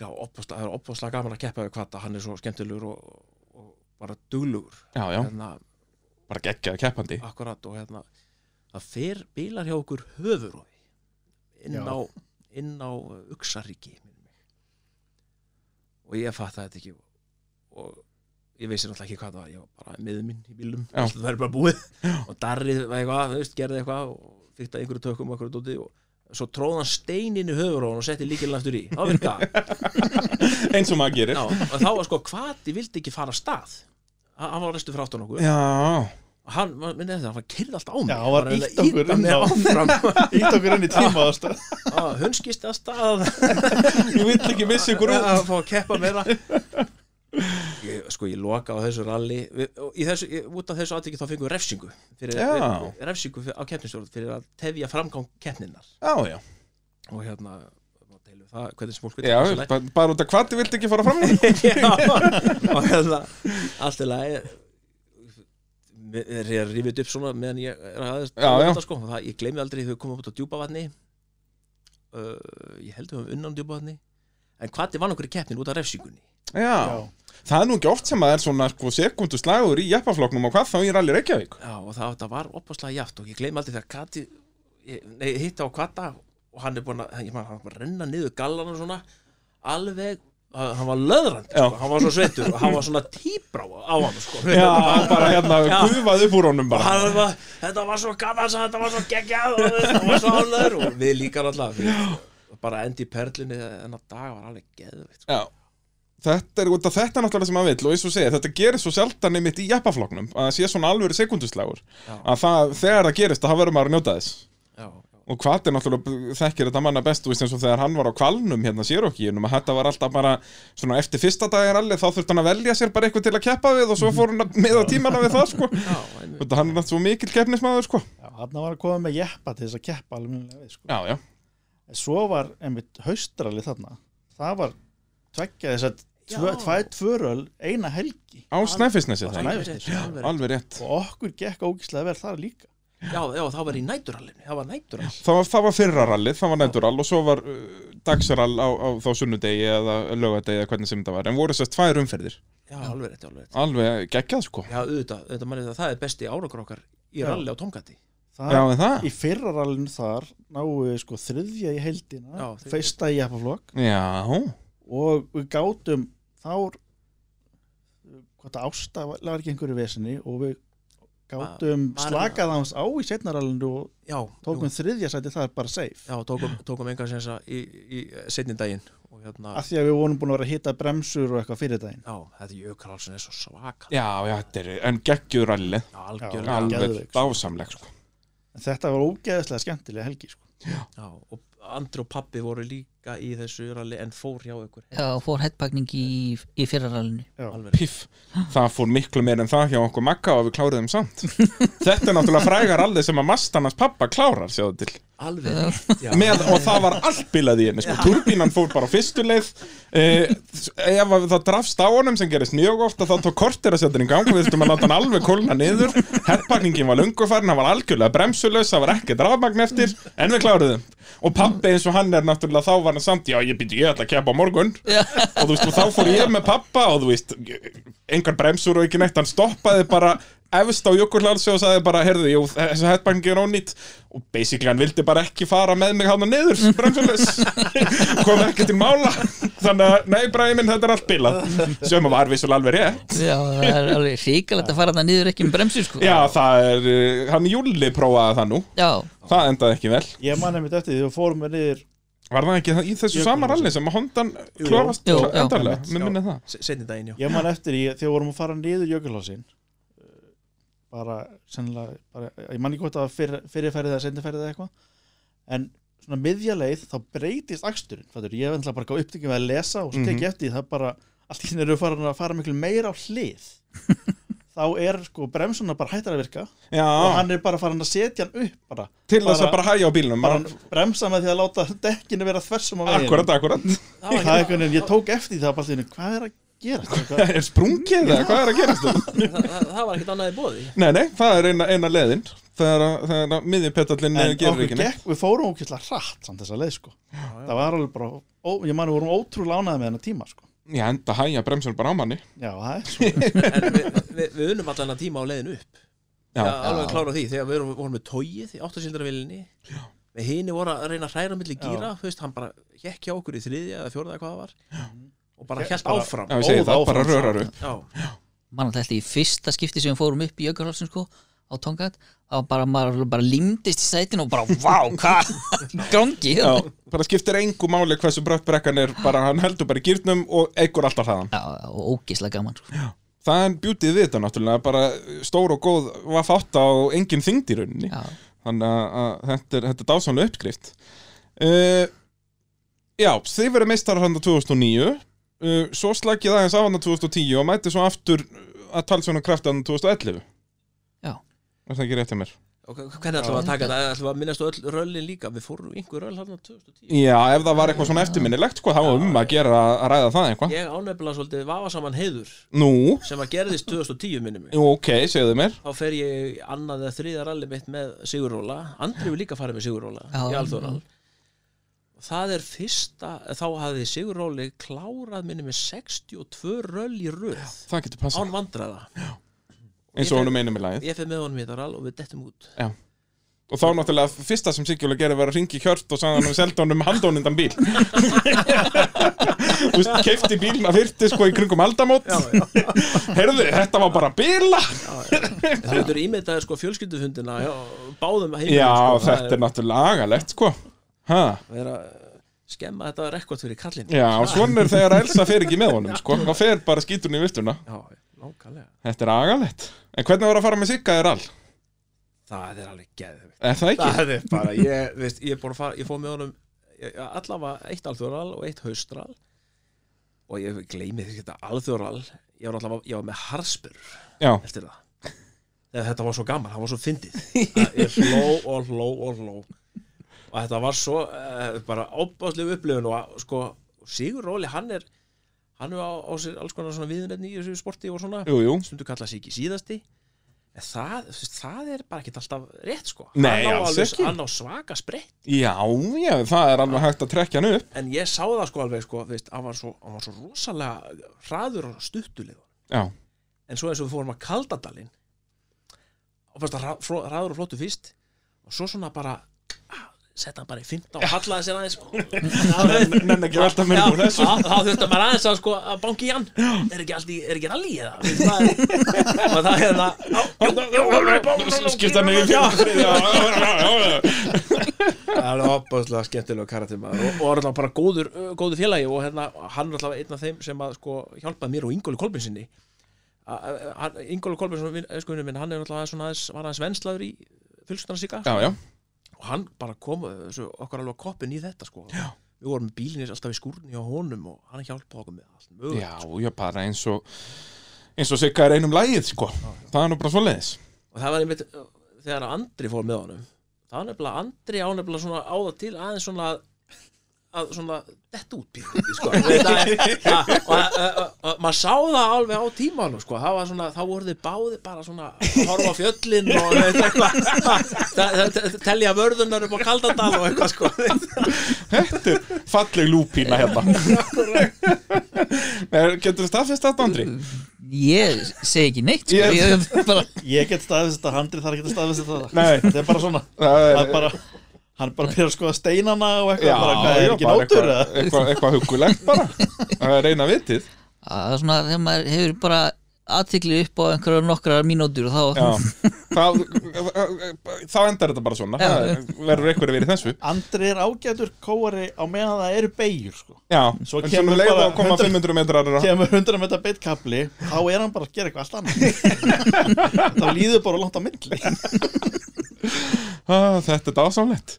D: já, opposla, það er opposlega gaman að keppa við kvata hann er svo skemmtilegur og, og bara duglugur
A: Já, já,
D: hérna,
A: bara geggjaði keppandi
D: akkurat og hérna það fer bílar hjá okkur höfurófi inn
C: Já.
D: á, inn á uh, Uxaríki minnir mig. og ég fatt þetta ekki og ég veist náttúrulega ekki hvað það var ég var bara miður minn í bílum
A: Já.
D: það er bara búið og Darrið var eitthvað, þú veist, gerði eitthvað og fyrta einhverju tökum og einhverju dóti og svo tróð hann steininn í höfurófun og setti líkilinn aftur í, það virka
A: Eins og maður gerir
D: Já, og þá var sko hvað ég vildi ekki fara af stað Ha- hann var restu frá áttan okkur
A: Já,
D: og hann, minni þetta, hann var kyrð alltaf á mig
C: Já, hann var
D: að reyna
C: ýtt
D: að
C: okkur
D: ýta
C: inn
D: mér
C: á- [LAUGHS]
D: áfram.
C: ítt okkur inn í tíma ástæð
D: Já, hún skist að stað
A: ég vil ekki missa ykkur út
D: að fá að keppa meira ég, sko ég loka á þessu rally Við- og í þessu, ég, út af þessu aðtrykki þá fengum við refsingu fyrir,
A: Já.
D: við, refsingu fyr- á keppnistjórn fyrir að tefja framgang keppninnar
A: Já, já,
D: og hérna má deila um það, hvernig sem fólk vill
A: já
D: það sé lægt.
A: bara, bara út af hvað þið vildi ekki fara fram úr [LAUGHS]
D: Já, [LAUGHS] og hérna allt í lagi er ég að rífið upp svona meðan ég er aðeins
A: Já, já.
D: Þetta, sko. það, ég gleymi aldrei þegar við komum út á djúpavatni uh, ég held við höfum unnan djúpavatni en hvað vann okkur í keppnin út af refsingunni
A: Já, það er nú ekki oft sem að er svona sko, sekundu slagur í jeppafloknum og hvað þá í rally Reykjavík
D: Já, og það, það var opaslega jaft og ég gleym aldrei þegar Kati ég, nei, ég hitti á Kata og hann er búin að, ég maður, hann var að renna niður gallan og svona, alveg hann hann var löðrandi,
A: Já.
D: sko, hann var svo sveitur og hann var svona tíbrá á hann sko.
A: Já, hann bara hérna,
D: Já.
A: gufað upp úr honum
D: og
A: bara
D: hann var, þetta var svo gaman sem þetta var svo geggjað og þetta var svo ánlegur og við líka náttúrulega og bara endi í perlunni en að dag var alveg geðveikt sko.
A: Já Þetta er, þetta, þetta er náttúrulega sem að vill og eins og segja, þetta gerist svo sjaldan einmitt í jeppafloknum að það sé svona alvöru sekunduslagur
D: Já.
A: að það, þegar það gerist, það verður maður að njóta þess
D: já,
A: og hvað er náttúrulega þekkir þetta manna best þú veist eins og þegar hann var á kvalnum hérna sér okki að þetta var alltaf bara svona eftir fyrsta dagir allir þá þurfti hann að velja sér bara eitthvað til að keppa við og svo fór hann að miða tímana við það sko
D: já, einmitt.
A: þetta hann er náttúrulega svo mikill keppnismæður sko
C: Já, hann var að koma með jeppa til þess að keppa alveg minnilega við, sko.
A: já já
C: En svo var einmitt haustrali þarna. Það var tveggja þess að tvö,
D: Já.
C: tvæ, tvöröl eina helgi
A: á snæfisnesi það
C: Alveg
D: Alveg rétt, alveg rétt.
A: alveg rétt
C: og okkur gekk ógíslega vel þar líka.
D: já, já, þá var í næturallinu það var næturall
A: það var, það var fyrra rallið, það var næturall og svo var uh, dagsrall á, á þá sunnudegi eða lögadegi eða hvernig sem þetta var en voru þess tvær umferðir
D: já, alveg rétt, alveg rétt
A: alveg geggjað sko
D: Já, auðvitað, auðvitað manni það, það er besti árangur okkar í
C: Já.
D: ralli á Tomgati
C: Það,
A: já en það
C: Í fyrrarallinu þar náum við sko þriðja í heldina,
D: Já, þriðja.
C: fyrsta í jeppaflokk
A: já
C: og við gátum þár hvað það ásta var var ekki einhverju vesinni og við gátum
D: Ma-
C: slakað hans á í setnarallinu og
D: Já,
C: tókum
D: Ah, jú,
C: þriðja sæti það er bara safe
D: já tókum, tókum enga sensa í, í setni daginn og hérna,
C: af því að við vorum búin að vera að hita bremsur og eitthvað fyrir daginn
D: já, þetta Jökulhalsin er svo svaka
A: já já þetta er en geggjuð rallið
D: Já, algjörlega já,
A: alveg
C: geðveik, sko.
A: dásamleg sko
C: en þetta var ógeðslega skemmtilega helgi sko.
D: og Andri og pappi voru líka í þessu ralli en fór hjá ykkur
B: Já, fór hettpakning í, í fyrrarallinu
C: Já.
D: Alveg rétt.
A: piff, það fór miklu meir en það hjá okkur Magga og við kláruðum
C: [LAUGHS]
A: samt þetta er náttúrulega frægar allir sem að Mastanas pappa klárar, sjáðu til
D: Alveg rétt, já
A: Með, og það var allbilað í henni, sko, turbínan fór bara á fyrstu leið eh, ef að það drafst á honum sem gerist mjög ofta þá tók kortir að setja hann í gang við þurftum að láta hann alveg kólna niður herrpakningin var lungufarinn, hann var algjörlega bremsulegs það var ekki drafmagn eftir, en við kláruðum og pappi eins og hann er náttúrulega þá var hann samt, já ég byrju ég ætla að keppa á morgun
B: Já,
A: og þú veist, og þá fór ég með pappa og þú veist, engar bremsur og ekki neitt hann stoppaði bara efst á jökulhalsi og sagði bara, heyrðu, jú, þessi headbangi er ónýtt og basically hann vildi bara ekki fara með mig hana niður, bremsulegs kom ekki til mála þannig að, nei, bræði minn, þetta er allt bilað sem var vissulega alveg rétt
B: já það er alveg ríkalegt að fara það niður ekki með bremsu sko
A: já, það er, uh, hann Júli prófaði það nú
B: já,
A: það endaði ekki vel
C: ég man einmitt eftir því við fórum við niður
A: var það ekki það- í þessu sama ralli sem að Hondan klárast
B: Jú, já.
A: endarlega, mér minni það
D: Setni daginn, já
C: ég man eftir því þegar við vorum að fara niður jökulhásin bara sennilega bara, ég man ekki hvort að fyrir, fyrirferðið eða sendifærið eða eitthvað en svona miðja leið þá breytist aksturinn fattur, ég er ennþá bara gáð upptökjum að lesa og svo tek ég eftir því það bara allt í henni eru farin að fara miklu meira á hlið þá er sko bremsuna bara hættar að virka og
A: já,
C: hann er bara farin að setja hann upp bara,
A: til þess að
C: bara-
A: bara hæja á bílnum
C: bara
A: bara,
C: bremsa með því að láta dekkinu vera þversum á veginu
A: akkurat, akkurat
D: Það
C: það er
D: var ekki
C: einhvern veginn, ég tók eftir því það bara allt í henni, hvað er að gera
A: [LAUGHS]
C: Hvað-
A: er sprungið eða hvað er að gerast þetta?
D: það- það- það var ekkert annað í bóði
A: Nei, nei, það er eina, eina leðin þegar að- þegar að miðjupetallinn eh,
C: en
A: gerir
C: okkur
A: ekki neitt
C: gekk, við fórum ókvæmlega hratt samt þessa leið sko það var alveg bara, ó, ég man við vorum ótrúlega ánæði með hennar tíma sko
A: Já, enda hæja bremsur bara á manni
C: já, það er svo,
A: [LAUGHS]
D: En við, við, við unum allan að tíma á leiðin upp
A: Já.
D: Það er alveg klára því Þegar við vorum, vorum með tóið í áttasildarvillinni Við hini voru að reyna að hræra milli
C: Já.
D: gíra þú veist, Hann bara hekk hjá okkur í þriðja eða fjórða eða hvað það var Og bara
C: Ég-
D: held
C: bara-
D: áfram
A: Já, ég segi
C: Óð
A: það, bara
C: áfram,
A: rörar upp
D: Já,
B: mann alltaf í fyrsta skipti sem við fórum upp í Jökulhalsin sko á Tongat þá bara, maður bara limdist í sætin og bara, vá, hvað [LAUGHS] gangi hérna."
A: Já,
B: já,
A: bara skiptir engu máli hversu brött brekkan er bara hann heldur bara í gýrnum og eigur alltaf hraðan
B: já, og ógislega gaman sko.
A: Það er bjútið við þetta náttúrulega bara stór og góð vaff átta og engin þyngd í rauninni
B: já,
A: þannig að, að þetta er, þetta er dásamlega uppskrift uh, Já, þið verið meistar hann 2009 uh, svo slakið aðeins á hann 2010 og mætið svo aftur að talsvönum krafti hann 2011
B: Já.
A: Er það ekki rétt hjá mér?
D: og h- hvernig ætlum við að taka þetta? Ætlum við að minnast á öll röllin líka? Við fórum í einhver röll hann á 2010
A: Já, ef það var eitthvað svona eftirminnilegt hvað þá var um að gera að ræða það eitthvað
D: Ég ánefnilega svolítið vafa saman heiður
A: Nú,
D: sem að gerðist 2010 minni mig
A: jú, ok, segðu mér
D: Þá fer ég í annað eða þriðja ralli mitt með Siguróla Andri við líka farið með Siguróla
B: Já.
D: í Alþóral það er fyrsta, þá hafði Sigur Róli klárað minni með 62 röll í röð
A: það getur passað
D: án vandræða
A: eins og honum einum í lagið
D: ég fyrir með honum í þetta rall og við dettum út
A: og þá náttúrulega fyrsta sem Sigjúlega gerði var að ringi hjört og sagði hann um seldónum handónundan bíl [LAUGHS] Þú veist, keifti bílna fyrti sko í kringum aldamót Herðu, þetta var bara bíla
D: það er ímyndaði sko fjölskyldufundina já, báðum heimilum
A: Já,
D: sko, það
A: þetta er náttúrulega agalegt sko ha.
D: að vera skemma þetta rekord fyrir kallin
A: Já, svona er þegar Elsa fer ekki með honum sko, þá fer bara skíturinn í viltuna
D: já nákvæmlega
A: Þetta er agalegt En hvernig var að fara með Sigga þér all?
D: það er alveg geðvikt
A: Er það ekki?
D: það er bara, ég, veist, ég, er búinn að fara, ég fór með honum ég- ég- allavega eitt alþjóral og eitt haustral og ég gleymi því þetta alþjóral ég var allavega, ég var með harspur
A: Já,
D: eftir það Þegar þetta var svo gaman, það var svo fyndið Að ég hló og hló og hló og þetta var svo uh, bara ábáslegu upplifun og að, sko, Sigur Róli, hann er hann er á, á sér alls konar svona viðunetni í þessu sporti og svona
A: jú, jú
D: stundu kalla sig ekki síðasti en það, þú veist, það er bara ekkert alltaf rétt sko
A: Nei,
D: hann, á
A: alls ekki.
D: hann á svaka sprett
A: Já, já, það er alveg hægt að trekkja hann upp
D: en ég sá það sko alveg sko veist, hann, var svo, hann var svo rosalega hraður og stuttuleg
A: Já,
D: en svo eins og við fórum að Kaldadalinn og fyrst að hraður og flottu fyrst og svo svona bara ah, setta hann bara í 15 og hallaði sér
A: [LAUGHS]
D: aðeins sko.
A: nenni ekki velta mér úr þessu.
D: þá þá þurfti maður aðeins að sko að banki í hann er ekki allt í, er ekki rally eða Þú veist, það er- [LAUGHS] og það er hérna
A: skipta hann yfir
D: Já.
A: fyrir þriðja. Já, já, já, já
D: Það er opaslega skemmtilega karakter maður og, og er alltaf bara góður, uh, góður félagi og hérna, hann er alltaf einn af þeim sem að sko, hjálpaði mér og Ingóli Kolbinsinni Ingóli Kolbinsson, sko minn, hann er alltaf svona aðeins, var aðeins venslaður í fylgstanarsíka
A: Já, já,
D: og hann bara kom uh, svo, okkur alveg koppin í þetta sko já. við vorum með bílinni alltaf í skúrni hjá honum og hann hjálpaði okkur með allt mögulegt.
A: já, já, bara eins og eins og sigga er einum lægið, sko það er nú bara svoleiðis
D: og það var einmitt uh, þegar Andri fór með honum það var nefnilega Andri á nefnilega svona áða til aðeins svona að- að svona dett út píl sko. Það [LAUGHS] er- að- og að- að- að- að maður sá það alveg á tímanum sko. það var svona, þá voru þið báði bara svona að horfa á fjöllin og þú veist, [LAUGHS] eitthvað Það- það- það- telja vörðunar upp á Kaldadal og eitthvað sko
A: Þetta er falleg lúpína
C: [LAUGHS]
A: hérna Nei, Getur þú staðfist þetta, Andri?
B: ég segi ekki neitt sko.
A: Ég-
B: ég, bara,
C: Ég get staðfist þetta, handrið þarf ekki að staðfist þetta
A: Nei.
C: Það er bara svona
A: [LAUGHS] Það
C: Það er bara Hann er bara að byrja að skoða steinana og eitthvað bara, hvað, er
A: já,
C: ekki
A: bara
C: nótur eða?
A: eitthvað, eitthvað, eitthvað hugulegt bara Það er eina vitið
B: að það er svona þegar maður hefur bara aðtikli upp á einhverjar nokkrar mínútur þá
A: Já, það, þá endar þetta bara svona
B: Já.
A: Það verður eitthvað að vera í þessu
C: Andri er ágætur kóari á meðan það eru beigjur sko.
A: Já,
C: Svo
A: en
C: kemur
A: svona leiða
C: bara
A: að koma
C: 100
A: 500 metrar er að-
C: kemur 100 metra beitkabli þá er hann bara að gera eitthvað allt
A: [LAUGHS]
C: annað þá líður bara langt á milli
A: Ah, þetta er dásamlegt.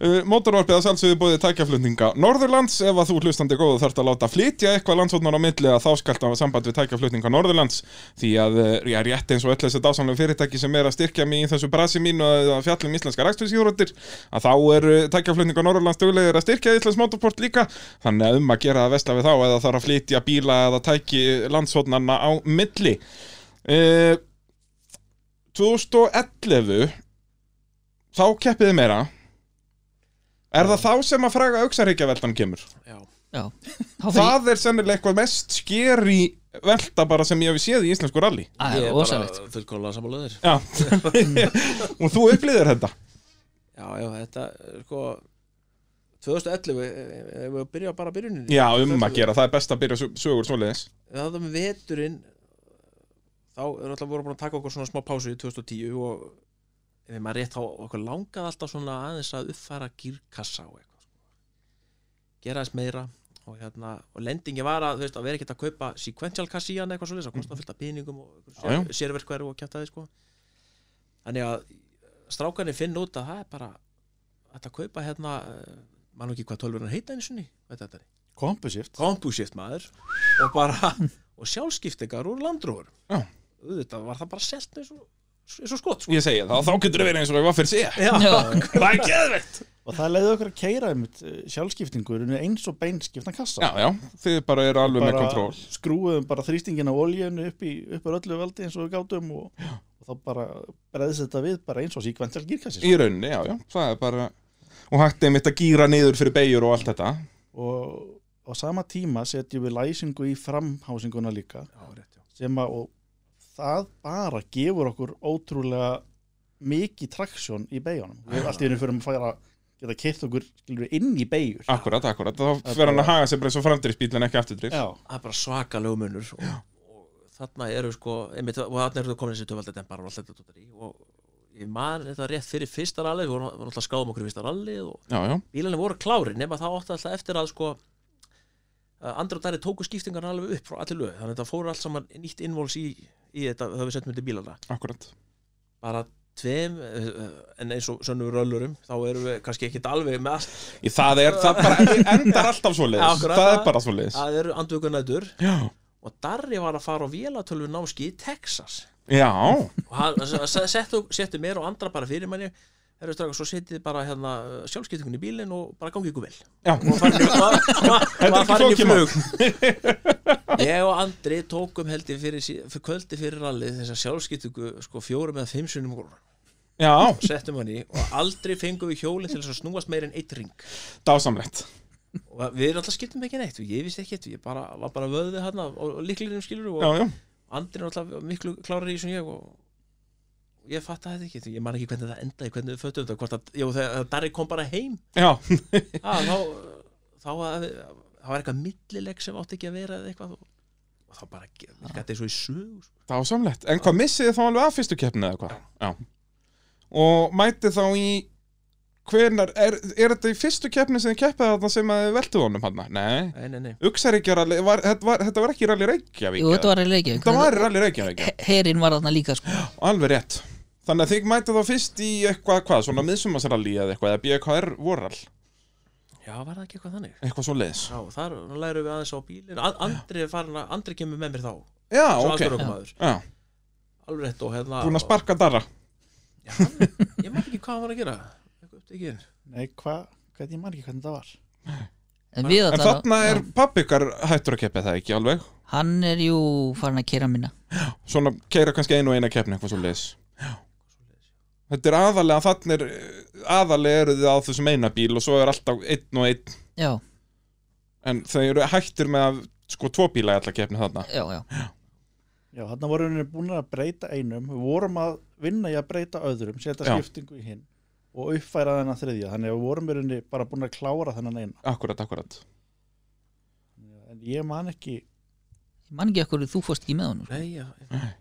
A: Uh, Mótorvarpið að sjálfsögðu búið tækjaflutninga Norðurlands ef að þú hlustandi góðu þarft að láta flytja eitthvað landsóknar á milli að þá skalt að samband við tækjaflutninga Norðurlands því að uh, ég er rétt eins og öll þessi dásamlega fyrirtæki sem er að styrkja mig í þessu brasi mín og að fjallum íslenska rækstusjúróttir að þá er uh, tækjaflutninga Norðurlands duglegir að styrkja Íslands mótorport líka þannig að um að gera að vesla við þá eða þarf að flytja bíla eða tæki landsóknarna á milli uh, 2011 þá keppið þið meira Er það þá sem að fræga auksarhyggjaveltan kemur?
D: [LAUGHS] já,
B: já, þá fer ég
A: Það er sennilega eitthvað mest skeri velta bara sem ég hef séð í íslensku rally
B: að það er
D: ég er sko.
B: rosalegt
D: bara fullkóla samanlöður
A: Já [LAUGHS] Og þú upplýðir þetta
D: já, já, þetta eh, sko 2011, eh, ef við byrja bara að byrjuninni
A: Já, um að gera, það er best að byrja su- sögur svoleiðis
D: við hafðum með veturinn þá erum alltaf voru búin að taka okkur svona smá pásu í 2010 og ef ég maður rétt þá okkur langaði alltaf svona aðeins að uppfæra gírkassa og eitthvað sko. gera aðeins meira og hérna, og lendingi var að, þú veist, að vera ekkert að kaupa sequential kassi í hann eitthvað svo leysa, kostar fullt af peningum og
A: Mhm. Já, já.
D: sér, sérverkveru og kjátaði sko þannig að strákanir finn út að það er bara hægt að kaupa hérna, mann ekki hvað tölvunar heita eins og ný, veit þetta
C: kompusift
D: kompusift maður og bara, [LAUGHS] og sjálfskiptingar úr landrúður
A: Já.
D: auðvitað var það bara selt eins og, eins og skot sko.
A: Ég segi það, þá getur það verið eins og ég var fyrir [LAUGHS] sé
D: já,
B: Já.
A: Það er geðvegt
C: og það leiði okkur að keira einmitt eh, sjálfskiptingur eins og beinskipna kassa
A: Já, já, þið bara eru alveg með
C: bara
A: kontról
C: skrúum bara þrýstingin á olíun upp, í- upp úr öllu valdi eins og við gátum og, og þá bara breðs þetta við bara eins og síkvendjál gírkassi sko.
A: Í rauninni, já, já, það er bara og hægt einmitt að gýra niður fyrir beigur og allt þetta
C: og á sama tíma setjum við læsingu í framhásinguna líka
D: Já, rétt, já.
C: sem að og það bara gefur okkur ótrúlega mikið traksjón í beigunum við allt í henni fyrir að færa geta keitt okkur skilur, inn í beigur
A: Akkurat, akkurat, þá
C: Það
A: fer hann að
C: bara-
A: haga sér bara eins og framdrifsbíl en ekki afturdrif
C: já,
D: það er bara svaka lögumunur og, og þarna eru sko einmitt, og þarna eru þú komin þessi töfaldadempar og allt þetta dóttir í og ég man þetta rétt fyrir fyrsta rallið, við vorum vorum alltaf skráðum okkur í fyrsta rallið og
A: Já, já,
D: bílarnir voru klári nema það átti alltaf eftir að sko að andra dæri tóku skiptingarna alveg upp frá allir lög, þannig að það fóru allt saman nýtt innvóls í, í þetta þegar við settum undir bílarna
A: akkurat
D: bara tveim, eh, eh, en eins og sönnum röllurum, þá erum við kannski ekkit alveg með allt,
A: Í Það er, það
D: [LAUGHS]
A: bara endar alltaf svo leiðis
D: Akkurat,
A: Það er
D: það-
A: bara svo leiðis
D: það eru andvökunætur
A: Já,
D: og Darri var að fara á vélatölvu námski í Texas
A: já,
D: og hann s- s- settu, settu mér og andra bara fyrir manni Herru straka, svo setið þið bara hérna, sjálfskiptingun í bílinn og bara gangi ykkur
A: [LAUGHS]
D: vel
A: já
D: og farin í, ma, ma,
A: Þetta er
D: ma,
A: ekki
D: farin í
A: flókið mál.
D: flug Ég og Andri tókum held ég fyrir, sí- fyrir kvöldi fyrir rallið þessa sjálfskiptingu sko, fjórum eða fimm sunnum og
A: Já,
D: settum hann í og aldrei fengum við hjólinn til þess að snúast meir en eitt ring
A: dásamlegt
D: og við alltaf skiptum ekki neitt og ég vissi ekkert, ég bara, var bara vöðið hann og, og líklinum skilur og
A: Já, já,
D: Andri er alltaf miklu klárar í þessu en ég og og ég fatt þetta ekki, ég man ekki hvernig það endaði hvernig við föttum þetta, hvort að, jú, þegar þegar Darri kom bara heim
A: já,
D: að, þá, þá, að, þá var eitthvað millileg sem átti ekki að vera eða eitthvað og, og þá bara, þetta er svo í sög sko.
A: dásamlegt En hvað missið þið þá alveg af fyrstu keppni eða hvað? Já Og mætið þá í Hvenar, er, er þetta í fyrstu keppni sem þið keppið þarna sem að þið veltuð honum hann? Nei
D: nei, nei, nei,
A: Uxaríkja rally, var, þetta, var, þetta var ekki rally Reykjavík
B: Jú,
A: eða?
B: þetta var í Reykjavík
A: Þetta var rally Reykjavík já.
B: Herin var þarna líka sko.
A: Alveg rétt Þannig að þið mætið þá fyrst í eitthvað, hvað, svona miðsumarsrally eða eitthvað, eða BKR vorall,
D: já, var það ekki eitthvað þannig
A: eitthvað svo leiðis.
D: já, þar lærum við aðeins á bílin Andri er farin að, Andri kemur með mér þá svo
A: Já, ok.
D: okay. okkur
A: Já,
D: alveg rétt og hérna
A: búin að sparka darra.
D: já, hann- ég man ekki hvað hann var að gera eitthvað upptekinn
C: nei, hvað hvernig ég man ekki hvernig það var
B: En við
A: En
B: þarna-
A: þarna er pappi ykkar hættur að keppa er það ekki alveg.
B: Hann er jú farin að kera minna
A: Svona keira kannski einu og eina keppni, eitthvað svo leiðis. Þetta er aðalega, þannig er, aðalega eru þið á þessum eina bíl og svo er alltaf einn og einn,
B: Já,
A: en þau eru hættur með að, sko, tvo bíla í alla keppni þarna.
B: já, já
C: já, þarna vorum við búin að breyta einum við vorum að vinna í að breyta öðrum setja
A: Já.
C: skiptingu í hinn og uppfæra þennan þriðja, þannig að við vorum við rauninni bara búin að klára þennan eina
A: Akkurat, akkurat.
C: en ég man ekki,
B: Ég man ekki ekkur þú fórst ekki með honum sko.
D: nei, já,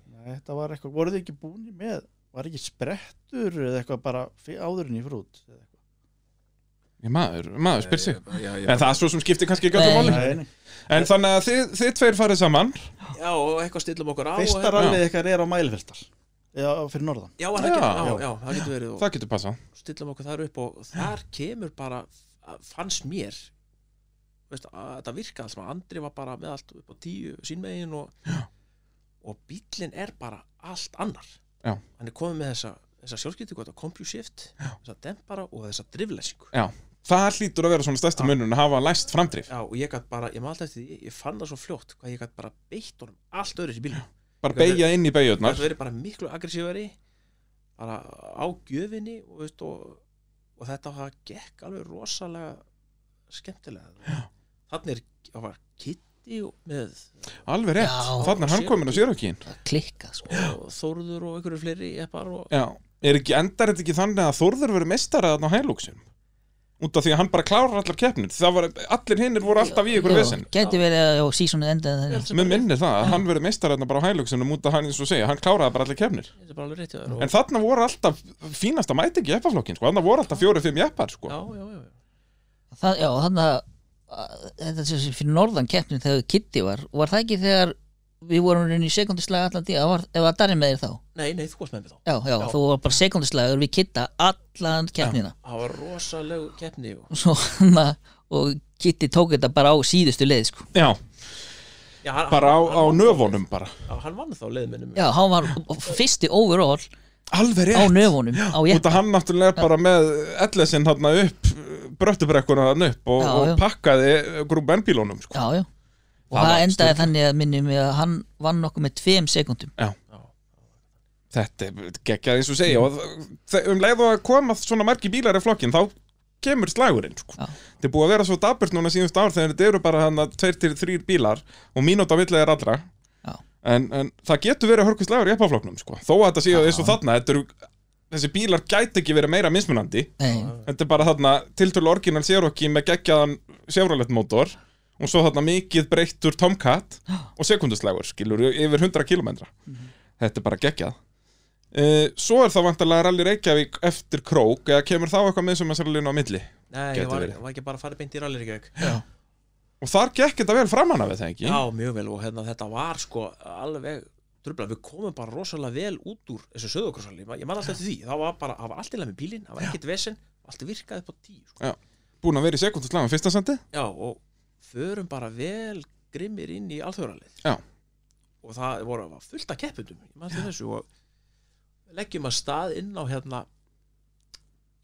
C: nei, þetta var eitthvað voruð þið ekki búin með, var ekki sprettur eða eitthvað bara fyrir áðurinn í frút eða eitthvað
A: Ég maður, maður spyr sig.
D: já, Eh, já, já.
A: En það er svo sem skiptir kannski ekki öllu
B: Nei.
A: máli.
C: Nei, nei.
A: En þannig að þið, þið tveir farið saman
D: Já, og eitthvað stillum okkur á
C: Fyrsta
D: og,
C: rallið ykkar er á Mælfjöldal eða fyrir norðan
D: Já, er það ekki,
A: Já.
D: já, já, það getur verið og
A: Það getur passað
D: stillum okkur þar upp og þar kemur bara, að- fannst mér veist, að þetta virkaði alls maður Andri var bara með allt upp á tíu sínmegin og, og bíllinn er bara allt annar
A: Já.
D: hann er komið með þessa, þessa sjálfskiptingu, þetta CompuShift þessa dempara og þessa driflessingu
A: Já, það hlýtur að vera svona stærsti munun að hafa læst framdrif
D: Já, og ég gætt bara, ég maður alltaf eftir því, ég fann það svo fljótt hvað ég gætt bara beitt honum allt öðru í bílum
A: Bara beigja inn í beigjötnar
D: það verið bara miklu aggressífari bara á gjöfinni og, veist, og, og þetta það gekk alveg rosalega skemmtilega þannig er það var Kitty og, með,
A: Alveg rétt,
B: Já.
A: þannig er hann komin á sérökin
B: Það klikkað sko.
D: og Þórður og einhverju fleiri eppar og
A: Já, er ekki, endar þetta ekki þannig að Þórður verið mestarað þarna á hælúksum Út af því að hann bara klárar allar keppnir Það var, allir hinnir voru alltaf í ykkur
B: Já,
A: vesinn
B: Gæti verið að já, sísonið endaði þannig
A: Mér minnir það, að hann verið mestarað þarna bara á hælúksunum Út af hann eins og segja, hann kláraði bara allar keppnir
D: þetta er bara alveg rétt hjá þér og-
A: En þarna voru alltaf fínasta mæting í eppaflokkin sko. Þarna voru alltaf fjóri-fimm jeppar sko.
D: já, já, já, já.
B: það, Já, þannig að að þetta sem sé fyrir norðan keppnin þegar Kitty var var það ekki þegar við vorum raunin í sekundislega allan tíð var, ef að Darri með þér þá
D: nei, nei, þú varst með mér þá
B: já, já,
D: Já.
B: þú var bara sekundislega við Kitta allan keppnina [LAUGHS]
D: það var rosalegu keppni og,
B: og svo hann að og Kitty tók þetta bara á síðustu leið sko.
A: Já,
D: já, hann,
A: bara á, á
D: hann,
A: nöfunum bara
D: hann, hann vann þá leiðminnum
B: já, hann var fyrsti overall
A: Alveg
B: á
A: rétt
B: nöfunum á
A: Út
B: jeppa
A: að hann náttúrulega er bara með ellesinn hann upp, bröttubrekkuna hann upp og,
B: Já,
A: og
B: já.
A: pakkaði grúpa N-bílónum sko.
B: já, já.
A: Það
B: og það,
A: var
B: endaði
A: sturlað.
B: þannig að minnum ég að hann vann okkur með tveim sekundum
A: Þetta er geggjað eins og segja og þe- um leið og að koma svona margi bílar í flokkin þá kemur slagurinn sko.
B: Já.
A: þetta er búið að vera svo daburt núna síðust ár þegar þetta eru bara hann að tveir til þrýr bílar og mínúta villega er allra
B: Já.
A: en, en það getur verið hörku slagur í eppafloknum sko. þó að þetta séu eins og þarna þetta eru, þessi bílar gæti ekki verið meira mismunandi
B: Nei,
A: þetta er bara þarna tiltölu orginal Cherokee með geggjaðan Chevrolet mótor og svo þarna mikið breyttur Tomcat og sekunduslagur skilur yfir 100 km þetta er bara geggjað uh, svo er það vantarlega Rally Reykjavík eftir krók eða kemur þá eitthvað með sem að sér línu á milli
D: Nei,
A: Gæti
D: ég var,
A: verið.
D: var ekki bara að fara beint í ralliríkjögg
A: og þar gekk þetta vel framan af þetta ekki
D: Já, mjög vel og hérna, þetta var sko alveg trubla, við komum bara rosalega vel út úr þessu söðokrossali, ég man alltaf eftir því það var bara, það var allt í lagi með bílinn, það var ekkert vesen allt virkaði upp á tíu sko.
A: búin að vera í sekunduslagum fyrsta sendi
D: Já, og förum bara vel grimmir inn í alþjóðralið
A: Já.
D: og það voru var fullt af keppundum ég man alltaf þessu og leggjum að stað inn á hérna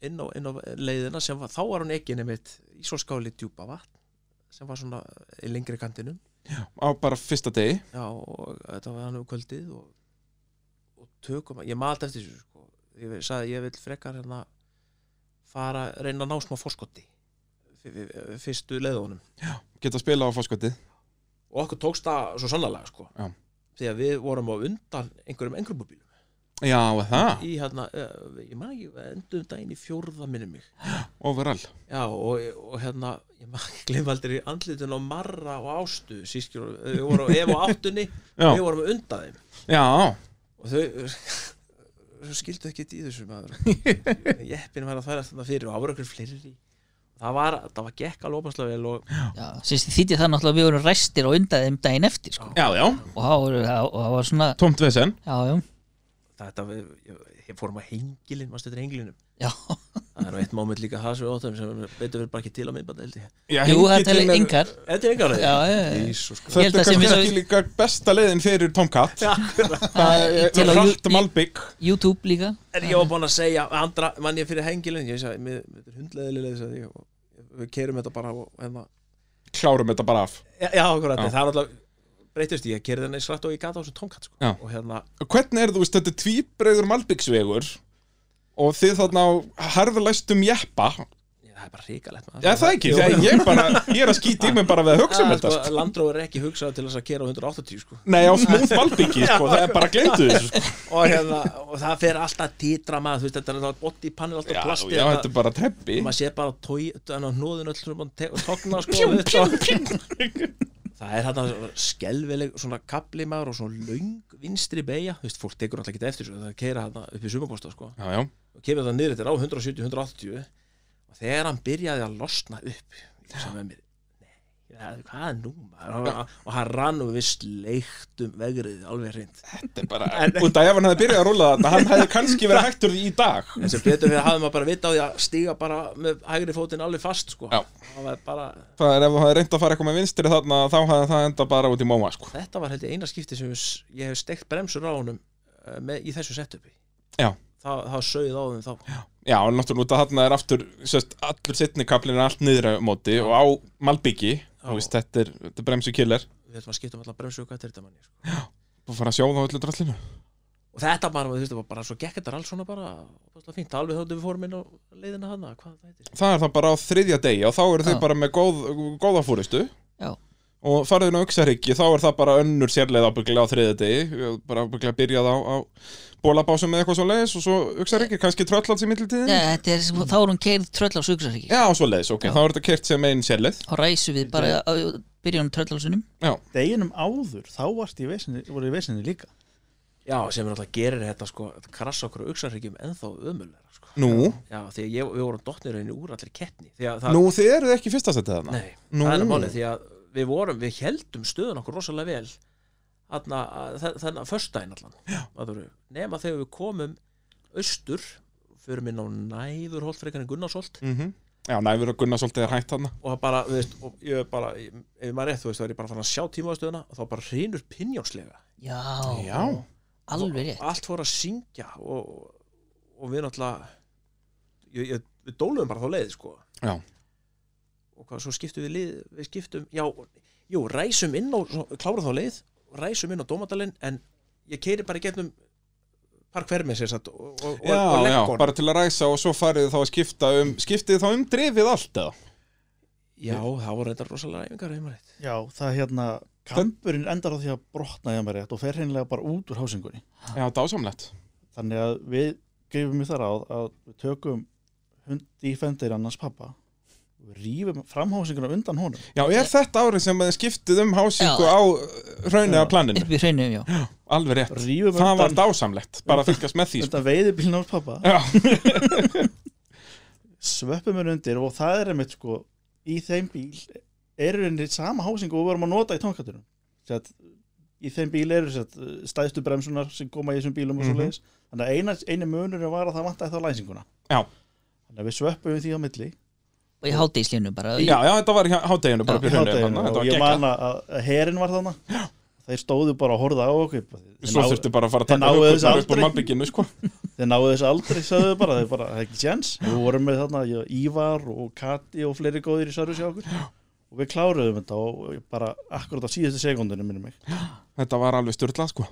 D: inn á, inn á leiðina sem var, þá var hún ekki nefnitt í svo skáli djúpa vatn sem var svona í lengri kantinum
A: á bara fyrsta degi
D: Já, og þetta var hann um kvöldið og, og tökum, ég maður alltaf eftir þessu sko. ég ve- sagði ég vil frekar hérna fara, reyna að ná smá fórskoti fyrstu leiðunum
A: geta að spila á fórskotið
D: og okkur tókst það svo sannlega sko.
A: Já.
D: því að við vorum á undan einhverjum engrumubílum
A: já, og það,
D: í hérna, eh, ég man ekki, við enduðum daginn í fjórða minni mig
A: overall
D: Já, og, og hérna, ég glem aldrei andlitun á Marra og Ástu sískjur, við vorum á Ef og Áttunni
A: Já.
D: við vorum undan þeim
A: já,
D: og þau þau skildu ekki í þessu
B: [LAUGHS]
D: maður jeppin var að þværa þarna fyrir og það voru okkur fleiri það var, það var gekk alveg opaslega vel og
B: já, sérst þýtti það náttúrulega að við vorum ræstir og undan þeim daginn eftir sko.
A: já, já,
B: og það voru- það- og það var svona
A: tómt vesen
B: já, já,
D: þetta, við- ég- ég fórum að hengilin, maður stöður hengilinum
B: já
D: það er nú eitt móment líka það sem við áttum sem betur verið bara ekki til á miðbanda held ég
A: já,
B: Jú, það
A: hengillinn
B: telur
A: er- [LAUGHS]
B: yngar
D: Þetta er engar
B: Já, já, já. Ég
D: já
B: held
A: Þetta
B: að
A: er
B: sé
A: kannski
B: mér svo-
A: ekki líka besta leiðin fyrir Tomcat
D: [LAUGHS]
A: Það
B: Það er
A: er
B: til á
A: hrætt
B: Jú-
A: malbygg
B: YouTube líka
D: En ég var búinn að segja andra mann ég fyrir hengilin ég sagði, mér mér er hundleðilega þess að ég og við kerum þetta bara og hérna
A: Klárum þetta bara af
D: Já, já, akkurat,
A: Já.
D: það er alltaf breytist ég kerði henni srætt og ég gata á þessum tónkatt sko.
A: Já.
D: og hérna,
A: Hvernig er þú veist, þetta er tvíbreiður malbyggsvegur Og þið þarna á harðlæstum jeppa
D: já, það er bara ríkalegt maður.
A: Já það ekki, þegar ég bara Ég er að skýta í mig bara við að hugsa um
D: Ah,
A: þetta
D: sko,
A: sko.
D: Landróður er ekki hugsað til þess að kera á 180 sko.
A: Nei á smúð malbyggi, sko, það er bara gleymdu þessu sko.
D: og, hérna, [LAUGHS] og það fer alltaf að titra maður þú veist, þetta er alltaf bótt í pannir alltaf
A: Já,
D: plasti hérna.
A: já, þetta er bara treppi
D: maður sé bara tói, þannig að nóðin öll sem mann tókna sko, pjú, pjú, pjú. [LAUGHS] það er þarna skelvileg svona kapli maður og svona löng vinstri beigja, þú veist, fólk tekur alltaf ekki eftir þessu, það keira þarna upp í sumabósta sko.
A: Já, já,
D: og kemur það niður þetta er á 170-180 og þegar hann byrjaði að losna upp sem er mér "Nei, það- hvað er nú maður?" og, og hann rann og við sleiktum vegrið alveg hreint
A: þetta er bara Út af ef hann hefði byrjað að rúla þarna Hann hefði kannski verið hættur því í dag
D: en sem betur fyrir hafði maður bara vita á því að stíga bara með hægri fótinn alveg fast sko.
A: Já.
D: Það var bara,
A: Það er ef þú hefði reynd að fara eitthvað með vinstri þarna Þá hefði það enda bara út í móma sko.
D: þetta var held ég eina skipti sem við- ég hef steikt bremsur á honum eh, með, í þessu setupi
A: Já.
D: það, það sögði á þeim þá
A: Já, en náttúrulega út að þarna er aftur sérst, allur setni kaplinn er allt niður á móti og á Malbyggi og veist, þetta er, þetta er bremsu killer
D: við ætlum að skipta um allar bremsur og hvað þetta manni sko.
A: og fara að sjóða á öllu drallinu
D: og þetta bara, þú veist, það var bara svo gekk þetta alls svona bara, það fínt, alveg þáttu við fórum inn á leiðina hana, hvað það heitir
A: Það er það bara á þriðja degi og þá eru þau
B: Já.
A: bara með góð, góða fórustu
B: Já.
A: og farið inn á Uxarhyggi þá er það bara önnur sérleið ábygglega á þriðja degi bara ábygglega byrjað á, á bólabásum með eitthvað svo leiðis og svo Uxarhyggi, kannski tröllhals í
B: Nei,
A: mittiltíðin
B: þetta er, sem- þá vorum keirð tröll á Sögursaríki
A: Já, svo leiðis, ok,
B: Já.
A: þá er þetta kert sem einn sérleið
B: þá ræsum við bara á byrjunum tröllalsunum
C: deginum áður, þá varst ég vesinni, voru ég vesinni líka
D: Já, sem er alltaf gerir þetta sko krasa okkur auksarhyggjum ennþá ömulega sko.
A: Nú,
D: Já, því að ég, við vorum dottnir henni úr allir keppni Því að það,
A: nú þið eruð ekki í fyrsta setið þarna
D: nei,
A: Nú.
D: það er málið Því að við vorum, við heldum stöðun okkur rosalega vel Þarna, að- þe- þennan föstudaginn allan maður, Nema þegar við komum austur Förum inn á næðurholt frekar en Gunnarsholt
A: Mhm. Já, næfur og Gunnar svolítið er hægt þarna
D: Og það bara, þú veist, og ég er bara ég- Ef maður er rétt, þú veist, þá er ég bara farin að sjá tímaðastöðuna Og þá bara hrynur pinjónslega
B: já,
A: Já,
B: alveg rétt
D: allt fór að syngja og, og við náttúrulega ég, ég, við dóluðum bara þá leið sko.
A: Já.
D: og hvað, svo skiptum við lið við skiptum, já, jú, ræsum inn á, svo, klárum þá leið, ræsum inn á dómadalinn en ég keiri bara í getnum parkfermi sér satt og, og, og,
A: Já,
D: og
A: já,
D: leggon
A: bara til að ræsa og svo farið þið þá að skipta um skiptið þið þá um drifið allt eða
D: Já, það voru þetta rosalega æfingar heima rétt
C: Já, það hérna kampurinn endar á því að brotna hjá mér rétt og fer hreinlega bara út úr hásingunni
A: Já, dásamlegt
C: þannig að við gefum í þar á að við tökum hund defender annars pappa við rýfum framhásinguna undan honum
A: Já, er þetta árið sem að þið skiptið um hásingu
B: Já.
A: á raunniða
C: Já.
A: planinu?
B: upp í hreinu, já
A: Alveg rétt
C: rýfum
A: Það var
C: undan,
A: dásamlegt, bara að fylgjast með því sko.
C: undan veiðibílinn hans pappa
A: Já,
C: svöppum henni undir og það er einmitt sko í þeim bíl eru henni sama hásingu og við vorum að nota í tónkatunum Sett, í þeim bíl eru sett, stæðstu bremsunar sem koma í þessum bílum og
A: Mhm.
C: svo leiðis þannig að eina, einu munurinn var að það vantaði þá læsinguna
A: Já.
C: þannig að við svöppum við því á milli
B: og í hátíðislinu bara
A: já, já, þetta var í há- hádeginu bara
B: Já,
A: upp í
C: hádeginu
A: raunniða Þetta
C: og
A: var
C: ég
A: gegn
C: man að, að herin var þarna þeir stóðu bara að horfa á okkur
A: Svo þurfti bara að fara að
C: þeir
A: taka
C: náðu þessu
A: hökurnar upp úr
C: aldrei.
A: malbygginu sko.
C: þeir náðu þessu aldrei sögðu bara, þeir bara, það er ekki sjans við vorum með þarna já, Ívar og Kati og fleiri góðir í Sörjus hjá okkur og við kláruðum þetta og ég bara akkurat á síðustu sekundinu minnum mig
A: Þetta var alveg styrla sko.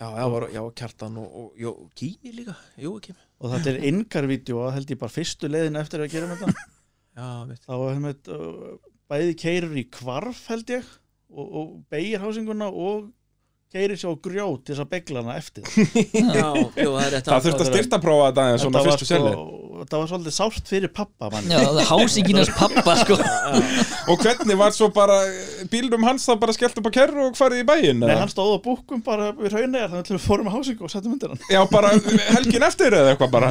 D: Já, já, var, já kjartan og, og jó, Kimi líka, Jó, Kimi
C: og þetta er yngar vídeo að held ég bara fyrstu leiðin eftir að gera þetta
D: Já, mitt
C: þá hefum við uh, bæði keirur í kvarf held ég og, og beigir hásinguna og keirir sér á grjót til þess að begla hana eftir
D: Já, jú, það er þetta
A: Það þurfti að styrta prófa þetta aðeins svona
C: þetta var,
A: fyrstu
C: sko,
A: selið
C: þetta var svolítið sárt fyrir pappa mann
B: já, það hásinginas pappa sko
A: Og hvernig var svo bara eh, bílnum hans það bara skellt upp á kerru og farið í bæinn?
C: Nei,
A: eða?
C: hann stóð á búkkum bara við raunegar þannig að við fórum á hásingu og settum undir hann
A: Já, bara helgin eftir eða eitthvað bara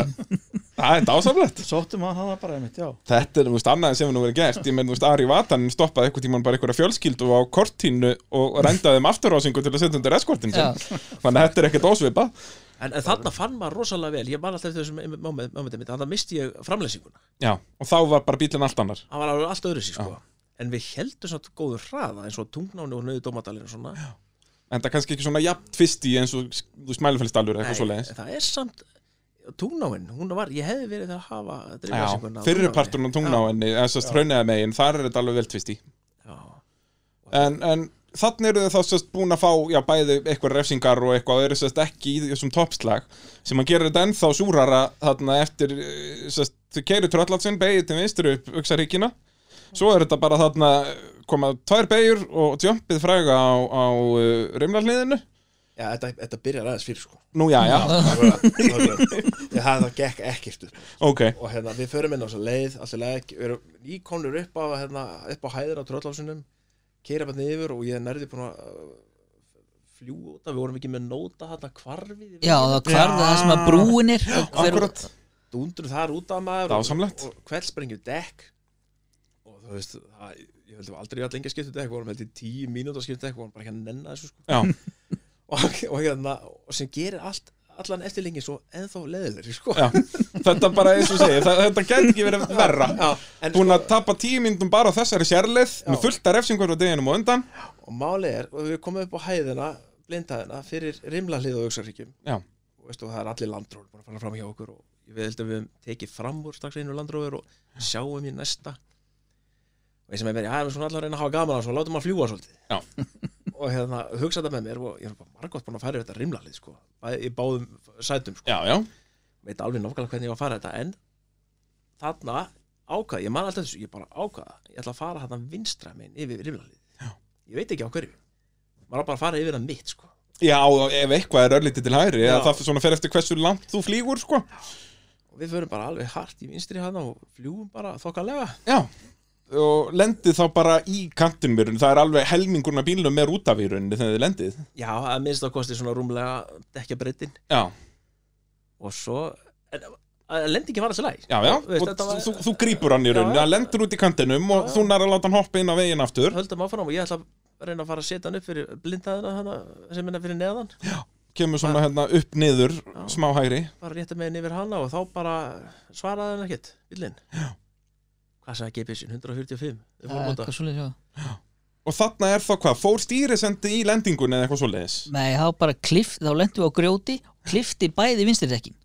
A: Það er dásamlegt
C: Sóttum að hana bara einmitt, já
A: Þetta er, þú veist, annað sem hefur nú verið gert Ég menn, þú veist, Ari Vatan stoppaði eitthvað tímann bara einhverja fjölskyldu á kortínu og rændaði þeim afturhásingu til að setja undir eskortin
B: já,
A: sinn. Þannig að þetta er ekkert ósvipa
D: En, en þarna fann maður rosalega vel, ég man alltaf eftir þessum momentum mitt, þannig að misti ég framleysinguna.
A: Já, og þá var bara bílinn allt annar
D: Það var alveg allt öðru sér, sko. En við heldum svona góður hraða, eins og tungnáni og nöðu dómadalinn og svona. Já,
A: En það er kannski ekki svona jafn fyrst í eins og þú smælufellstallur eitthvað svo leiðis
D: Það er samt, tungnáin, hún var, ég hefði verið að hafa drifleysinguna.
A: Fyrirparturinn á tungnáinni, þess að straunaða megin Þar er þetta alveg vel tvisti
D: Já,
A: En, en þannig eru þau þá sérst búin að fá já, bæði eitthvað refsingar og eitthvað og eru sérst ekki í þessum toppslag sem að gera þetta ennþá súrara þarna eftir eh, sérst, þau keiru tröllatsin beigir til vinstri upp auksaríkina svo er þetta bara þarna eh, koma tvær beigur og tjömpið fræga á, á rimlarliðinu
E: Já, þetta, þetta byrjar aðeins fyrir sko
A: Nú já, já,
E: Ég hafði það gekk ekkert upp
A: ok
E: Og hérna, við förum inn á þess að leið Alltaf leið, við erum nýkonur upp á, hérna, upp á hæðir á tröllásunum Keira bara niður og ég er nærði búin að uh,
D: fljú út af, við vorum ekki með nóta þarna kvarfið.
B: já, það kvarði það sem að brúinir
A: Akkurat,
D: Dúndur þar út af maður. og-
A: dásamlegt
D: og hvert sprengju dekk og þú veist það, ég held að aldrei að lengja skiptu dekk vorum held í tíu mínútur að skiptu dekk vorum bara ekki að nenna þessu sko.
A: Já.
D: [LAUGHS] og, og, hérna, og sem gerir allt allan eftirlengi svo ennþá leðilegri sko.
A: Já, þetta bara eins og ég segi, þa- þetta gæti ekki verið verra
D: en,
A: Búin
D: sko,
A: að tapa tíu myndum bara á þessari sérleið með fullt af refsingur á deginum og undan
D: og málið er og við komum upp á hæðina blindaðina fyrir rimla hlið og auksaríkjum
A: Já.
D: og, veist, og það er allir landróður búin að fara fram hjá okkur og við heldum við höfum tekið fram úr strax einu landróður og sjáum í næsta og ég sem er mér, já, við erum svona allar að reyna að hafa gaman að svona, látum að fljúa svolítið
A: Já.
D: og hérna, hugsa þetta með mér og ég er bara margótt búin að fara yfir þetta rimla hlið sko, Bæ- í báðum sætum sko.
A: Já, já,
D: veit alveg nákvæmlega hvernig ég var að fara þetta en þarna ákvað, ég man alltaf þessu, ég bara ákvað ég ætla að fara þarna vinstra minn yfir riflalið ég veit ekki á hverju maður á bara að fara yfir það mitt sko
A: Já, og ef eitthvað er örlítið til hægri eða
D: Já.
A: það svona fer eftir hversu langt þú flýgur sko.
D: og við förum bara alveg hart í vinstri hana og fljúum bara þokkalega
A: Já og lendið þá bara í kantinmjörun það er alveg helmingurinn af bílnum með rútavýruninni þegar þið lendið
D: já, að minnst á kosti svona rúmlega dekja breytin
A: Já,
D: og svo en, að lendingin var alltaf læg
A: já, já,
D: Þú veist,
A: og
D: þetta var-
A: þú, þú grípur hann í rauninni,
D: Já.
A: hann lendur út í kantinum og
D: Já.
A: þú nær að láta hann hoppa inn á veginn aftur
D: höldum áfram og ég ætla að reyna að fara að setja hann upp fyrir blindaðina hana sem hennar fyrir neðan
A: kemur svona hérna upp niður, smá hægri
D: bara rétt að meginn yfir hana og þá bara svaraði hann ekkert, bílinn hvað sagði GPS-in, 145 við fórum út að,
B: svoleiðis, já.
A: og þarna er þá hvað, fór stýrisendi í lendingunni eða eitthvað svoleiðis
B: nei, það var bara klift, þá lendum við á grjóti klifti bæði vinstirdekkin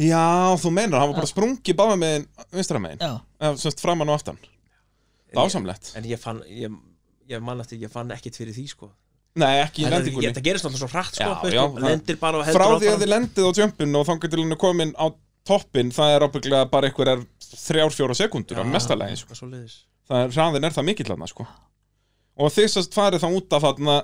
A: Já, þú meinar, hann var bara sprungi báða meginn, vinstra meginn,
B: já,
A: eða semst framan og aftan
D: En ég-
A: Dásamlegt
D: en ég fann ég, ég man eftir, ég fann ekkert fyrir því sko
A: Nei, ekki í
D: Þetta-
A: lendingunni
D: Þetta gerist náttúrulega svo hrætt sko,
A: Já,
D: veist,
A: já,
D: þú
A: það-
D: lendir bara og heldur
A: frá því
D: áfram.
A: að þið lendið á jumpinu og þangar til hún er komin á toppin það er ábygglega bara einhverjar þrjár, fjóra sekundur á mesta lagi sko.
D: Eitthvað svoleiðis.
A: það er hraðin er það mikill þarna sko. og þið sérst farið það út af þarna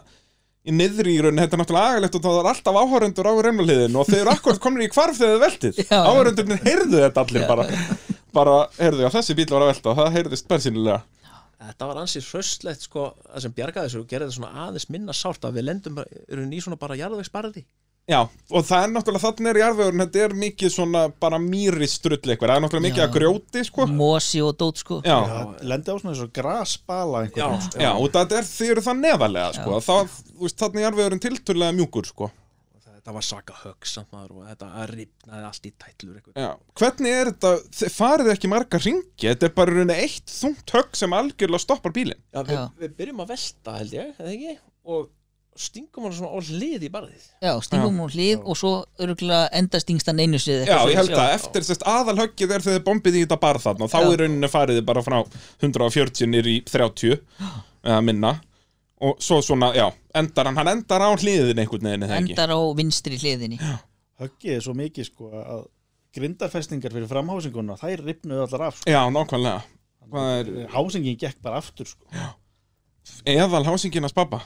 A: í niðri í raunin, þetta er náttúrulega agalegt og það er alltaf áhörundur á reymaliðin og þeir eru akkurat komin í hvarf þegar þið veltið
B: Já.
A: áhörundurnir heyrðu þetta allir bara bara, heyrðu, já, þessi bíl var að velta og það heyrðist bærsýnilega
D: Þetta var ansið hröstlegt sko, það sem bjargaði þessu og gerði þetta svona aðeins minna sárt að við lendum bara, eru ný svona bara jarðvegsbarði
A: Já, og það er náttúrulega, þannig er jarðvegurinn, þetta er mikið svona bara mýri strull eitthvað, það er náttúrulega mikið
B: Já.
A: að grjóti, sko
B: Mosi og dót sko
A: Já,
C: lendi á svona eins og grasbala einhvern veginn.
A: Já, og það er, þið eru það neðarlega sko. það, þú veist, þannig er viðurinn tiltölulega mjúkur sko.
D: Þetta var svaka högg samt maður og þetta ripnaði allt í tætlur eitthvað.
A: Já. Hvernig er þetta, þið farið ekki marga ringi þetta er bara í rauninni eitt þungt högg sem algjörlega stoppar bílinn
E: Já, við,
B: Já.
E: við byrjum að velta held ég, eða ekki og stingum hann svona á hlið í barðið
B: Já, stingum hún hlið og svo örgulega enda stingstan einu svið
A: Já, ég held að eftir sérst aðalhöggið er þegar þið bombið í þetta bara þarna og þá
B: Já.
A: í rauninni farið þið bara frá 140 nýr í 30 eða minna og svo svona, já, endar hann, hann endar á hliðin einhvern veginn, eða ekki?
B: Endar á vinstri hliðinni
C: höggið er svo mikið sko að grindarfestingar fyrir framhásinguna þær ripnuðu allar af sko.
A: Já, nákvæmlega Hvað er,
C: hásingin gekk bara aftur sko.
A: eðal hásinginas pappa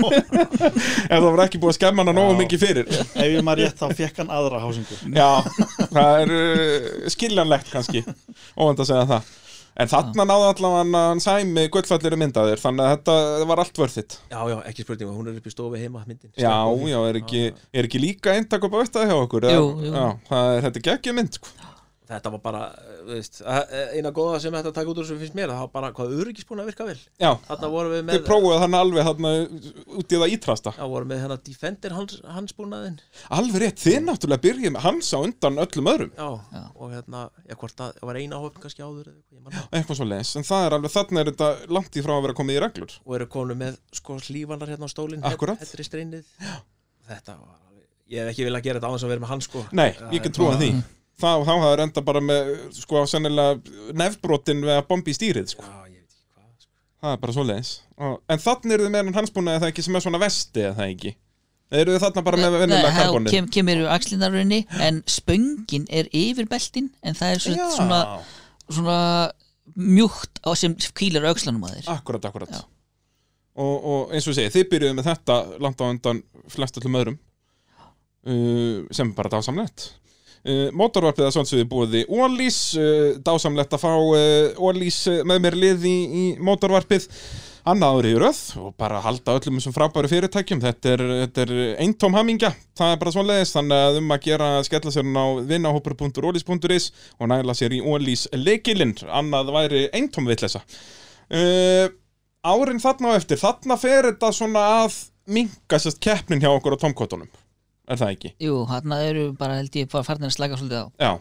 A: [LAUGHS] Ef það var ekki búið að skemma hana nógu
C: Já.
A: mikið fyrir
C: ef ég maður rétt þá fekk hann aðra hásingu
A: Já, það er uh, skiljanlegt kannski Óvend að segja það En þarna náði allavega hann sæmi gullfallir myndaðir Þannig að þetta var allt vörð þitt
D: Já, já, ekki spurning, hún er upp í stofu heima myndin.
A: Já, já, er ekki, er ekki líka eintak upp á þetta hjá okkur eða-
B: Jú, jú.
A: Já, það er þetta geggja mynd sko.
D: Þetta var bara, eh, veist, eh, eina góða sem þetta taka út úr þessu finnst mér, það var bara hvað öryggisbúin að virka vel.
A: Já,
D: Þarna vorum við
A: þið
D: með,
A: prófuðu hann alveg þarna út í það ítrasta
D: já, vorum við hérna Defender hans, hansbúnaðinn.
A: Alveg rétt, þið náttúrulega byrjið með hans á undan öllum öðrum
D: Já, og hérna, ég hvort að, það var eina hófn kannski áður eða eitthvað, ég manna.
A: Eitthvað svo leins, en það er alveg þarna er þetta langt í frá að vera komið í reglur
D: Og eru konu með, sko, slífanar hérna á stólinn.
A: Akkúrat.
D: Þetta er streynið. Þetta var, alveg- ég hef ekki viljað gera þetta á þess að vera með hann, sko.
A: Nei, ég
D: Það er
A: get trúið
D: bara-
A: því Þá, þá hafði enda bara með, sko, sennilega nefbrotin við að bombi í stýrið, sko.
D: Já, ég veit ekki hvað, sko.
A: Það er bara svoleiðis. Og- En þannig eru þið með hann hansbúnaði það ekki sem er svona vesti, eða það ekki? Eða eru þið þarna bara með vennulega
B: Þá
A: karbonið?
B: kem, kemur axlinarunni en spöngin er yfir beltin en það er svona, svona, svona mjúkt á sem kýlar á öxlanum að þér
A: Akkurat, akkurat.
B: Já.
A: Og, og eins og ég segi, þið byrjuðu með þetta langt á undan flest öllum öðrum uh, sem er bara dásamlegt. Uh, Mótorvarpið að svona sem við búið í Ólís, uh, dásamlegt að fá uh, Ólís uh, með mér lið í, í mótorvarpið. Annað árið í röð og bara halda öllum þessum frábæru fyrirtækjum, þetta er, þetta er eintóm hamingja, það er bara svona leiðis, þannig að um að gera að skella sér inn á vinnahópur.ólís.is og næla sér í Ólís leikilinn, annað væri eintóm vitleysa. Uh, árin þarna á eftir, þarna fer þetta svona að minka sérst keppnin hjá okkur á tomkottunum. Er það ekki?
B: Jú, þarna eru bara held ég bara farnir að slaka svolítið á
A: Já,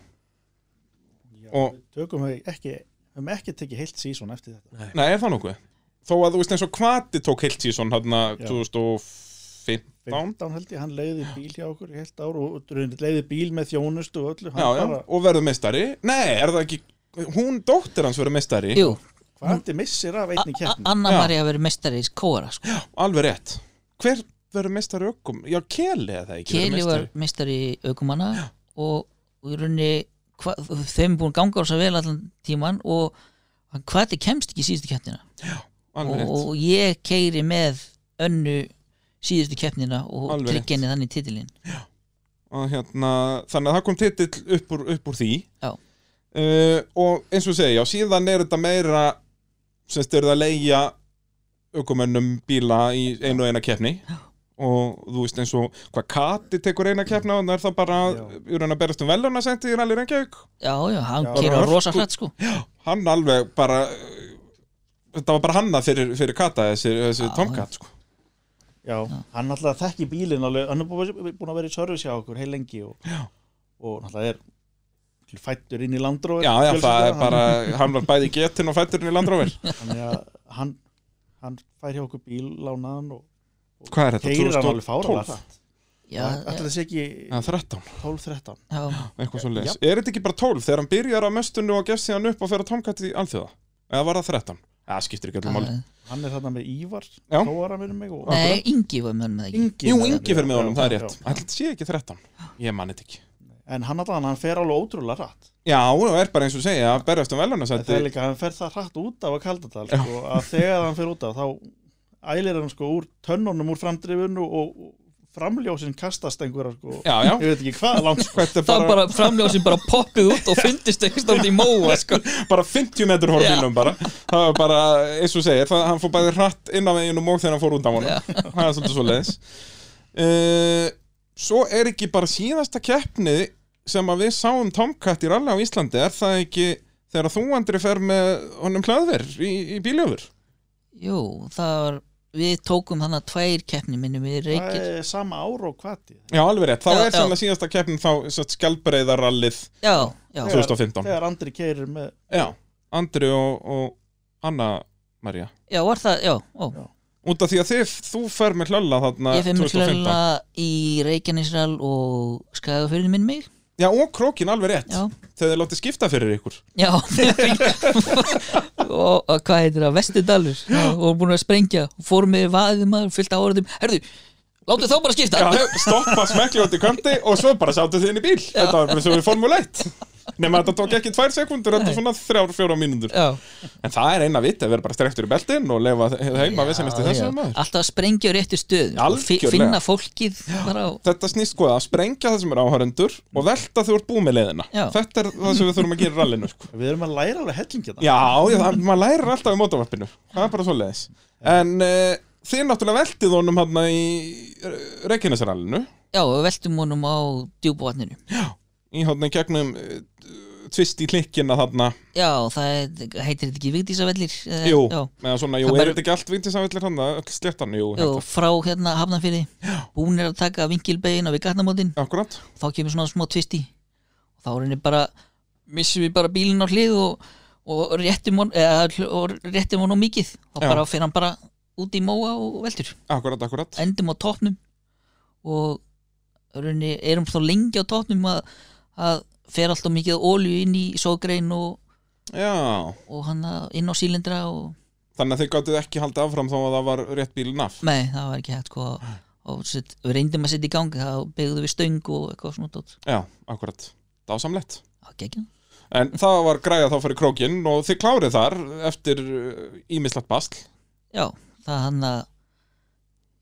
C: Já,
A: Og-
C: við tökum við ekki við höfum ekki tekið heilt sísón eftir þetta
A: nei, er það nokkuð? Þó að þú veist eins og kvati tók heilt síðan þarna
C: Já.
A: 2015
C: 15 held ég, hann leiði bíl hjá okkur í heilt ár og leiði bíl með þjónustu og öllu
A: Já,
C: hann
A: já,
C: bara,
A: og verður meistari Nei, er það ekki, hún dóttir hans verður meistari
B: Jú,
C: hvað hann missir af einni keppni
B: Anna
A: Já.
B: Maria verið mestari í kóra sko.
A: Alveg rétt Hver verður meistari ökkum? Já, Keli eða ekki verður
B: Keli var
A: meistari?
B: mestari í aukumanna og, og í rauninni hva, þeim búin ganga á svo vel allan tíman og hann hvati kemst ekki í síðustu keppnina
A: Alveg
B: og,
A: rétt
B: og ég keiri með önnu síðustu keppnina og
A: Alveg rétt.
B: tryggja henni þannig titilinn
A: og hérna, þannig að það kom titill upp úr, upp úr því
B: Já.
A: Eh, og eins og segja, já, síðan er þetta meira semst er það að leigja aukumönnum bíla í einu og eina keppni og þú veist eins og hvað Kati tekur eina keppna og það er það bara
C: Já.
A: úr hann að berast um veluna sendi í Rally Reykjavík
B: Já, já, hann
C: Já,
B: keiri á
A: hörku-
B: rosa hlætt sko
A: hann alveg bara þetta var bara hanna fyrir, fyrir Kata þessi, þessi
B: Já,
A: Tomcat sko.
C: já, hann alltaf þekki bílinn alveg, hann er bú- búinn að vera í service hjá okkur heil lengi og, og náttúrulega er fættur inn í landróður
A: já, já, það er bara hann var bæði getinn og fætturinn í Landróver
C: þannig að hann, hann fær hjá okkur bíl, lánaðan og
A: hvað er
C: keirir
A: þetta,
C: hann alveg fára
A: 2012?
B: Já, já,
C: alltaf þessi ekki
A: Já, 13
C: 12-13
B: já.
A: eitthvað svo leis. Er þetta ekki bara 12 þegar hann byrjar á möstunni og gefst síðan upp og fer að tomkætt í alþjóða? Eða var það 13? það skiptir
C: Ah,
A: ekki öllum máli
C: Hann er þarna með Ívar
A: Já.
C: Tóara minnum mig og
B: Nei, Ingi var með með ekki
A: Jú, yngi fyrir með
C: Já,
A: honum, það er
C: já,
A: rétt
C: já.
A: Ætli þetta sé ekki 13, ég man þetta ekki
C: En hann allan, hann fer alveg ótrúlega rætt
A: Já, það er bara eins og segja, að berjast um
C: Það er
A: velunasætti
C: líka, hann fer það rætt út af að Kaldadal sko, að þegar hann fer út af þá ælir hann sko úr tönnunum úr framdrifinu og og framljósin kastast einhverja sko
A: Já, já,
C: Ég veit ekki hvað langt sko
A: þetta er
B: Það
A: bara,
B: bara framljósin bara poppið út og fundist ekki stóndi í móa sko.
A: bara 50 metur
B: Já.
A: horfinum bara Það var bara, eins og segja, það, hann fór bæði hratt inn á veginum og þegar hann fór út á honum
B: Já.
A: Það er svolítið svo leiðis Svo er ekki bara síðasta keppni sem að við sáum Tomcat í ralla á Íslandi Er það ekki þegar þú andri fer með honum hlaðverð í, í bíljöfur?
B: Jú, það var Við tókum þannig að tvær keppni minnum við
C: Það
B: reykir
C: er sama ár og hvati
A: Já, alveg rétt, þá
B: Já,
A: er
B: já.
A: sannlega síðasta keppnin þá skjálbreiðarallið
B: Já, já,
C: Já.
A: 2015
C: Þegar Andri keirir með
A: Já, Andri og, og Anna Maria
B: já, var það, já, ó
A: Út af því að þið, þú fer með hlölla þarna
B: Ég fyrir mig
A: 2015
B: hlölla í Reykjanesral og skagafyrði minn mig
A: Já, og krókin alveg rétt
B: Já,
A: Þegar þið látið skipta fyrir ykkur
B: já [LAUGHS] og, og hvað heitir það, Vestidalur og voru búin að sprengja, fórum með vaðið maður fyllt á orðum, herðu láttu þá bara skipta
A: Já, stoppa smekli út í kanti og svo bara sátu þið inn í bíl Þetta var bara svo við formule 1 Nefnum þetta tók ekki tvær sekundur, þetta er svona þrjár, fjóra mínúndur
B: já.
A: En það er eina vitt að vera bara strektur í beltin og leifa heima við sem eftir þessu maður
B: alltaf að sprengja á réttu stöð og fi-
A: Algjörlega.
B: finna fólkið bara á
A: þetta snýst sko að sprengja það sem er áhörendur og velta þú ert búið með leiðina
B: Já.
A: þetta er það sem við þurfum að gera í rallinu sko.
C: Við erum að læra alveg hérna. hellingi
A: já, já það, maður lærir alltaf í mótavarpinu það er bara svo leiðis en uh, þið náttúrulega veltið honum hann í eh, Reykjanesrallinu
B: já, og veltum honum á djúbúvatninu
A: í hann gegnum uh, tvist í klikkina þarna
B: já, það er- heitir þetta ekki Vigdísavellir eh,
A: jú,
B: já,
A: meðan svona, jú,
B: Það
A: er
B: bara-
A: þetta ekki allt vintið sem villir hann öll sléttan, jú,
B: Jú,
A: jú.
B: frá hérna hafnanfyrði hún er að taka vingilbegin og við gatnamótin
A: akkurat
B: þá kemur svona smá tvisti og þá reynir bara missum við bara bílinn á hlið og, og réttum hon eða, hl- og réttum honum mikið þá
A: Já.
B: bara fyrir hann bara út í móa og veldur
A: akkurat, akkurat,
B: endum á topnum og raunni, erum þá lengi á topnum að, að fer alltaf mikið olju inn í sógrein og,
A: já
B: og hann að- inn á sílindra og
A: þannig að þið gáttuð ekki haldið áfram þó að það var rétt bílinn af
B: nei, það var ekki hægt sko og set, við reyndum að setja í gangi þá byggðum við stöng og eitthvað svona dót.
A: já, akkurat, dásamlegt
B: það var geggjum
A: En það var græða þá fyrir krókinn og þið klárið þar eftir uh, ímislegt basl.
B: Já, það hann að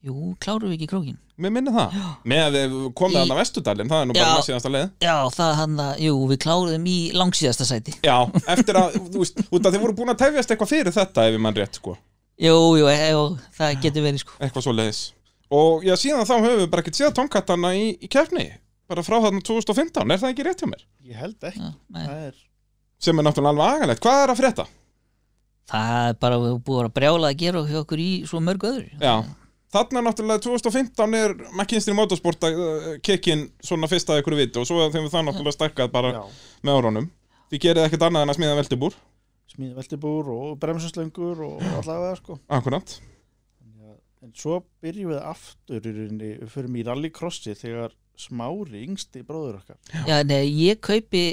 B: Jú, klárum við ekki krókin
A: Mér minni það. Með að þið komið
B: Í-
A: hann að Vestudalinn, það er nú
B: Já.
A: bara maður síðansta leið.
B: Já, það hann að, jú, við klárum í langsíðasta sæti
A: Já, eftir að, þú veist, út að þið voru búin að tefjast eitthvað fyrir þetta ef ég mann rétt, sko.
B: Jú, jú, e jú það getur verið sko
A: Eitthvað svo leiðis. Og já, síðan þá höfum við bara ekkert séð tónkattana í, í keppni. Bara frá þarna 2015, er það ekki rétt hjá mér?
C: Ég held ekki
B: Já, nei.
C: Það er
A: Sem er náttúrulega alveg agalegt. Hvað er að frétta?
B: Það er bara við búið að brjála að gera hjá okkur í svo mörg öðru
A: Já. Þarna náttúrulega 2015 er McKinsey Motorsport að uh, kikkin svona fyrst að ykkur viti og svo þegar það náttúrulega stækkað bara
C: já,
A: með árunum Þið gerið ekkert annað en að smíða veltibúr
C: smíða veltibúr og bremsunslöngur og allavega sko
A: Akkurat
C: En svo byrjum við aftur í rauninni, við förum í rallycrossi þegar smári yngsti bróður okkar.
B: Já, nei, ég kaupi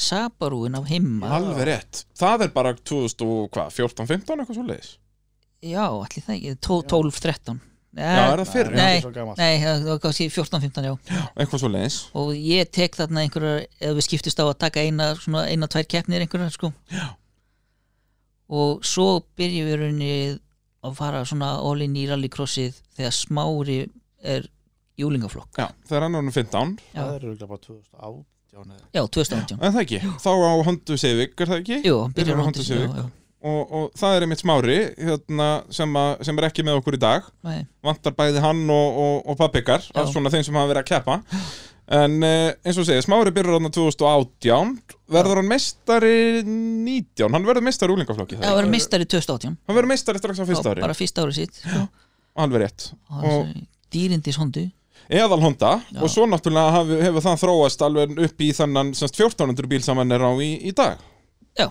B: Sabarúin af himma
A: Alveg rétt Það er bara 2014-15 eitthvað svo leiðis
B: Já, allir það ekki, tó- 12, 13
A: Já, er það fyrir?
B: Nei.
C: Eh, Nei, hann er svo gamall.
B: Eh, Nei, það var kannski 14, 15, já
A: Eitthvað svo leiðis
B: Og ég tek þarna einhverjar Ef við skiptist á að taka eina, svona eina, tvær keppnir einhverjar, sko
A: Já.
B: Og svo byrjum við rauninni að fara svona all-in í rallycrossið þegar smári er júlingaflokk
A: Já, það er annarnum 15
C: Það er auðvitað bara 2018 eða.
B: Já, 2018
A: En það ekki Þá á Hondu Civic, er það ekki?
B: Jú, hann
A: Byrjar
B: byrjar
A: á Honda Civic.
B: já, já.
A: Og, og það er einmitt smári hérna, sem, að, sem er ekki með okkur í dag
B: Nei,
A: Vantar bæði hann og, og, og pappikar
B: Já.
A: Af svona þeim sem hafa verið að keppa En eh, eins og segja, smári byrjar hann 2018 Verður hann meistari 19 Hann verður meistari úlingaflokki
B: það var meistari 2018
A: Hann verður meistari strax á fyrsta
B: Já,
A: ári
B: Bara fyrsta ári sitt sko.
A: Alveg rétt
B: Og hann sagði, Dýrindis hóndu
A: eðal Honda
B: Já.
A: og svo náttúrulega haf, hefur það þróast alveg upp í þannan semst 1400 bíl sem hann er á í, í dag
B: Já.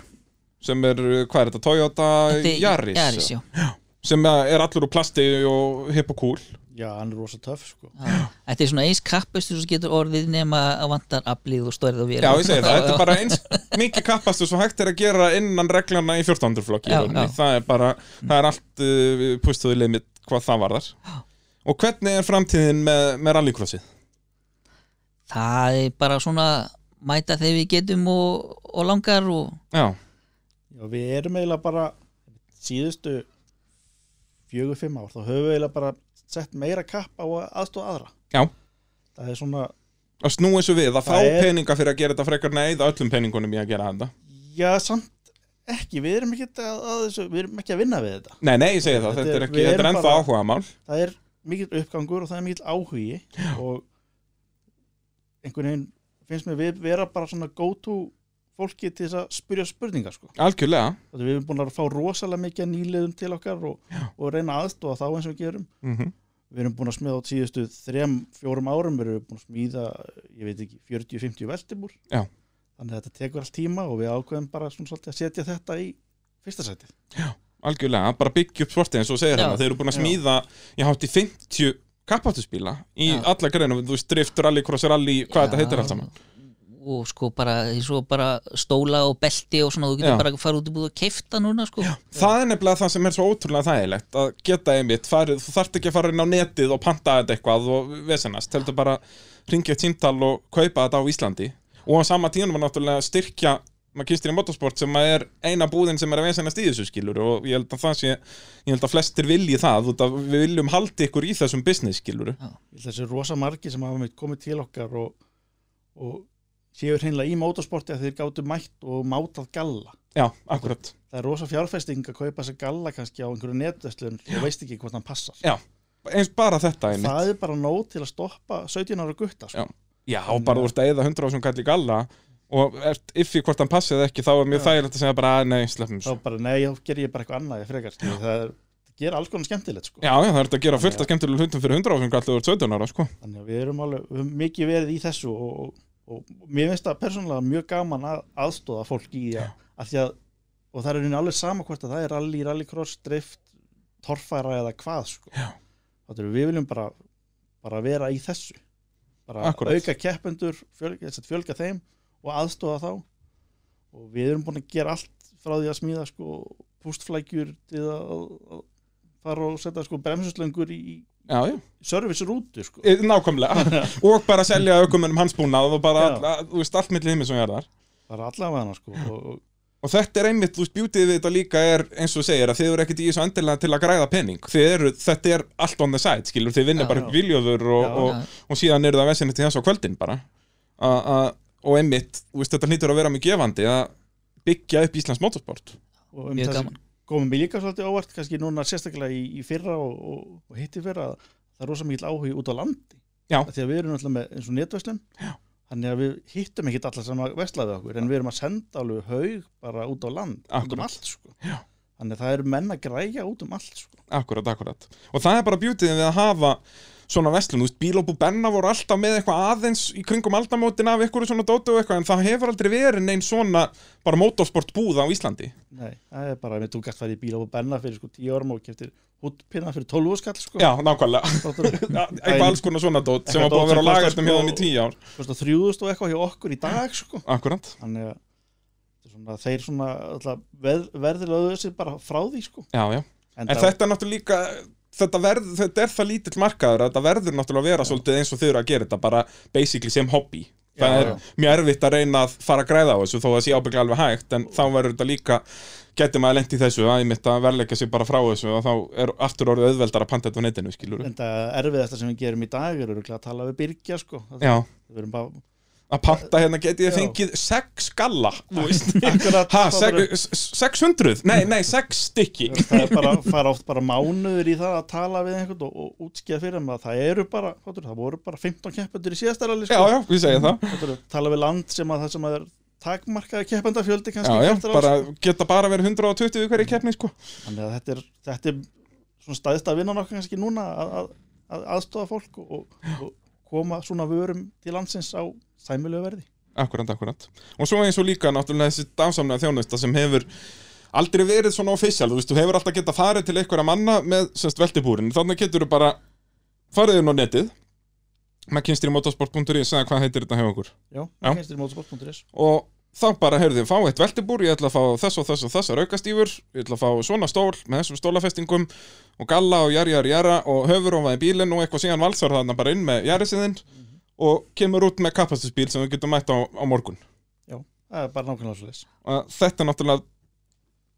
A: sem er, eh, hvað er þetta, Toyota
B: Þetta er
A: Yaris, eh,
B: Yaris, já
A: sem er allur úr plasti og hipp og cool
C: já, hann er rosa töff sko
B: Já. Þetta er svona eins kappustur sem getur orðið nema að vantar aflið og stærð og
A: Já,
B: vera
A: ég segi það, þetta er bara eins mikið kappastu svo hægt er að gera innan reglana í 14. flokki í
B: Já,
A: rauninni.
B: já.
A: það er bara, það er allt uh, pústuðu limit hvað það varðar Og hvernig er framtíðin með, með rallycrossið?
B: Það er bara svona mæta þegar við getum og, og langar og
A: Já,
C: Já, við erum eiginlega bara síðustu fjögur, fimm ár, þá höfum við eiginlega bara sett meira kapp á aðstóð aðra
A: Já.
C: Það er svona,
A: að snúi þessu við, að fá
C: Það er-
A: peninga fyrir að gera þetta frekar neyð öllum peningunum í að gera þetta
C: já, samt ekki, við erum ekki að, að þessu, við erum ekki að vinna við þetta
A: Nei, nei, ég segi það,
C: Þetta
A: þetta
C: er-
A: er, ekki,
C: við
A: þetta er
C: erum
A: ennþá
C: bara-
A: áhuga mál
C: Það er mikill uppgangur og það er mikill áhugi og einhvern veginn finnst mér við vera bara svona go to fólki til þess að spyrja spurningar sko
A: Algjörlega
C: Þetta Við erum búin að fá rosalega mikið af nýliðum til okkar og, og reyna aðstóða þá eins og við gerum
A: mm
C: við erum búin að smiða át síðustu þrem, fjórum árum erum við búin að smíða ég veit ekki, 40-50 veltibúr
A: Já.
C: þannig að þetta tekur allt tíma og við ákveðum bara svona svolítið að setja þetta í fyrsta sæti
A: Algjörlega, bara byggja upp sportið eins og þú segir
B: Já.
A: hann Þeir eru búin að
C: Já.
A: smíða, ég hátti 50 kappáttuspíla í
B: Já.
A: alla greinum Þú veist, drift, rallycross, rally, hvað þetta heitir allt saman
B: og sko bara, svo bara stóla og belti og svona, þú getur
A: Já.
B: bara að fara út í búið og keifta núna sko já,
A: Það er nefnilega það sem er svo ótrúlega þægilegt að geta einmitt, farið, þú þarft ekki að fara inn á netið og panta þetta eitthvað og vesenast heldur bara ringja eitt síntal og kaupa þetta á Íslandi og á sama tíðan var náttúrulega styrkja Magistir í motorsport sem að er eina búðin sem er að vesenast í þessu skilur og ég held að það sé, ég held að flestir vilji það út að við viljum haldi ykkur í þessum business skilur
C: Ég held að þessi rosa margi sem hafa meitt komið til okkar og, og séu hreinlega í motorsporti að þeir gátu mætt og mátað galla
A: Já, akkurat
C: það er rosa fjárfesting að kaupa þessa galla kannski á einhverju netvæslun og veist ekki hvort hann passar
A: Já, eins bara þetta einmitt
C: það er bara nóg til að stoppa 17 ára gutta sko.
A: Já. Já, bara úr að eða 100 ásum kalli galla og ert iffi hvort hann passið ekki þá er mjög þægilegt að segja bara "Æ, nei, sleppum
C: þá bara nei, þá ger ég bara eitthvað annað ég frekar, skilur. það er, ger alls konar skemmtilegt sko.
A: Já, já, það er þetta að gera fullt af skemmtilegum hlutum fyrir 100 ásum kallið úr 17 ára, sko.
C: þannig að við erum alveg, við höfum mikið verið í þessu og, og, og mér finnst það persónulega mjög gaman að aðstóða fólk í að, að því að, og það er henni alveg sama hvort að það er rally, rallycross, drift torfæra eða hvað sko. þannig að við viljum bara, bara vera í þessu bara
A: Akkúrat.
C: auka keppendur, fjölga, sem sagt, fjölga þeim og aðstóða þá og við erum búin að gera allt frá því að smíða sko pústflækjur til að, að fara og setja sko bremsuslöngur í
A: Já, já,
C: service-rútu sko
A: e, nákvæmlega. og bara selja aukumennum hansbúnað og bara,
C: Já.
A: all, að, þú veist, allt milli himmi sem er þar.
C: bara allavega hana sko og, og,
A: Og þetta er einmitt, þú veist, bjútið við þetta líka er, eins og þú segir, að þið eru ekkit í þessu endilega til að græða pening. Þið eru, þetta er allt on the side, skilur, þið vinnir
B: Já,
A: bara
C: já.
A: upp viljóður og,
C: Já,
A: og, og síðan eru það vesinni til þess á kvöldin bara. A, a, og einmitt, þú veist, þetta hlýtur að vera mjög gefandi að byggja upp Íslands motorsport.
C: og um
B: mjög
C: þessi
B: gaman
C: komum við líka svolítið óvart kannski núna sérstaklega í, í fyrra og, og, og hitti fyrra að það er rosa mikill áhugi út á landi
A: Já.
C: Af því að við erum alltaf með eins og netverslum þannig að við hittum ekkit alla sem að vesla við okkur en við erum að senda alveg haug bara út á land út
A: Akkúrat.
C: um allt sko Já. þannig að það eru menn að græja út um allt sko
A: Akkurat, akkurat. Og það er bara beautyin við að hafa svona vestlun, þú veist, bílóbú Benna voru alltaf með eitthvað aðeins í kringum aldamótin af eitthvað svona dóti og eitthvað, en það hefur aldrei verið neinn svona bara motorsport búð á Íslandi.
C: Nei, það er bara að þú gætt farið í bíl á benna fyrir sko 10 árum og keftir húttpinna fyrir 12 skall sko
A: Já, nákvæmlega.
C: Já,
A: eitthvað alls konar svona dót sem var búið að vera á lagastum hjá þeim í tíu ár.
C: Þrjúðust og eitthvað hjá okkur í dag sko
A: Akkurat.
C: þannig að þetta er svona, þeir svona alltaf, veð, verður lögðu þessi bara frá því sko
A: Já, já. En
C: það-
A: þetta er náttúrulega líka, þetta, verð, þetta er það lítill markaður að þetta verður náttúrulega að vera svolítið eins og þau eru að gera þetta, bara basically sem hobby. Það
C: Já,
A: er mjög erfitt að reyna að fara að græða á þessu þó að það sé ábygglega alveg hægt en þá verður þetta líka, getur maður lent í þessu að ég mitt að verleika sig bara frá þessu og þá er aftur orðið auðveldar að panta þetta á netinu skilur
C: en það erfiðasta sem við gerum í dag er örugglega að tala við Byrgja sko Það-
A: Já,
C: við erum
A: [LAUGHS]
C: bara
A: að panta hérna geti ég
C: Já.
A: fengið sex skalla, þú veist
C: akkurat
A: [LAUGHS] Ha,
C: það er bara-
A: seg- s- 600? Nei, nei, 6 stykki
C: það er bara, fara oft bara mánuður í það að tala við einhvern og, og útskýða fyrir þeim að það eru bara, hvað það voru bara 15 keppendur í síðasta rally
A: Já,
C: sko.
A: já, við segja það
C: Hvað er- tala við land sem að það sem að er takmarkaði keppendarfjöldi
A: Já,
C: kannski
A: já,
C: hvert ár,
A: bara
C: sko.
A: geta bara verið 120 í hverju keppni, sko
C: þannig að þetta er, þetta er svona staðist að vinna nokkuð kannski núna að, að, að aðstofa fólk og, og koma svona vörum til landsins á sæmulegu verði
A: Akkurat, akkurat. Og svo eins og líka náttúrulega þessi dásamlega þjónusta sem hefur aldrei verið svona official, þú veist, þú hefur alltaf getað farið til einhverja manna með semst veltibúrin, þannig getur þú bara farið inn á netið með kynstri motorsport.is eða hvað heitir þetta hjá okkur
C: já,
A: Já.
C: kynstri motorsport.is
A: og þá bara heyrðu, fá eitt veltibúr ég ætla að fá þess og þess og þessar aukastífur ég ætla að fá svona stól með þessum stólafestingum og galla og jari jari jara og höfur og í bílinn og eitthvað síðan valsar þarna bara inn með jarisiðinn og kemur út með kapastisbíl sem við getum mætt á, á morgun
C: það er bara nákvæmlega svo leys
A: og þetta er náttúrulega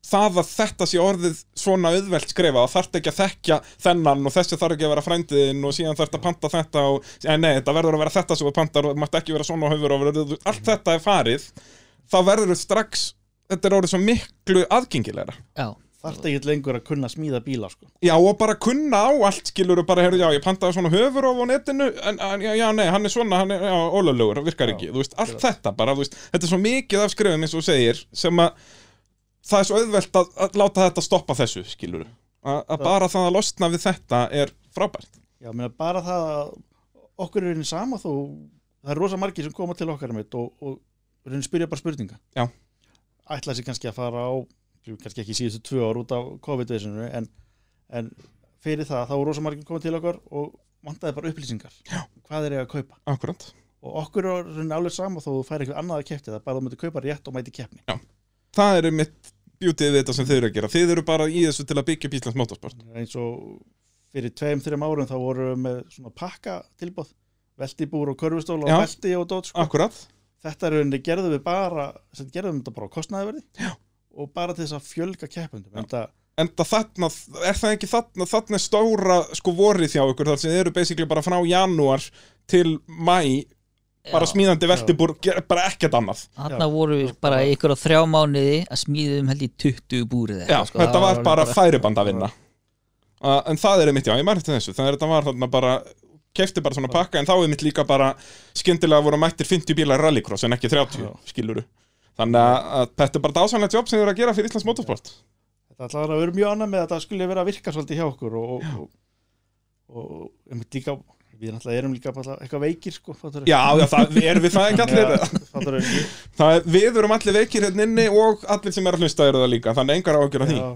A: það að þetta sé orðið svona auðvelt skrifa og þarft ekki að þekkja þennan og þessi þarf ekki að vera frændiðin og síðan þarft að panta þetta og en nei, þetta verður að vera þetta sem þú pantar og mátt ekki vera svona og höfur og verður, allt þetta er farið þá verður þetta strax þetta er orðið svo miklu aðgengilegra
B: já,
C: þarf ekki lengur að kunna smíða bíla sko.
A: Já, og bara kunna á allt, skilur og bara, heyrðu, já, ég pantaði svona höfur á netinu, en, en já, já, nei, hann er svona, hann er, já, ólöflegur, hann virkar
C: Já,
A: ekki, þú veist, allt
C: akkurat.
A: þetta bara, þú veist, þetta er svo mikið af skrifum eins og þú segir, sem að það er svo auðvelt að, að láta þetta stoppa þessu, skilur, að
C: Það-
A: bara það að losna við þetta er frábært.
C: já, ég meina, bara það að okkur er einu sama þó það er rosa margir sem koma til okkar mitt og, og reyna spyrja bara spurninga
A: Já.
C: ætla sér kannski að fara á kannski ekki síðustu tvö ár út af COVID-veisinu en, en fyrir það þá er rosa margir koma til okkar og vantaði bara upplýsingar já. hvað er ég að kaupa
A: Akkurat.
C: og okkur er raunin alveg sama þó þú fær eitthvað annað að kefti það bara þú myndir kaupa rétt og mæti keppni
A: Það eru mitt bjútið við þetta sem þið eru að gera. Þið eru bara í þessu til að byggja upp Íslands motorsport.
C: eins og fyrir tveim, þreim árum þá vorum við með svona pakka tilbóð veltibúr og körfustóla
A: Já.
C: og velti og dót sko.
A: Akkurat.
C: þetta er rauninni gerðum við bara sem sagt, gerðum þetta bara á kostnaðverði já. og bara til þess að fjölga keppundum en það,
A: enda þarna, er það ekki þarna þarna er stóra sko vorið hjá ykkur þar sem þið eru basically bara frá janúar til mæ, bara
B: já.
A: smíðandi veltibúr, ger- bara ekkert annað
B: Þarna voru við bara ykkur á þrjá mánuði að smíðum held í 20 búrið sko.
A: Já, þetta var bara færiband að vinna uh, en það er mitt, já, ég mærði þessu þannig að þetta var þarna bara kefti bara svona pakka en þá er mitt líka bara skyndilega voru mættir 50 bílar í rallycross en ekki 30,
C: Já.
A: skiluru þannig að- að þetta er bara dásanlega jobb sem þið eru að gera fyrir Íslands motorsport
C: þetta ætlaði að vera mjög annað með að það skulle vera að virka svolítið hjá okkur og, og, og, og, og einmitt líka, við náttúrulega erum líka bara eitthvað veikir sko, fattarðu?
A: Já, já, það erum við það ekki allir
C: Já, [LAUGHS] fattarðu?
A: Það er, við erum allir veikir hérna inni og allir sem er að hlusta eru það líka, [LAUGHS] þannig engar ágjör á því.
C: Já,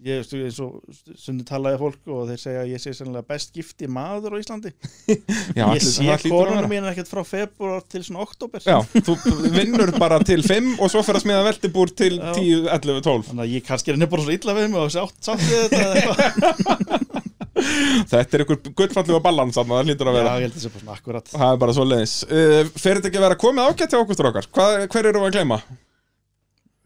C: ég veistu eins og sundi talaði fólk og þeir segja að ég sé sennilega best gifti maður á Íslandi
A: Já,
C: ég
A: allir-
C: sé
A: það hlýtur að
C: konunum
A: vera.
C: mín ekkert frá februar til svona oktober
A: Já, þú vinnur bara til 5 og svo fer að smiða veltibúr til
C: Já.
A: 10, 11, 12.
C: þannig að ég kannski er henni bara svo illa við mig og sátt sátt við þetta eða eitthvað.
A: Þetta er ykkur gullfallega balans þarna, það hlýtur að
C: já,
A: vera.
C: ég held þessi bara svona akkurat
A: Það er bara svo leiðis. Uh, fer þetta ekki að vera komið ágætt hjá okkur strókar? Hvað, hver eru við að gleyma?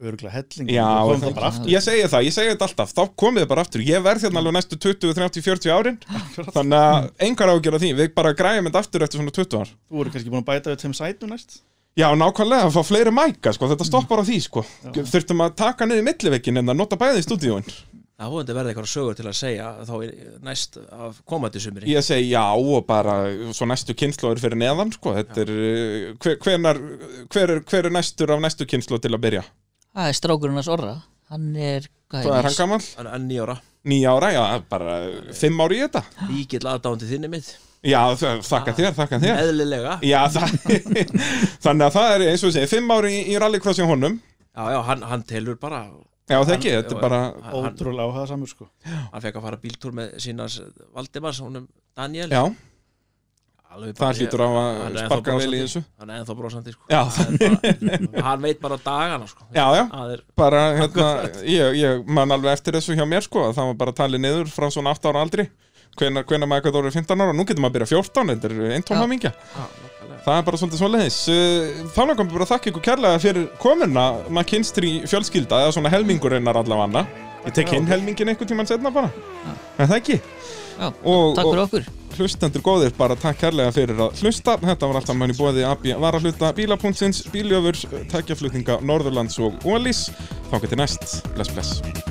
C: öruglega helling
A: Já,
C: Við
A: það-
C: komum það bara aftur
A: Ég segi það, ég segi þetta alltaf, þá komið þið bara aftur. Ég verð hérna alveg næstu 20, 30, 40 árin, þannig að engar ágjör á því. Við bara græjum þetta aftur eftir svona 20 ár.
C: þú eru kannski búin að bæta við tveim sætum næst
A: Já, nákvæmlega, að fá fleiri mæka, sko, þetta stoppar á því, sko Þurftum að taka niður millivekkin en að nota bæði í stúdíóin
D: Það vonandi verði eitthvað sögur til að segja þá er næst af komandi sumri
A: Ég segi já og bara, svo næstu kynnslóður fyrir neðan, sko Þetta er, uh, hver, hvenar, hver, er, hver er næstur af næstu kynnslóð til að byrja?
B: Það er strákurinn hans orra Hann er, hvað
A: Hvað er
B: er,
A: hann gamall?
D: Hann er nýja ára,
A: Nýja ára, já, bara uh, fimm ári í þetta
D: líkil aðdándi þinni mitt
A: Já, þ- þakka þér, þakka þér
D: eðlilega
A: Já, [LAUGHS] það, þannig að það er eins og þessi, fimm ári í, í rallycrossi á honum
D: Já, já, hann, hann telur bara
A: Já, það ekki, þetta
D: Já,
A: er bara
D: hann, hann,
C: ótrúlega áhuga samur sko
D: hann fekk að fara bíltúr með sínans Valdimars, honum Daniel
A: Já,
D: Alveg bara-
A: það hlýtur á
D: Hann
A: að
D: er ennþá
A: sparka vel í
D: brosandi.
A: þessu
D: Hann er ennþá brosandi sko.
A: Já.
D: Hann er bara, Hann veit bara dagana sko.
A: Já, já,
D: Það er
A: bara hérna, ég, ég man alveg eftir þessu hjá mér sko að það var bara talið niður frá svona 8 ára aldri hvenar, hvenar maður eitthvað orðið 15 ára nú getur maður að byrja 14, þetta er einn tóma
B: Já.
A: mingja
D: Já, nákvæmlega.
A: það er bara svolítið svo leiðis þá langum við bara að þakka ykkur kærlega fyrir komuna maður kynstri fjölskylda eða svona helmingur einar allavega anna ég tek inn helmingin einhvern tímann setna bara en það ekki
B: Já,
A: og,
B: takk
A: og
B: fyrir okkur
A: hlustendur góðir bara takk kærlega fyrir að hlusta þetta var alltaf mann í bóði AB varahluta bílapunktsins, bíljöfur, tækjaflutninga Norðurlands og Ólís þá getur næst, bless bless